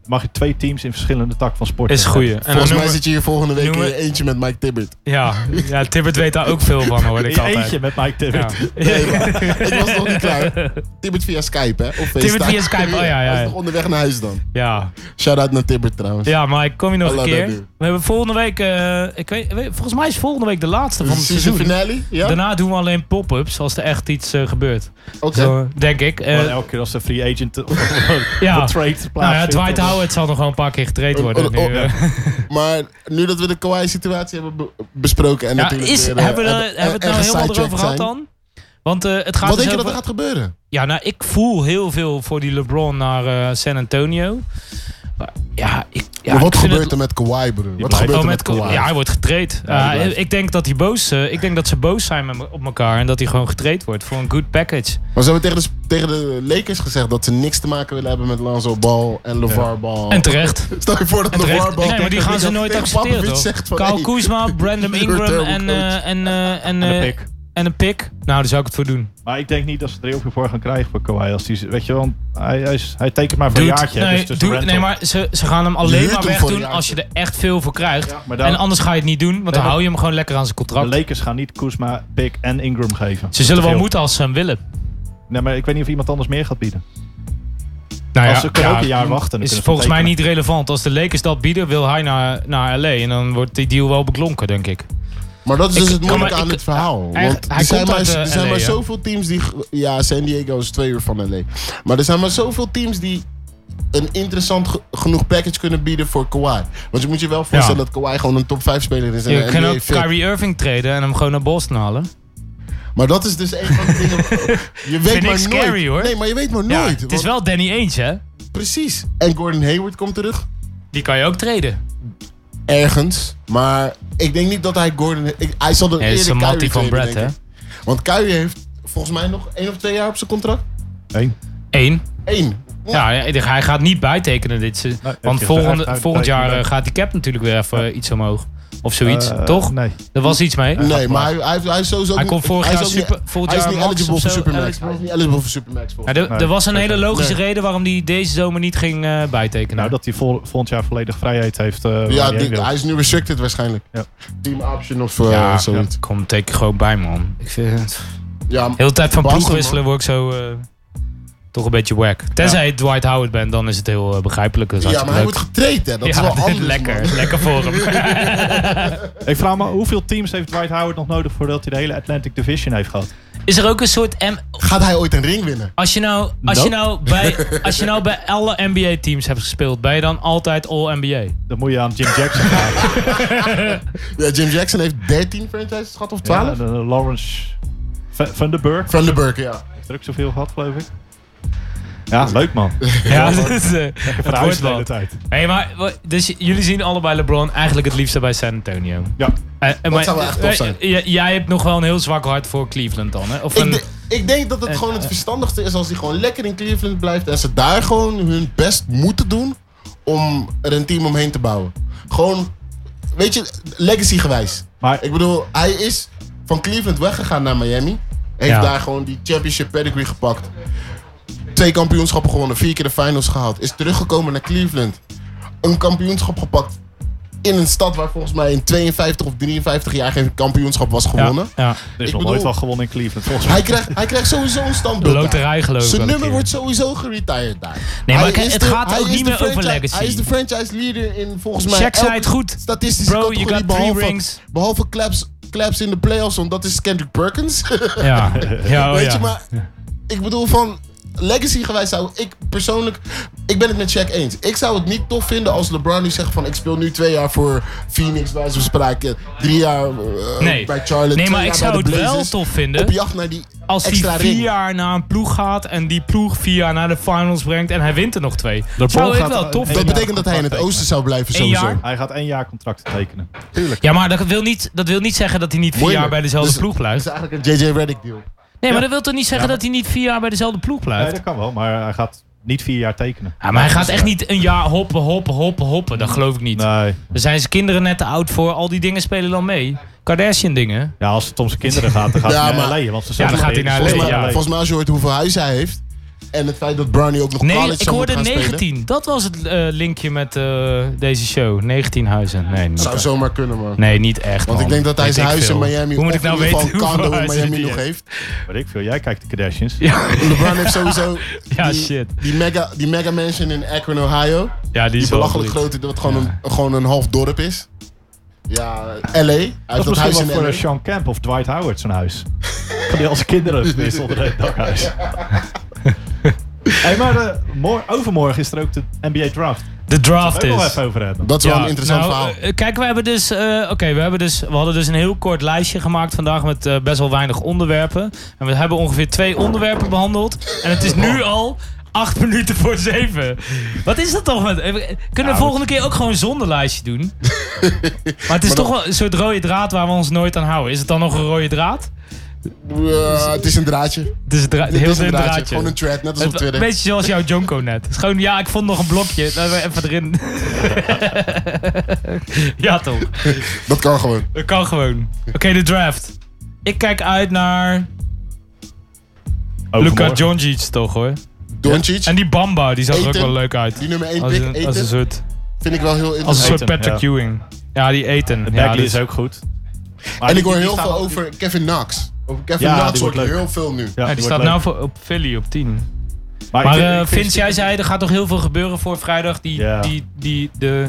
Speaker 9: Mag je twee teams in verschillende tak van sport
Speaker 7: Is
Speaker 9: hebben?
Speaker 7: goeie. En dan
Speaker 8: Volgens mij
Speaker 7: noemen-
Speaker 8: zit je hier volgende week in
Speaker 7: noemen-
Speaker 8: je eentje met Mike Tibbert.
Speaker 7: ja, ja, Tibbert weet daar ook veel van, hoor ik
Speaker 9: In
Speaker 7: altijd.
Speaker 9: eentje met Mike
Speaker 7: Ja.
Speaker 9: Tibbert.
Speaker 8: Nee, maar ik was nog niet klaar. Tibbert via Skype, hè? Of FaceTime.
Speaker 7: Tibbert via Skype, oh ja, ja,
Speaker 8: Hij is
Speaker 7: ja.
Speaker 8: nog onderweg naar huis dan.
Speaker 7: ja.
Speaker 8: Shout-out naar Tibbert trouwens.
Speaker 7: Ja, maar ik kom je nog
Speaker 8: Hallo,
Speaker 7: een keer.
Speaker 8: Daddy.
Speaker 7: We hebben volgende week, eh, ik weet, weet- volgens mij is volgende week de laatste van het
Speaker 8: Season
Speaker 7: seizoen.
Speaker 8: finale? Ja?
Speaker 7: Daarna doen we alleen pop-ups als er echt iets eh, gebeurt.
Speaker 8: Oké.
Speaker 7: Zo, denk ik. Eh,
Speaker 9: Maar elke keer als de free agent of
Speaker 7: ja.
Speaker 9: of trade
Speaker 7: Nou ja,
Speaker 9: plaatsvindt.
Speaker 7: Dwight Howard zal nog wel een paar keer getraind worden.
Speaker 8: Oh,
Speaker 7: Nu.
Speaker 8: oh,
Speaker 7: eh.
Speaker 8: Maar nu dat we de Kawhi-situatie hebben be- besproken en
Speaker 7: Ja,
Speaker 8: natuurlijk
Speaker 7: is,
Speaker 8: weer, eh,
Speaker 7: hebben we er-
Speaker 8: en-
Speaker 7: hebben we het
Speaker 8: en
Speaker 7: nou helemaal
Speaker 8: gesidetracked
Speaker 7: erover gehad
Speaker 8: zijn.
Speaker 7: dan? Want eh, het gaat
Speaker 8: Wat
Speaker 7: dus
Speaker 8: denk je dat
Speaker 7: over-
Speaker 8: er gaat gebeuren?
Speaker 7: Ja, nou, ik voel heel veel voor die LeBron naar eh, San Antonio. Maar ja, ik, ja,
Speaker 8: Maar wat
Speaker 7: ik vind
Speaker 8: gebeurt
Speaker 7: het-
Speaker 8: er met Kawhi, broer? Wat
Speaker 9: blijft-
Speaker 8: gebeurt
Speaker 7: Oh, met
Speaker 8: er met
Speaker 7: Kawhi.
Speaker 8: Kawhi?
Speaker 7: Ja, hij wordt getraind.
Speaker 9: Ja, die
Speaker 7: Eh,
Speaker 9: blijft.
Speaker 7: ik denk dat hij boos, eh, ik denk dat ze boos zijn met, me- op elkaar en dat hij gewoon getraind wordt voor een good package.
Speaker 8: Maar ze hebben tegen de, sp- tegen de Lakers gezegd dat ze niks te maken willen hebben met Lonzo Ball en LeVar Ball.
Speaker 7: En terecht.
Speaker 8: Stel je voor dat
Speaker 7: En
Speaker 8: LeVar
Speaker 7: terecht.
Speaker 8: Ball...
Speaker 7: Nee, maar die gaan ze
Speaker 8: tegen
Speaker 7: nooit
Speaker 8: Popovich
Speaker 7: accepteren toch?
Speaker 8: zegt van,
Speaker 7: Kyle
Speaker 8: hey,
Speaker 7: Kuzma, Brandon
Speaker 8: you're a
Speaker 7: Ingram
Speaker 8: terrible
Speaker 7: en,
Speaker 8: coach.
Speaker 7: eh, en, eh, en,
Speaker 9: En
Speaker 7: eh,
Speaker 9: de pick.
Speaker 7: en een pick. Nou, daar zou ik het voor doen.
Speaker 9: Maar ik denk niet dat ze er heel veel voor gaan krijgen voor Kawhi. Als die, weet je wel, hij, hij, is, hij tekent maar voor
Speaker 7: Dude,
Speaker 9: een jaartje. hè,
Speaker 7: nee,
Speaker 9: dus het is een
Speaker 7: dude, nee,
Speaker 9: rental.
Speaker 7: maar ze, ze gaan hem
Speaker 8: Je
Speaker 7: alleen
Speaker 8: huurt
Speaker 7: maar
Speaker 8: hem voor een
Speaker 7: wegdoen
Speaker 8: jaartje.
Speaker 7: als je er echt veel voor krijgt.
Speaker 9: maar dan-
Speaker 7: en anders ga je het niet doen, want dan
Speaker 9: maar-
Speaker 7: hou je hem gewoon lekker aan zijn
Speaker 9: de
Speaker 7: contract.
Speaker 9: Lakers gaan niet Kuzma, Pick en Ingram geven.
Speaker 7: Ze zullen
Speaker 9: Te
Speaker 7: wel
Speaker 9: veel.
Speaker 7: moeten als ze hem willen.
Speaker 9: Nee, maar ik weet niet of iemand anders meer gaat bieden.
Speaker 7: Nou
Speaker 9: Als ze kunnen ook een jaar wachten, dan
Speaker 7: Is
Speaker 9: kunnen ze
Speaker 7: volgens mij
Speaker 9: tekenen.
Speaker 7: niet relevant. Als de Lakers dat bieden, wil hij naar, naar LA. En dan wordt die deal wel beklonken, denk ik.
Speaker 8: Maar dat is
Speaker 7: Ik-
Speaker 8: dus het moeilijke
Speaker 7: ja, maar
Speaker 8: aan
Speaker 7: ik-
Speaker 8: het verhaal.
Speaker 7: hij-
Speaker 8: Want
Speaker 7: hij
Speaker 8: er zijn
Speaker 7: komt
Speaker 8: maar,
Speaker 7: uit, eh,
Speaker 8: er zijn
Speaker 7: LA,
Speaker 8: maar
Speaker 7: ja.
Speaker 8: zoveel teams die... Ja, San Diego is twee uur van L.A. Maar er zijn maar zoveel teams die een interessant ge- genoeg package kunnen bieden voor Kawhi. Want je moet je wel voorstellen
Speaker 7: Ja.
Speaker 8: dat Kawhi gewoon een top 5 speler is. En
Speaker 7: Je kan ook
Speaker 8: fit.
Speaker 7: Kyrie Irving treden en hem gewoon naar Boston halen.
Speaker 8: Maar dat is dus een van de dingen... Je weet
Speaker 7: ik
Speaker 8: maar nooit.
Speaker 7: scary, hoor.
Speaker 8: Nee, maar je weet maar
Speaker 7: Ja,
Speaker 8: nooit.
Speaker 7: het is
Speaker 8: want-
Speaker 7: wel Danny Ainge, hè?
Speaker 8: Precies. En Gordon Hayward komt terug.
Speaker 7: Die kan je ook treden.
Speaker 8: Ergens. Maar ik denk niet dat hij Gordon... ik- hij zal er
Speaker 7: Hij is
Speaker 8: eerder
Speaker 7: een mattie
Speaker 8: Kyrie
Speaker 7: van
Speaker 8: trainen,
Speaker 7: Brad,
Speaker 8: denk
Speaker 7: hè?
Speaker 8: ik. Want Kyrie heeft volgens mij nog één of twee jaar op zijn contract.
Speaker 9: Eén.
Speaker 7: Eén.
Speaker 8: Eén.
Speaker 7: Ja, hij gaat niet bijtekenen dit. se-
Speaker 9: dat
Speaker 7: want
Speaker 9: is
Speaker 7: volgende,
Speaker 9: echt uit-
Speaker 7: volgend jaar eh,
Speaker 9: uit-
Speaker 7: gaat die cap natuurlijk weer even eh, iets omhoog. Of zoiets,
Speaker 9: Eh,
Speaker 7: toch?
Speaker 9: Nee.
Speaker 7: Er was iets mee.
Speaker 8: Nee, maar hij, hij, hij is sowieso
Speaker 7: Hij
Speaker 8: ook
Speaker 7: kon
Speaker 8: niet-
Speaker 7: vorig
Speaker 8: hij is
Speaker 7: jaar
Speaker 8: ook niet-
Speaker 7: super- vorig
Speaker 8: hij is
Speaker 7: jaar
Speaker 8: niet
Speaker 7: max
Speaker 8: eligible
Speaker 7: of
Speaker 8: voor
Speaker 7: zo,
Speaker 8: Supermax.
Speaker 7: eligible.
Speaker 8: Hij is niet eligible voor Supermax.
Speaker 7: Ja,
Speaker 8: volgens
Speaker 7: er,
Speaker 9: Nee,
Speaker 7: er was een hele logische
Speaker 8: Nee.
Speaker 7: reden waarom hij deze zomer niet ging eh, bijtekenen.
Speaker 9: Nou, dat hij vol, volgend jaar volledig vrijheid heeft. eh, waar
Speaker 8: mij. Ja,
Speaker 9: hij heen
Speaker 8: die-
Speaker 9: wil.
Speaker 8: hij is nu restricted waarschijnlijk.
Speaker 9: Ja.
Speaker 8: Team option of eh,
Speaker 7: ja,
Speaker 8: zoiets.
Speaker 7: kom, teken gewoon bij, man. Ik vind het...
Speaker 8: Ja,
Speaker 7: Heel de tijd van
Speaker 8: Basel,
Speaker 7: ploeg wisselen word ik zo... eh, toch een beetje wack. Tenzij je Dwight Howard bent, dan is het heel eh, begrijpelijk. Dat is
Speaker 8: Ja, maar hij
Speaker 7: hartstikke
Speaker 8: wordt getraind, hè. Dat is
Speaker 7: leuk.
Speaker 8: wel anders,
Speaker 7: lekker.
Speaker 8: man.
Speaker 7: Lekker voor hem.
Speaker 9: Ik vraag me, hoeveel teams heeft Dwight Howard nog nodig voordat hij de hele Atlantic Division heeft gehad?
Speaker 5: Is er ook een soort M,
Speaker 8: Gaat hij ooit een ring winnen?
Speaker 7: Als je nou, als je
Speaker 9: Nope.
Speaker 7: nou, bij, als je nou bij alle NBA-teams hebt gespeeld, ben je dan altijd All-NBA?
Speaker 9: Dan moet je aan Jim Jackson vragen.
Speaker 8: Ja, Jim Jackson heeft 13 franchises gehad of
Speaker 9: Ja,
Speaker 8: 12?
Speaker 9: de- de Lawrence Va- Van den Burg
Speaker 8: Van de Burke, ja.
Speaker 9: heeft er ook zoveel gehad, geloof ik. Ja, leuk man.
Speaker 7: Ja, dat is, eh, het wordt
Speaker 9: Verhuis de hele
Speaker 7: wel.
Speaker 9: tijd.
Speaker 7: Hey, maar, wa- dus j- jullie zien allebei LeBron eigenlijk het liefste bij San Antonio.
Speaker 9: Ja.
Speaker 7: Eh, eh, maar-
Speaker 8: zou wel echt tof zijn.
Speaker 7: eh, j- jij hebt nog wel een heel zwak hart voor Cleveland dan, hè? Of een,
Speaker 8: Ik, de- ik denk dat het gewoon het verstandigste is als hij gewoon lekker in Cleveland blijft. En ze daar gewoon hun best moeten doen om er een team omheen te bouwen. Gewoon, weet je, legacy gewijs.
Speaker 9: Maar-
Speaker 8: ik bedoel, hij is van Cleveland weggegaan naar Miami. Heeft
Speaker 7: Ja.
Speaker 8: daar gewoon die championship pedigree gepakt. Twee kampioenschappen gewonnen, vier keer de finals gehaald. Is teruggekomen naar Cleveland. Een kampioenschap gepakt in een stad waar volgens mij in 52 of 53 jaar geen kampioenschap was gewonnen.
Speaker 7: ja, ja,
Speaker 9: Er is
Speaker 8: Ik
Speaker 9: nog
Speaker 8: bedoel-
Speaker 9: nooit wel gewonnen in Cleveland, volgens mij.
Speaker 8: Hij krijgt, hij krijgt sowieso een
Speaker 7: de
Speaker 8: standbeeld. daar.
Speaker 7: loterij geloof ik wel
Speaker 8: Zijn
Speaker 7: een
Speaker 8: nummer
Speaker 7: keer.
Speaker 8: wordt sowieso geretired daar.
Speaker 5: Nee, maar
Speaker 8: Hij
Speaker 5: kijk,
Speaker 8: is
Speaker 5: het
Speaker 8: de-
Speaker 5: gaat
Speaker 8: hij
Speaker 5: ook
Speaker 8: is
Speaker 5: niet
Speaker 8: de
Speaker 5: meer over
Speaker 8: franchise-
Speaker 5: legacy.
Speaker 8: Hij is de franchise leader in volgens mij.
Speaker 7: Shaq zei
Speaker 8: elke
Speaker 7: het goed.
Speaker 8: Statistische
Speaker 7: Bro, you
Speaker 8: categorie,
Speaker 7: got three
Speaker 8: behalve,
Speaker 7: rings.
Speaker 8: behalve claps, claps in de playoffs, want dat is Kendrick Perkins.
Speaker 7: Ja, ja, oh,
Speaker 8: Weet
Speaker 7: ja.
Speaker 8: je, maar ik bedoel van legacy gewijs zou ik persoonlijk, ik ben het met Shaq eens. Ik zou het niet tof vinden als LeBron nu zegt van ik speel nu twee jaar voor Phoenix, wij zijn sprake, drie jaar eh,
Speaker 7: Nee.
Speaker 8: bij Charlotte.
Speaker 7: nee,
Speaker 8: twee
Speaker 7: maar
Speaker 8: jaar
Speaker 7: ik
Speaker 8: bij
Speaker 7: zou
Speaker 8: de
Speaker 7: het wel
Speaker 8: Blazers.
Speaker 7: tof
Speaker 8: Op
Speaker 7: vinden
Speaker 8: jacht naar die
Speaker 7: als
Speaker 8: extra
Speaker 7: hij vier
Speaker 8: ring.
Speaker 7: jaar naar een ploeg gaat en die ploeg vier jaar naar de finals brengt en hij wint er nog twee. Dat zou ik
Speaker 9: gaat-
Speaker 7: wel tof
Speaker 9: Hey,
Speaker 8: Dat
Speaker 7: vinden.
Speaker 8: betekent dat hij in het oosten zou blijven
Speaker 7: Eén
Speaker 8: sowieso.
Speaker 7: jaar?
Speaker 9: Hij gaat één jaar contract tekenen.
Speaker 7: Ja, maar dat wil niet, dat wil niet zeggen dat hij niet vier
Speaker 8: Moeilijk.
Speaker 7: jaar bij dezelfde
Speaker 8: Dus-
Speaker 7: ploeg
Speaker 8: Dat
Speaker 7: blijft.
Speaker 8: is eigenlijk een JJ Reddick deal.
Speaker 7: Nee, maar dat wil toch niet zeggen dat hij niet vier jaar bij dezelfde ploeg
Speaker 9: Nee,
Speaker 7: blijft?
Speaker 9: dat kan wel, maar hij gaat niet vier jaar tekenen.
Speaker 7: Ja, maar hij
Speaker 8: dus-
Speaker 7: gaat echt niet een jaar hoppen, hoppen, hoppen, hoppen. Dat geloof ik niet.
Speaker 9: Nee.
Speaker 7: Daar zijn zijn kinderen net te oud voor. Al die dingen spelen dan mee. Kardashian dingen.
Speaker 9: Ja, als het om zijn kinderen gaat, dan gaat
Speaker 8: Ja,
Speaker 9: hij naar
Speaker 8: maar-
Speaker 9: LA, Want ze
Speaker 7: Ja, dan
Speaker 9: zeggen-
Speaker 7: gaat hij naar
Speaker 9: Volgens
Speaker 8: Volgens,
Speaker 7: LA,
Speaker 9: mij-
Speaker 8: mij,
Speaker 7: ja.
Speaker 8: volgens mij als je hoort hoeveel huizen hij heeft. En het feit dat Brownie ook nog
Speaker 7: Nee,
Speaker 8: college
Speaker 7: ik
Speaker 8: zou
Speaker 7: hoorde
Speaker 8: moeten gaan spelen.
Speaker 7: 19. Dat was het eh, linkje met eh, deze show. 19 huizen. Nee, maar-
Speaker 8: Zou zomaar kunnen man.
Speaker 7: nee niet echt.
Speaker 8: Want ik
Speaker 7: man.
Speaker 8: denk dat hij
Speaker 7: Weet
Speaker 8: zijn
Speaker 7: ik
Speaker 8: huis in
Speaker 7: veel.
Speaker 8: Miami
Speaker 7: Hoe moet
Speaker 8: of
Speaker 7: ik nou
Speaker 8: in ieder
Speaker 7: weten
Speaker 8: geval een
Speaker 7: hoeveel
Speaker 8: condo in
Speaker 7: huizen
Speaker 8: Miami
Speaker 7: die
Speaker 8: nog
Speaker 7: heeft?
Speaker 8: heeft.
Speaker 9: Weet ik veel, jij kijkt de Kardashians.
Speaker 8: LeBron heeft sowieso
Speaker 7: Ja,
Speaker 8: die,
Speaker 7: shit.
Speaker 8: Die, mega, die mega mansion in Akron, Ohio.
Speaker 7: Ja, die
Speaker 8: Die
Speaker 7: is wel
Speaker 8: belachelijk
Speaker 7: goed.
Speaker 8: groot, wat gewoon, een, gewoon een half dorp is. Ja, LA. Hij heeft
Speaker 9: Dat
Speaker 8: dat
Speaker 9: is
Speaker 8: huis
Speaker 9: misschien
Speaker 8: in
Speaker 9: wel voor
Speaker 8: LA.
Speaker 9: eh, Sean Camp of Dwight Howard zijn huis. Kan die als kinderen spelen onder het dakhuis. hey, maar eh, mor- overmorgen is er ook de NBA draft.
Speaker 7: De draft
Speaker 9: Daar wil ik nog
Speaker 7: is.
Speaker 9: even over hebben.
Speaker 8: Dat is wel
Speaker 7: Ja,
Speaker 8: een interessant
Speaker 7: nou,
Speaker 8: verhaal.
Speaker 7: eh, Kijk, we hebben dus, eh, oké, we hebben dus, we hadden dus een heel kort lijstje gemaakt vandaag met eh, best wel weinig onderwerpen. En we hebben ongeveer twee onderwerpen behandeld. En het is
Speaker 8: Oh.
Speaker 7: nu al acht minuten voor zeven. Wat is dat toch? Met, eh, kunnen we volgende keer ook gewoon zonder lijstje doen? maar het is toch wel een soort rode draad waar we ons nooit aan houden. Is het dan nog een rode draad?
Speaker 8: Eh, het is een draadje.
Speaker 7: Het is een dra-
Speaker 8: Het
Speaker 7: heel
Speaker 8: is een
Speaker 7: dun
Speaker 8: draadje.
Speaker 7: draadje.
Speaker 8: Gewoon een thread, net als op
Speaker 7: Het- Een
Speaker 8: Twitter.
Speaker 7: beetje zoals jouw Jonko net. Het is gewoon, ja, ik vond nog een blokje. Laten we even erin. ja, toch.
Speaker 8: Dat kan gewoon.
Speaker 7: Dat kan gewoon. Oké, de draft. Ik kijk uit naar
Speaker 9: Overmorgen.
Speaker 7: Luca Doncic toch hoor.
Speaker 8: Doncic,
Speaker 7: En Oh, die Bamba, die zag er ook
Speaker 8: Eten.
Speaker 7: wel leuk uit.
Speaker 8: die nummer 1
Speaker 7: Als
Speaker 8: pick,
Speaker 7: een, als een
Speaker 8: eten,
Speaker 7: soort,
Speaker 8: vind ik wel heel interessant.
Speaker 7: als een soort
Speaker 9: Eten,
Speaker 7: Patrick
Speaker 9: ja.
Speaker 7: Ewing. Ja, die eten.
Speaker 9: Bagley
Speaker 7: Ja, dus-
Speaker 9: is ook goed. Maar
Speaker 8: En
Speaker 9: die-
Speaker 8: ik hoor
Speaker 9: die
Speaker 8: heel
Speaker 9: staan
Speaker 8: veel
Speaker 9: al-
Speaker 8: over Kevin Knox. Over Kevin
Speaker 9: Ja,
Speaker 8: Knox
Speaker 9: die
Speaker 8: hoort
Speaker 9: wordt leuk.
Speaker 8: heel veel nu.
Speaker 9: Ja,
Speaker 7: ja, die
Speaker 9: wordt
Speaker 7: staat
Speaker 9: leuk.
Speaker 7: nou voor, op Philly op 10.
Speaker 9: Maar,
Speaker 7: Maar
Speaker 9: ik-
Speaker 7: eh
Speaker 9: ik vind-
Speaker 7: Vince, jij zei er gaat toch heel veel gebeuren voor vrijdag. Die,
Speaker 9: Ja.
Speaker 7: die, die, de...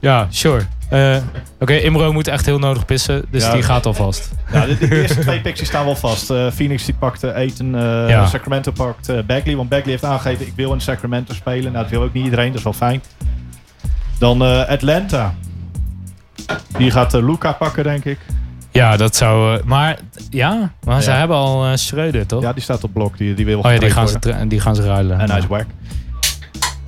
Speaker 7: Ja, sure. Eh, Oké, Imro moet echt heel nodig pissen, dus
Speaker 9: Ja.
Speaker 7: die gaat alvast.
Speaker 9: Ja, de, de eerste twee picks die staan wel vast. Eh, Phoenix die pakt eh, Ayton, eh,
Speaker 7: Ja.
Speaker 9: Sacramento pakt eh, Bagley. Want Bagley heeft aangegeven, ik wil in Sacramento spelen. Nou, dat wil ook niet iedereen, dat is wel fijn. Dan eh, Atlanta. Die gaat eh, Luca pakken, denk ik.
Speaker 7: Ja, dat zou... eh, maar ja, maar ze
Speaker 9: Ja.
Speaker 7: hebben al eh Schreuder, toch?
Speaker 9: Ja, die staat op blok. Die, die wil
Speaker 7: Oh ja, die
Speaker 9: getraind
Speaker 7: gaan, ze,
Speaker 9: worden.
Speaker 7: tra- die gaan ze ruilen.
Speaker 9: En hij is whack.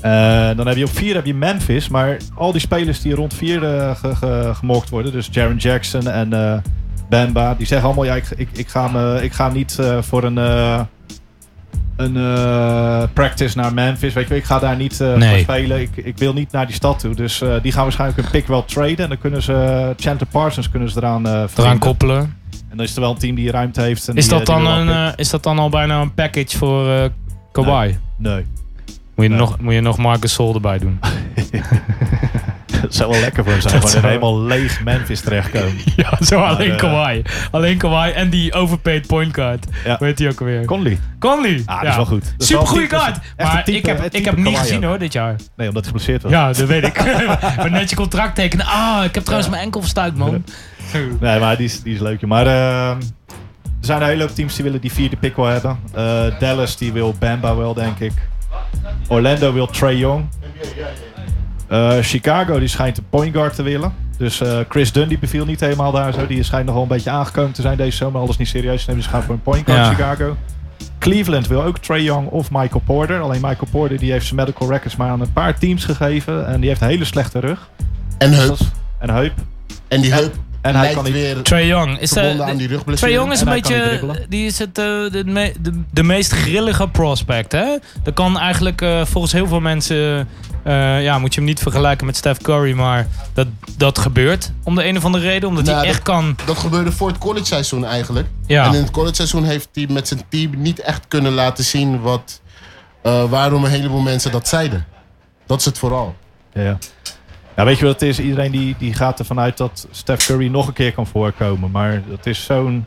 Speaker 9: Eh, dan heb je op vier heb je Memphis. Maar al die spelers die rond vier eh, ge- ge- gemokt worden. Dus Jaron Jackson en eh, Bamba. Die zeggen allemaal, ja, ik, ik, ik, ga, me, ik ga niet eh, voor een, eh, een eh, practice naar Memphis. Weet je, wel. ik ga daar niet eh,
Speaker 7: Nee.
Speaker 9: voor spelen. Ik, ik wil niet naar die stad toe. Dus eh, die gaan waarschijnlijk hun pick wel traden. En dan kunnen ze eh, Chandler Parsons kunnen ze eraan, eh
Speaker 7: Eraan
Speaker 9: verbinden.
Speaker 7: koppelen.
Speaker 9: En dan is er wel een team die ruimte heeft. en
Speaker 7: Is
Speaker 9: die,
Speaker 7: dat,
Speaker 9: eh, die
Speaker 7: dan
Speaker 9: wil wel
Speaker 7: een,
Speaker 9: pick.
Speaker 7: eh, is dat dan al bijna een package voor eh Kawhi?
Speaker 9: Nee.
Speaker 7: Moet, je
Speaker 9: Nee.
Speaker 7: nog, moet je nog Marcus Sol erbij doen?
Speaker 9: Het zou wel lekker voor hem zijn.
Speaker 7: Dat
Speaker 9: Gewoon in een
Speaker 7: zou-
Speaker 9: helemaal leeg Memphis terechtkomen.
Speaker 7: Ja, zo alleen
Speaker 9: eh,
Speaker 7: Kawhi. Alleen Kawhi en die overpaid point guard.
Speaker 9: Ja.
Speaker 7: Hoe heet die ook alweer?
Speaker 9: Conley.
Speaker 7: Conley.
Speaker 9: Ah, dat is wel goed. Dat is
Speaker 7: Super goede
Speaker 9: wel een type-
Speaker 7: kaart.
Speaker 9: echt een
Speaker 7: Maar
Speaker 9: type-
Speaker 7: ik heb,
Speaker 9: een
Speaker 7: ik
Speaker 9: type
Speaker 7: heb hem niet
Speaker 9: Kawhi
Speaker 7: gezien
Speaker 9: ook.
Speaker 7: hoor dit jaar.
Speaker 9: Nee, omdat hij geblesseerd was.
Speaker 7: Ja, dat weet ik. maar net je contract tekenen. Ah, ik heb trouwens mijn enkel verstuikt, man.
Speaker 9: Nee, maar die is, die is leuk. joh. Maar ehm, er zijn een hele hoop teams die willen die vierde pick wel hebben. Eh, Dallas die wil Bamba wel, denk ik. Orlando wil Trey Young. Eh, Chicago die schijnt een point guard te willen. Dus eh, Chris Dunn die beviel niet helemaal daar zo. Die schijnt nog wel een beetje aangekomen te zijn deze zomer. Alles niet serieus nemen. Dus gaan voor een point guard
Speaker 7: Ja.
Speaker 9: Chicago. Cleveland wil ook Trey Young of Michael Porter. Alleen Michael Porter die heeft zijn medical records maar aan een paar teams gegeven. En die heeft een hele slechte rug.
Speaker 8: En heup.
Speaker 9: En heup.
Speaker 8: En die heup
Speaker 9: En hij
Speaker 8: lijkt
Speaker 9: kan niet...
Speaker 8: weer
Speaker 7: Trae Young. Is
Speaker 8: verbonden
Speaker 7: eh,
Speaker 8: aan die
Speaker 7: Trae
Speaker 8: rugblessure.
Speaker 7: Young is
Speaker 9: En
Speaker 7: een
Speaker 9: hij kan niet
Speaker 7: beetje.
Speaker 9: dribbelen.
Speaker 7: Die is het, eh, de, me- de, de meest grillige prospect. Hè? Dat kan eigenlijk eh, volgens heel veel mensen. eh, ja, moet je hem niet vergelijken met Steph Curry. Maar dat, dat gebeurt om de een of andere reden. Omdat
Speaker 8: Nou,
Speaker 7: hij
Speaker 8: dat-
Speaker 7: echt kan.
Speaker 8: Dat gebeurde voor het college seizoen eigenlijk.
Speaker 7: Ja.
Speaker 8: En in het college seizoen heeft hij met zijn team niet echt kunnen laten zien wat, eh, waarom een heleboel mensen dat zeiden. Dat is het vooral.
Speaker 9: Ja. ja, weet je wat het is? Iedereen die, die gaat ervan uit dat Steph Curry nog een keer kan voorkomen. Maar dat is zo'n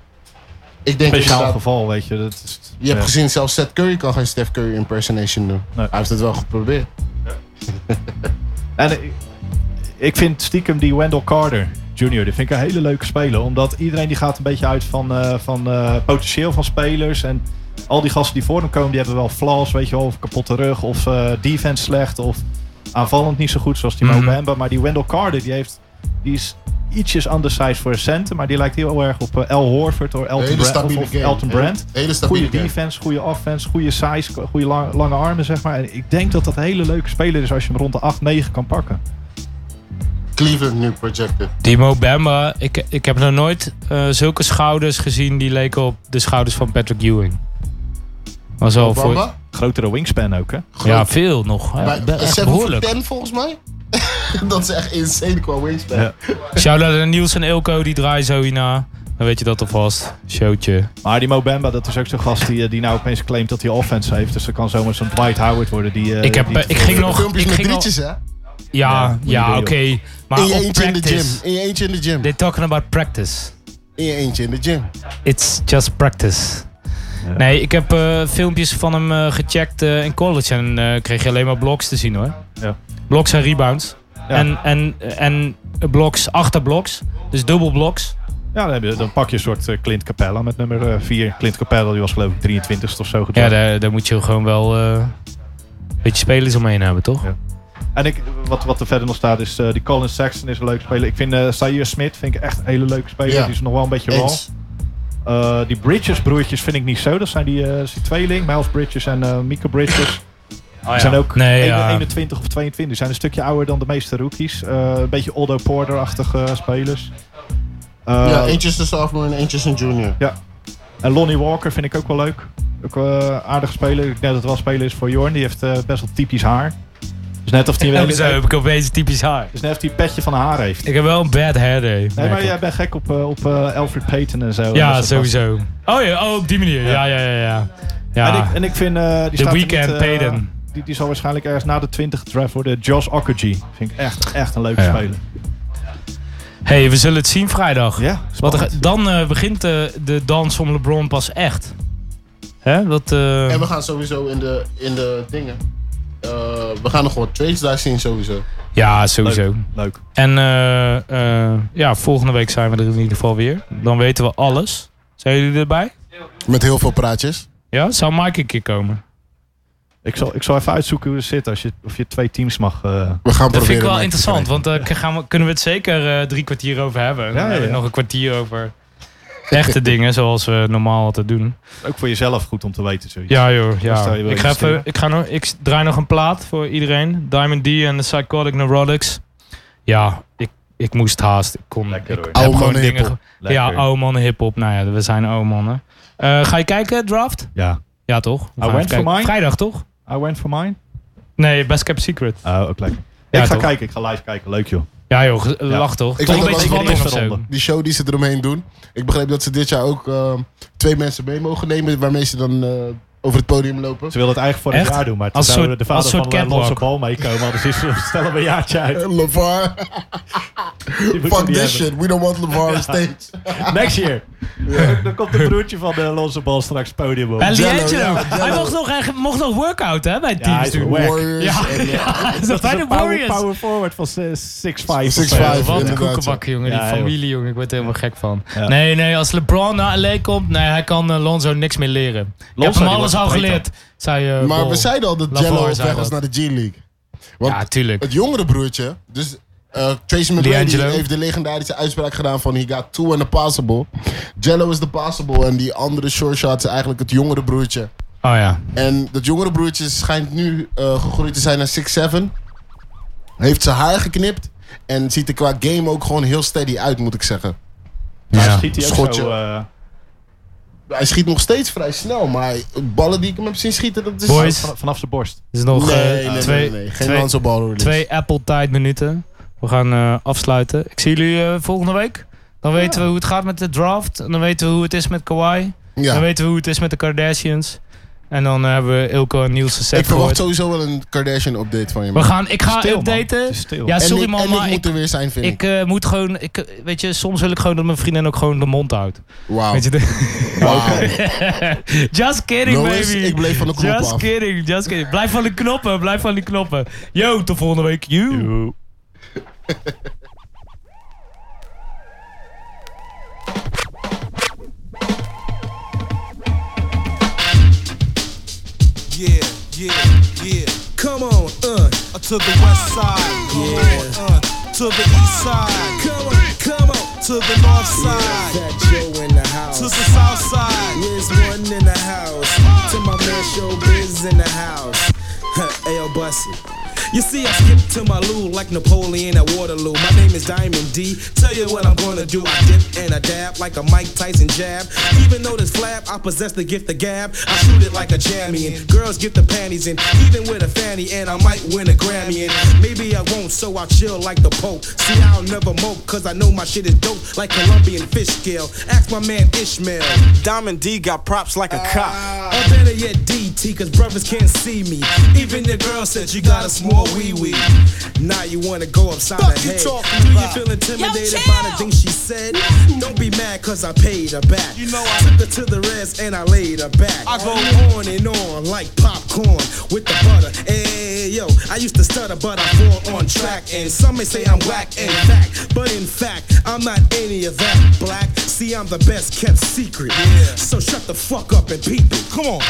Speaker 8: Ik denk
Speaker 9: speciaal
Speaker 8: inderdaad-
Speaker 9: geval, weet je. Dat is,
Speaker 8: Je hebt
Speaker 9: ja.
Speaker 8: gezien, zelfs Seth Curry kan geen Steph Curry impersonation doen.
Speaker 9: Nee.
Speaker 8: Hij heeft het wel geprobeerd.
Speaker 9: En ik, ik vind stiekem die Wendell Carter Jr. Die vind ik een hele leuke speler. Omdat iedereen die gaat een beetje uit van, eh, van eh, potentieel van spelers. En al die gasten die voor hem komen, die hebben wel flaws. Weet je wel, of kapotte rug. Of eh, defense slecht. Of aanvallend niet zo goed zoals die
Speaker 7: Mhm.
Speaker 9: Mo Bamba. Maar die Wendell Carter, die, heeft, die is ietsjes undersized voor centen. Maar die lijkt heel erg op eh, Al Horford of Elton,
Speaker 8: Hele
Speaker 9: Brand, of,
Speaker 8: stabiele
Speaker 9: of
Speaker 8: game.
Speaker 9: Elton
Speaker 8: Hele-
Speaker 9: Brand.
Speaker 8: hele stabiele
Speaker 9: Goede
Speaker 8: game.
Speaker 9: defense, goede offense, goede size, goede lang- lange armen, zeg maar. En ik denk dat dat een hele leuke speler is als je hem rond de 8, 9 kan pakken.
Speaker 8: Cleveland nu projected.
Speaker 7: Timo Bamba. Ik, ik heb nog nooit eh, zulke schouders gezien. Die leken op de schouders van Patrick Ewing. Was al voor.
Speaker 8: Bamba?
Speaker 9: Grotere wingspan ook, hè?
Speaker 7: Ja, veel nog. hè.
Speaker 8: Bij-
Speaker 7: Be- echt
Speaker 8: 7 voor
Speaker 7: behoorlijk.
Speaker 8: 10 volgens mij. dat is echt insane qua wingspan.
Speaker 9: Ja.
Speaker 7: Shout-out aan Niels en Ilko. Die draaien zo hierna. Dan weet je dat alvast. Showtje.
Speaker 9: Maar die Mo Bamba, dat is ook zo'n gast die, eh, die nou opeens claimt dat hij offense heeft. Dus dat kan zomaar zo'n Dwight Howard worden. Die, eh,
Speaker 7: Ik, heb,
Speaker 9: die-
Speaker 7: eh, ik ging nog.
Speaker 8: Filmpjes
Speaker 7: Ik
Speaker 8: met
Speaker 7: ging nog
Speaker 8: drietjes, hè?
Speaker 9: Ja,
Speaker 7: Ja,
Speaker 9: moet je
Speaker 7: ja,
Speaker 9: doen,
Speaker 7: oké. Maar
Speaker 8: In je
Speaker 7: op
Speaker 8: eentje in de
Speaker 7: practice.
Speaker 8: gym. In je eentje in de gym.
Speaker 7: They're talking about practice.
Speaker 8: In je eentje in de gym.
Speaker 7: It's just practice. Nee, ik heb eh, filmpjes van hem eh, gecheckt eh, in college en eh, kreeg je alleen maar blocks te zien hoor.
Speaker 9: Ja.
Speaker 7: Blocks en rebounds. En, en, en blocks achter blocks. Dus dubbel blocks.
Speaker 9: ja, dan, heb je- dan pak je een soort eh, Clint Capella met nummer 4. Clint Capella, die was geloof ik 23 of zo
Speaker 7: Ja,
Speaker 9: gedraft.
Speaker 7: daar, daar moet je gewoon wel eh, een beetje spelers omheen hebben, toch?
Speaker 9: Ja. En ik, wat, wat er verder nog staat is, eh, die Colin Sexton is een leuke speler. Ik vind eh Zaire Smith vind ik echt een hele leuke speler.
Speaker 8: Ja.
Speaker 9: Die is nog wel een beetje raw.
Speaker 8: Eens.
Speaker 9: Eh, die Bridges broertjes vind ik niet zo. Dat zijn die, eh, dat is die tweeling, Miles Bridges en eh Michael Bridges. Die zijn ook
Speaker 7: Ah, Nee,
Speaker 9: een-
Speaker 7: ja.
Speaker 9: 21 of 22. Die zijn een stukje ouder dan de meeste rookies. Eh, een beetje Oldo Porter-achtige spelers. Eh,
Speaker 8: ja, eentje is een sophomore en eentje is een junior.
Speaker 9: ja. En Lonnie Walker vind ik ook wel leuk. Ook eh aardig speler. Ik denk dat het wel speler is voor Jorn. Die heeft eh, best wel typisch haar. Dus net of hij
Speaker 7: Ja,
Speaker 9: een
Speaker 7: zo heb ik opeens typisch haar.
Speaker 9: dus net of die een petje van haar heeft.
Speaker 7: Ik heb wel een bad hair day.
Speaker 9: Nee, maar
Speaker 7: merk ik.
Speaker 9: jij bent gek op, eh, op eh, Alfred Payton en zo. En dat
Speaker 7: Ja,
Speaker 9: soort
Speaker 7: sowieso. Oh ja, oh, op die manier. Ja, ja, ja, ja. ja.
Speaker 9: En, ik, en ik vind... eh, die
Speaker 7: The
Speaker 9: staat er
Speaker 7: Weeknd,
Speaker 9: niet, eh,
Speaker 7: Payton.
Speaker 9: Die, die zal waarschijnlijk ergens na de 20 gedraft worden. Josh Okogie. Vind ik echt, echt een leuke
Speaker 7: Ja.
Speaker 9: speler.
Speaker 7: hey, we zullen het zien vrijdag.
Speaker 9: Ja,
Speaker 7: Wat er-
Speaker 9: spannend.
Speaker 7: dan eh, begint de, de dans om LeBron pas echt. Hè? Dat, eh,
Speaker 8: En we gaan sowieso in de, in de dingen. Eh, we gaan nog wat trades daar zien sowieso.
Speaker 7: ja, sowieso.
Speaker 9: Leuk.
Speaker 7: En eh, eh, ja, volgende week zijn we er in ieder geval weer. Dan weten we alles. Zijn jullie erbij?
Speaker 8: Met heel veel praatjes.
Speaker 7: Ja, zou Mike een keer komen?
Speaker 9: Ik zal, ik zal even uitzoeken hoe het zit. Als je, of je twee teams mag... eh,
Speaker 8: We gaan
Speaker 7: Dat
Speaker 8: proberen.
Speaker 7: vind ik wel
Speaker 8: Mike te
Speaker 7: interessant, want daar gaan we, kunnen we het zeker eh, drie kwartier over hebben. Dan
Speaker 9: Ja, ja,
Speaker 7: hebben we
Speaker 9: ja.
Speaker 7: nog een kwartier over echte dingen, zoals we normaal altijd doen.
Speaker 9: ook voor jezelf goed om te weten. Zoiets.
Speaker 7: Ja joh,
Speaker 9: Dus
Speaker 7: ja.
Speaker 9: daar je wil
Speaker 7: Ik, ga even,
Speaker 9: investeren.
Speaker 7: ik, ga nog, ik draai nog een plaat voor iedereen. Diamond D en de Psychotic Neurotics. Ja, ik, ik moest haast. Ik kon,
Speaker 9: Lekker hoor.
Speaker 7: ik heb
Speaker 8: Oude
Speaker 7: gewoon
Speaker 8: mannen
Speaker 7: dingen...
Speaker 8: hiphop.
Speaker 7: ge- Ja,
Speaker 9: Lekker.
Speaker 7: oude mannen hiphop. Nou ja, we zijn oude mannen. Eh, ga je kijken, draft?
Speaker 9: Ja.
Speaker 7: Ja toch? We gaan
Speaker 9: went
Speaker 7: even kijken.
Speaker 9: for mine.
Speaker 7: Vrijdag toch?
Speaker 9: I went for mine.
Speaker 7: Nee, Best Kept Secret.
Speaker 9: Oh, ook lekker.
Speaker 7: Ja,
Speaker 9: ik ga
Speaker 7: toch?
Speaker 9: kijken. Ik ga live kijken. Leuk joh.
Speaker 7: Ja joh, ge- lach toch?
Speaker 8: Ik
Speaker 7: toch
Speaker 8: vond
Speaker 7: een
Speaker 8: dat
Speaker 7: beetje
Speaker 8: wel een
Speaker 7: spanning of
Speaker 9: toffe
Speaker 7: zo.
Speaker 9: ronde.
Speaker 8: die show die ze ehm, eromheen doen. Ik begreep dat ze dit jaar ook eh, twee mensen mee mogen nemen waarmee ze dan eh, over het podium lopen.
Speaker 9: Ze wilden het eigenlijk vorig
Speaker 7: Echt?
Speaker 9: jaar doen, maar toen
Speaker 7: Als
Speaker 9: zou
Speaker 7: soort-
Speaker 9: de vader
Speaker 7: als soort
Speaker 9: van eh,
Speaker 7: catwalk.
Speaker 9: Lonse Bal meekomen. Anders is stellen we een jaartje uit.
Speaker 8: Eh, LeVar,
Speaker 9: Die moeten we
Speaker 8: fuck this
Speaker 9: niet hebben.
Speaker 8: shit. We don't want LeVar on stage.
Speaker 9: Next year. Dan komt de broertje van de Lonse Bal straks podium op.
Speaker 7: En
Speaker 8: Jello,
Speaker 7: Liangelo.
Speaker 8: ja, Jello.
Speaker 7: Hij mocht nog, hij mocht nog workout hè, bij het
Speaker 9: Ja,
Speaker 7: team.
Speaker 9: hij is
Speaker 7: natuurlijk.
Speaker 9: wack.
Speaker 8: Warriors
Speaker 7: Ja,
Speaker 8: en eh,
Speaker 7: ja, dat zijn
Speaker 9: Dat is
Speaker 7: de
Speaker 9: een power,
Speaker 7: Warriors.
Speaker 9: power forward van 6'5.
Speaker 8: Six
Speaker 9: of zo.
Speaker 8: five.
Speaker 7: Wat een
Speaker 8: inderdaad,
Speaker 7: koekenbak, jongen.
Speaker 9: Ja,
Speaker 7: die
Speaker 9: joh.
Speaker 7: familie, jongen. Ik word er helemaal gek van.
Speaker 9: Ja.
Speaker 7: Nee, nee. Als LeBron naar LA komt, nee, hij kan eh, Lonzo niks meer leren. Ik heb
Speaker 9: Lonzo,
Speaker 7: hem
Speaker 9: die
Speaker 7: alles
Speaker 9: wordt
Speaker 7: al
Speaker 9: beter.
Speaker 7: geleerd, zei eh,
Speaker 8: Maar
Speaker 7: Bol.
Speaker 8: we zeiden al dat
Speaker 7: LaVar
Speaker 8: Jello
Speaker 7: zei
Speaker 8: weg was
Speaker 7: dat.
Speaker 8: naar de G-League. Want
Speaker 7: Ja, tuurlijk.
Speaker 8: het jongere broertje, dus eh, Tracy McGrady
Speaker 7: D'Angelo.
Speaker 8: heeft de legendarische uitspraak gedaan van he got two and the possible. Jello is the possible en die andere short shot is eigenlijk het jongere broertje.
Speaker 7: Oh ja.
Speaker 8: En dat jongere broertje schijnt nu eh, gegroeid te zijn naar 6'7". Heeft zijn haar geknipt en ziet er qua game ook gewoon heel steady uit moet ik zeggen.
Speaker 9: Ja. Schiet hij ook
Speaker 8: Schotje.
Speaker 9: zo... eh,
Speaker 8: Hij schiet nog steeds vrij snel, maar ballen die ik hem heb zien schieten, dat is...
Speaker 7: Boys,
Speaker 9: van- vanaf zijn borst.
Speaker 7: het is nog eh,
Speaker 8: Nee, nee, nee,
Speaker 7: twee,
Speaker 8: nee, nee. Geen
Speaker 7: twee,
Speaker 8: handsbal release.
Speaker 7: twee Apple tijd minuten. We gaan eh, afsluiten. Ik zie jullie eh, volgende week. Dan weten we hoe het gaat met de draft. En dan weten we hoe het is met Kawhi. Dan
Speaker 8: Ja.
Speaker 7: weten we hoe het is met de Kardashians. En dan eh, hebben we Ilko en Niels gezet.
Speaker 8: Ik verwacht sowieso wel een Kardashian-update van je.
Speaker 7: We
Speaker 8: man.
Speaker 7: gaan, ik ga
Speaker 9: Stil, man. Het
Speaker 7: updaten.
Speaker 9: is stil.
Speaker 7: Ja,
Speaker 8: En
Speaker 7: sorry
Speaker 8: ik-
Speaker 7: man,
Speaker 8: en
Speaker 7: maar
Speaker 8: ik moet
Speaker 7: ik,
Speaker 8: er weer zijn, vind ik.
Speaker 7: ik eh, moet gewoon, ik, eh, weet je, soms wil ik gewoon dat mijn vriendin ook gewoon de mond houdt.
Speaker 8: Wauw.
Speaker 7: Weet je, de-
Speaker 8: Wauw.
Speaker 7: just kidding
Speaker 8: Lois,
Speaker 7: baby.
Speaker 8: ik bleef van de knop
Speaker 7: just
Speaker 8: af.
Speaker 7: kidding, just kidding. Blijf van de knoppen, blijf van die knoppen. Yo, tot volgende week. You.
Speaker 10: Yeah, yeah, yeah. Come on, uh, to the west side. Yeah, uh, to the east side. Come on, come on, to the north side.
Speaker 5: That Joe in the house.
Speaker 10: To the south side.
Speaker 5: Wiz one in the house. To my man Showbiz in the house. Ayo Bussy. You see, I skip to my loo like Napoleon at Waterloo. My name is Diamond D. Tell you what I'm gonna do. I dip and I dab like a Mike Tyson jab. Even though this flab, I possess the gift of gab. I shoot it like a jammy and girls get the panties in. Even with a fanny and I might win a Grammy and maybe I won't, so I'll chill like the Pope. See, I'll never mope, cause I know my shit is dope like Colombian fish scale. Ask my man Ishmael. Ah.
Speaker 10: Diamond D got props like a cop.
Speaker 5: Or better yet, DT, cause brothers can't see me. Even the girl said you got a small wee wee. Now you wanna go upside
Speaker 10: Fuck
Speaker 5: her
Speaker 10: you
Speaker 5: head.
Speaker 10: talking
Speaker 5: Do you
Speaker 10: about?
Speaker 5: feel intimidated
Speaker 11: Yo,
Speaker 5: by the
Speaker 11: chill.
Speaker 5: things she said? Don't be mad cause I paid her back.
Speaker 10: You know I-
Speaker 5: took her to the rest and I laid her back.
Speaker 10: I go-
Speaker 5: on and on like popcorn with the butter. Hey, yo, I used to stutter, but I fall on track. And some may say I'm whack in fact, but in fact, I'm not any of that black. See, I'm the best kept secret. So shut the fuck up and peep it. Come on.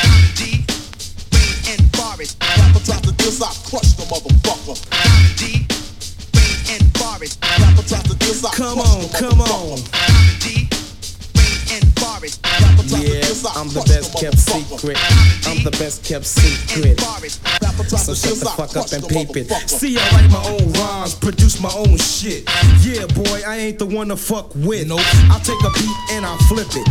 Speaker 5: Come on, come on. Yeah, I'm the best kept secret. I'm the best kept secret. So shut the fuck up and peep it. See, I write my own rhymes, produce my own shit. Yeah, boy, I ain't the one to fuck with. Nope. I'll take a beat and I'll flip it.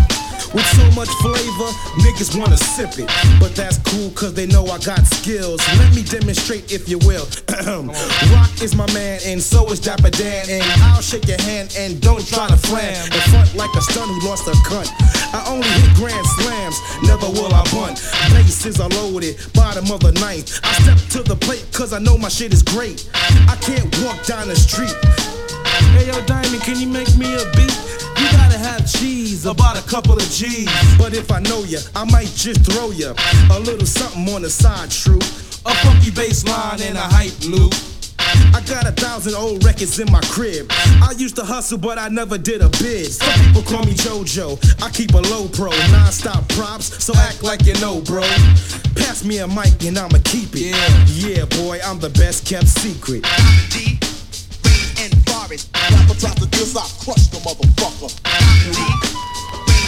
Speaker 5: With so much flavor, niggas wanna sip it. But that's cool, cause they know I got skills. Let me demonstrate if you will. Rock is my man, and so is Dapper Dan. And I'll shake your hand and don't try to flam. In front like a stun who lost a cunt. I only hit grand slams, never will I bunt. Bases are loaded, bottom of the ninth. I step to the plate, cause I know my shit is great. I can't walk down the street. Hey yo, Diamond, can you make me a beat? You gotta have cheese, about a couple of G's. But if I know ya, I might just throw ya a little something on the side, true. A funky bass line and a hype loop. I got a thousand old records in my crib. I used to hustle, but I never did a bid. Some people call me JoJo. I keep a low pro, non-stop props, so act like you know, bro. Pass me a mic and I'ma keep it. Yeah, boy, I'm the best kept secret.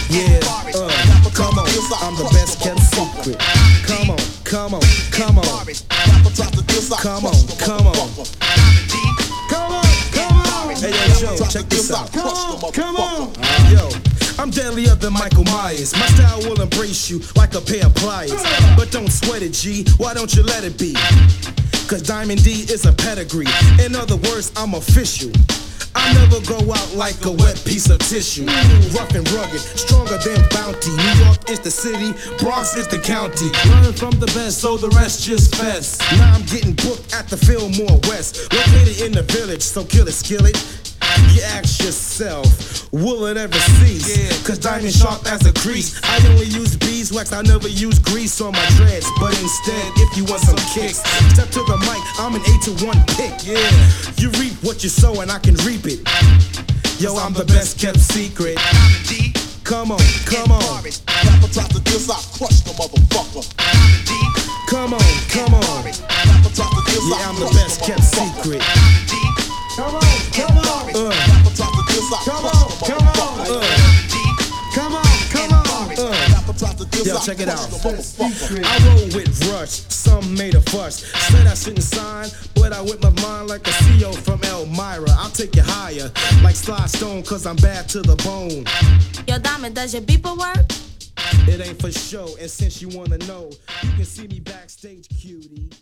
Speaker 5: Yeah, uh, come on, I'm the best kept secret. Come on, come on, come on. Come on, come on. Come on, come on. Hey, yo, Joe, check this out. Come on, come on. Yo, I'm deadlier than Michael Myers. My style will embrace you like a pair of pliers. But don't sweat it, G. Why don't you let it be? Cause Diamond D is a pedigree. In other words, I'm official. I never go out like a wet piece of tissue. Rough and rugged, stronger than bounty. New York is the city, Bronx is the county. Learn from the best, so the rest just fest. Now I'm getting booked at the Fillmore West. Located in the village, so kill it, skillet. You ask yourself, will it ever cease? Cause diamond sharp as a crease. I only use beeswax, I never use grease on my dreads. But instead, if you want some kicks, step to the mic, I'm an 8 to 1 pick. Yeah, you reap what you sow, and I can reap it. Yo, I'm the best kept secret. Come on, come on.
Speaker 3: Rapper drop the diss, I crush the motherfucker.
Speaker 5: Uh, Come on, come on.
Speaker 3: Rapper drop the diss, I
Speaker 5: Yeah, I'm the
Speaker 3: crush
Speaker 5: best kept
Speaker 3: motherfucker.
Speaker 5: secret.
Speaker 3: Come on, come on.
Speaker 5: Uh.
Speaker 3: Rapper drop the diss, I
Speaker 5: Come
Speaker 3: crush
Speaker 5: on,
Speaker 3: the
Speaker 5: come on.
Speaker 3: motherfucker.
Speaker 5: Uh, come on, come on. Uh.
Speaker 3: Rapper drop the diss,
Speaker 5: Yo,
Speaker 3: I
Speaker 5: check it
Speaker 3: crush
Speaker 5: out.
Speaker 3: the motherfucker.
Speaker 5: I roll with Rush, some made a fuss. Said I shouldn't sign, but I whip my mind like a CEO from Elmira. I'll take you higher, like Sly Stone, cause I'm bad to the bone.
Speaker 11: Yo, Diamond, does your beeper work?
Speaker 5: It ain't for show, and since you wanna know, you can see me backstage, cutie.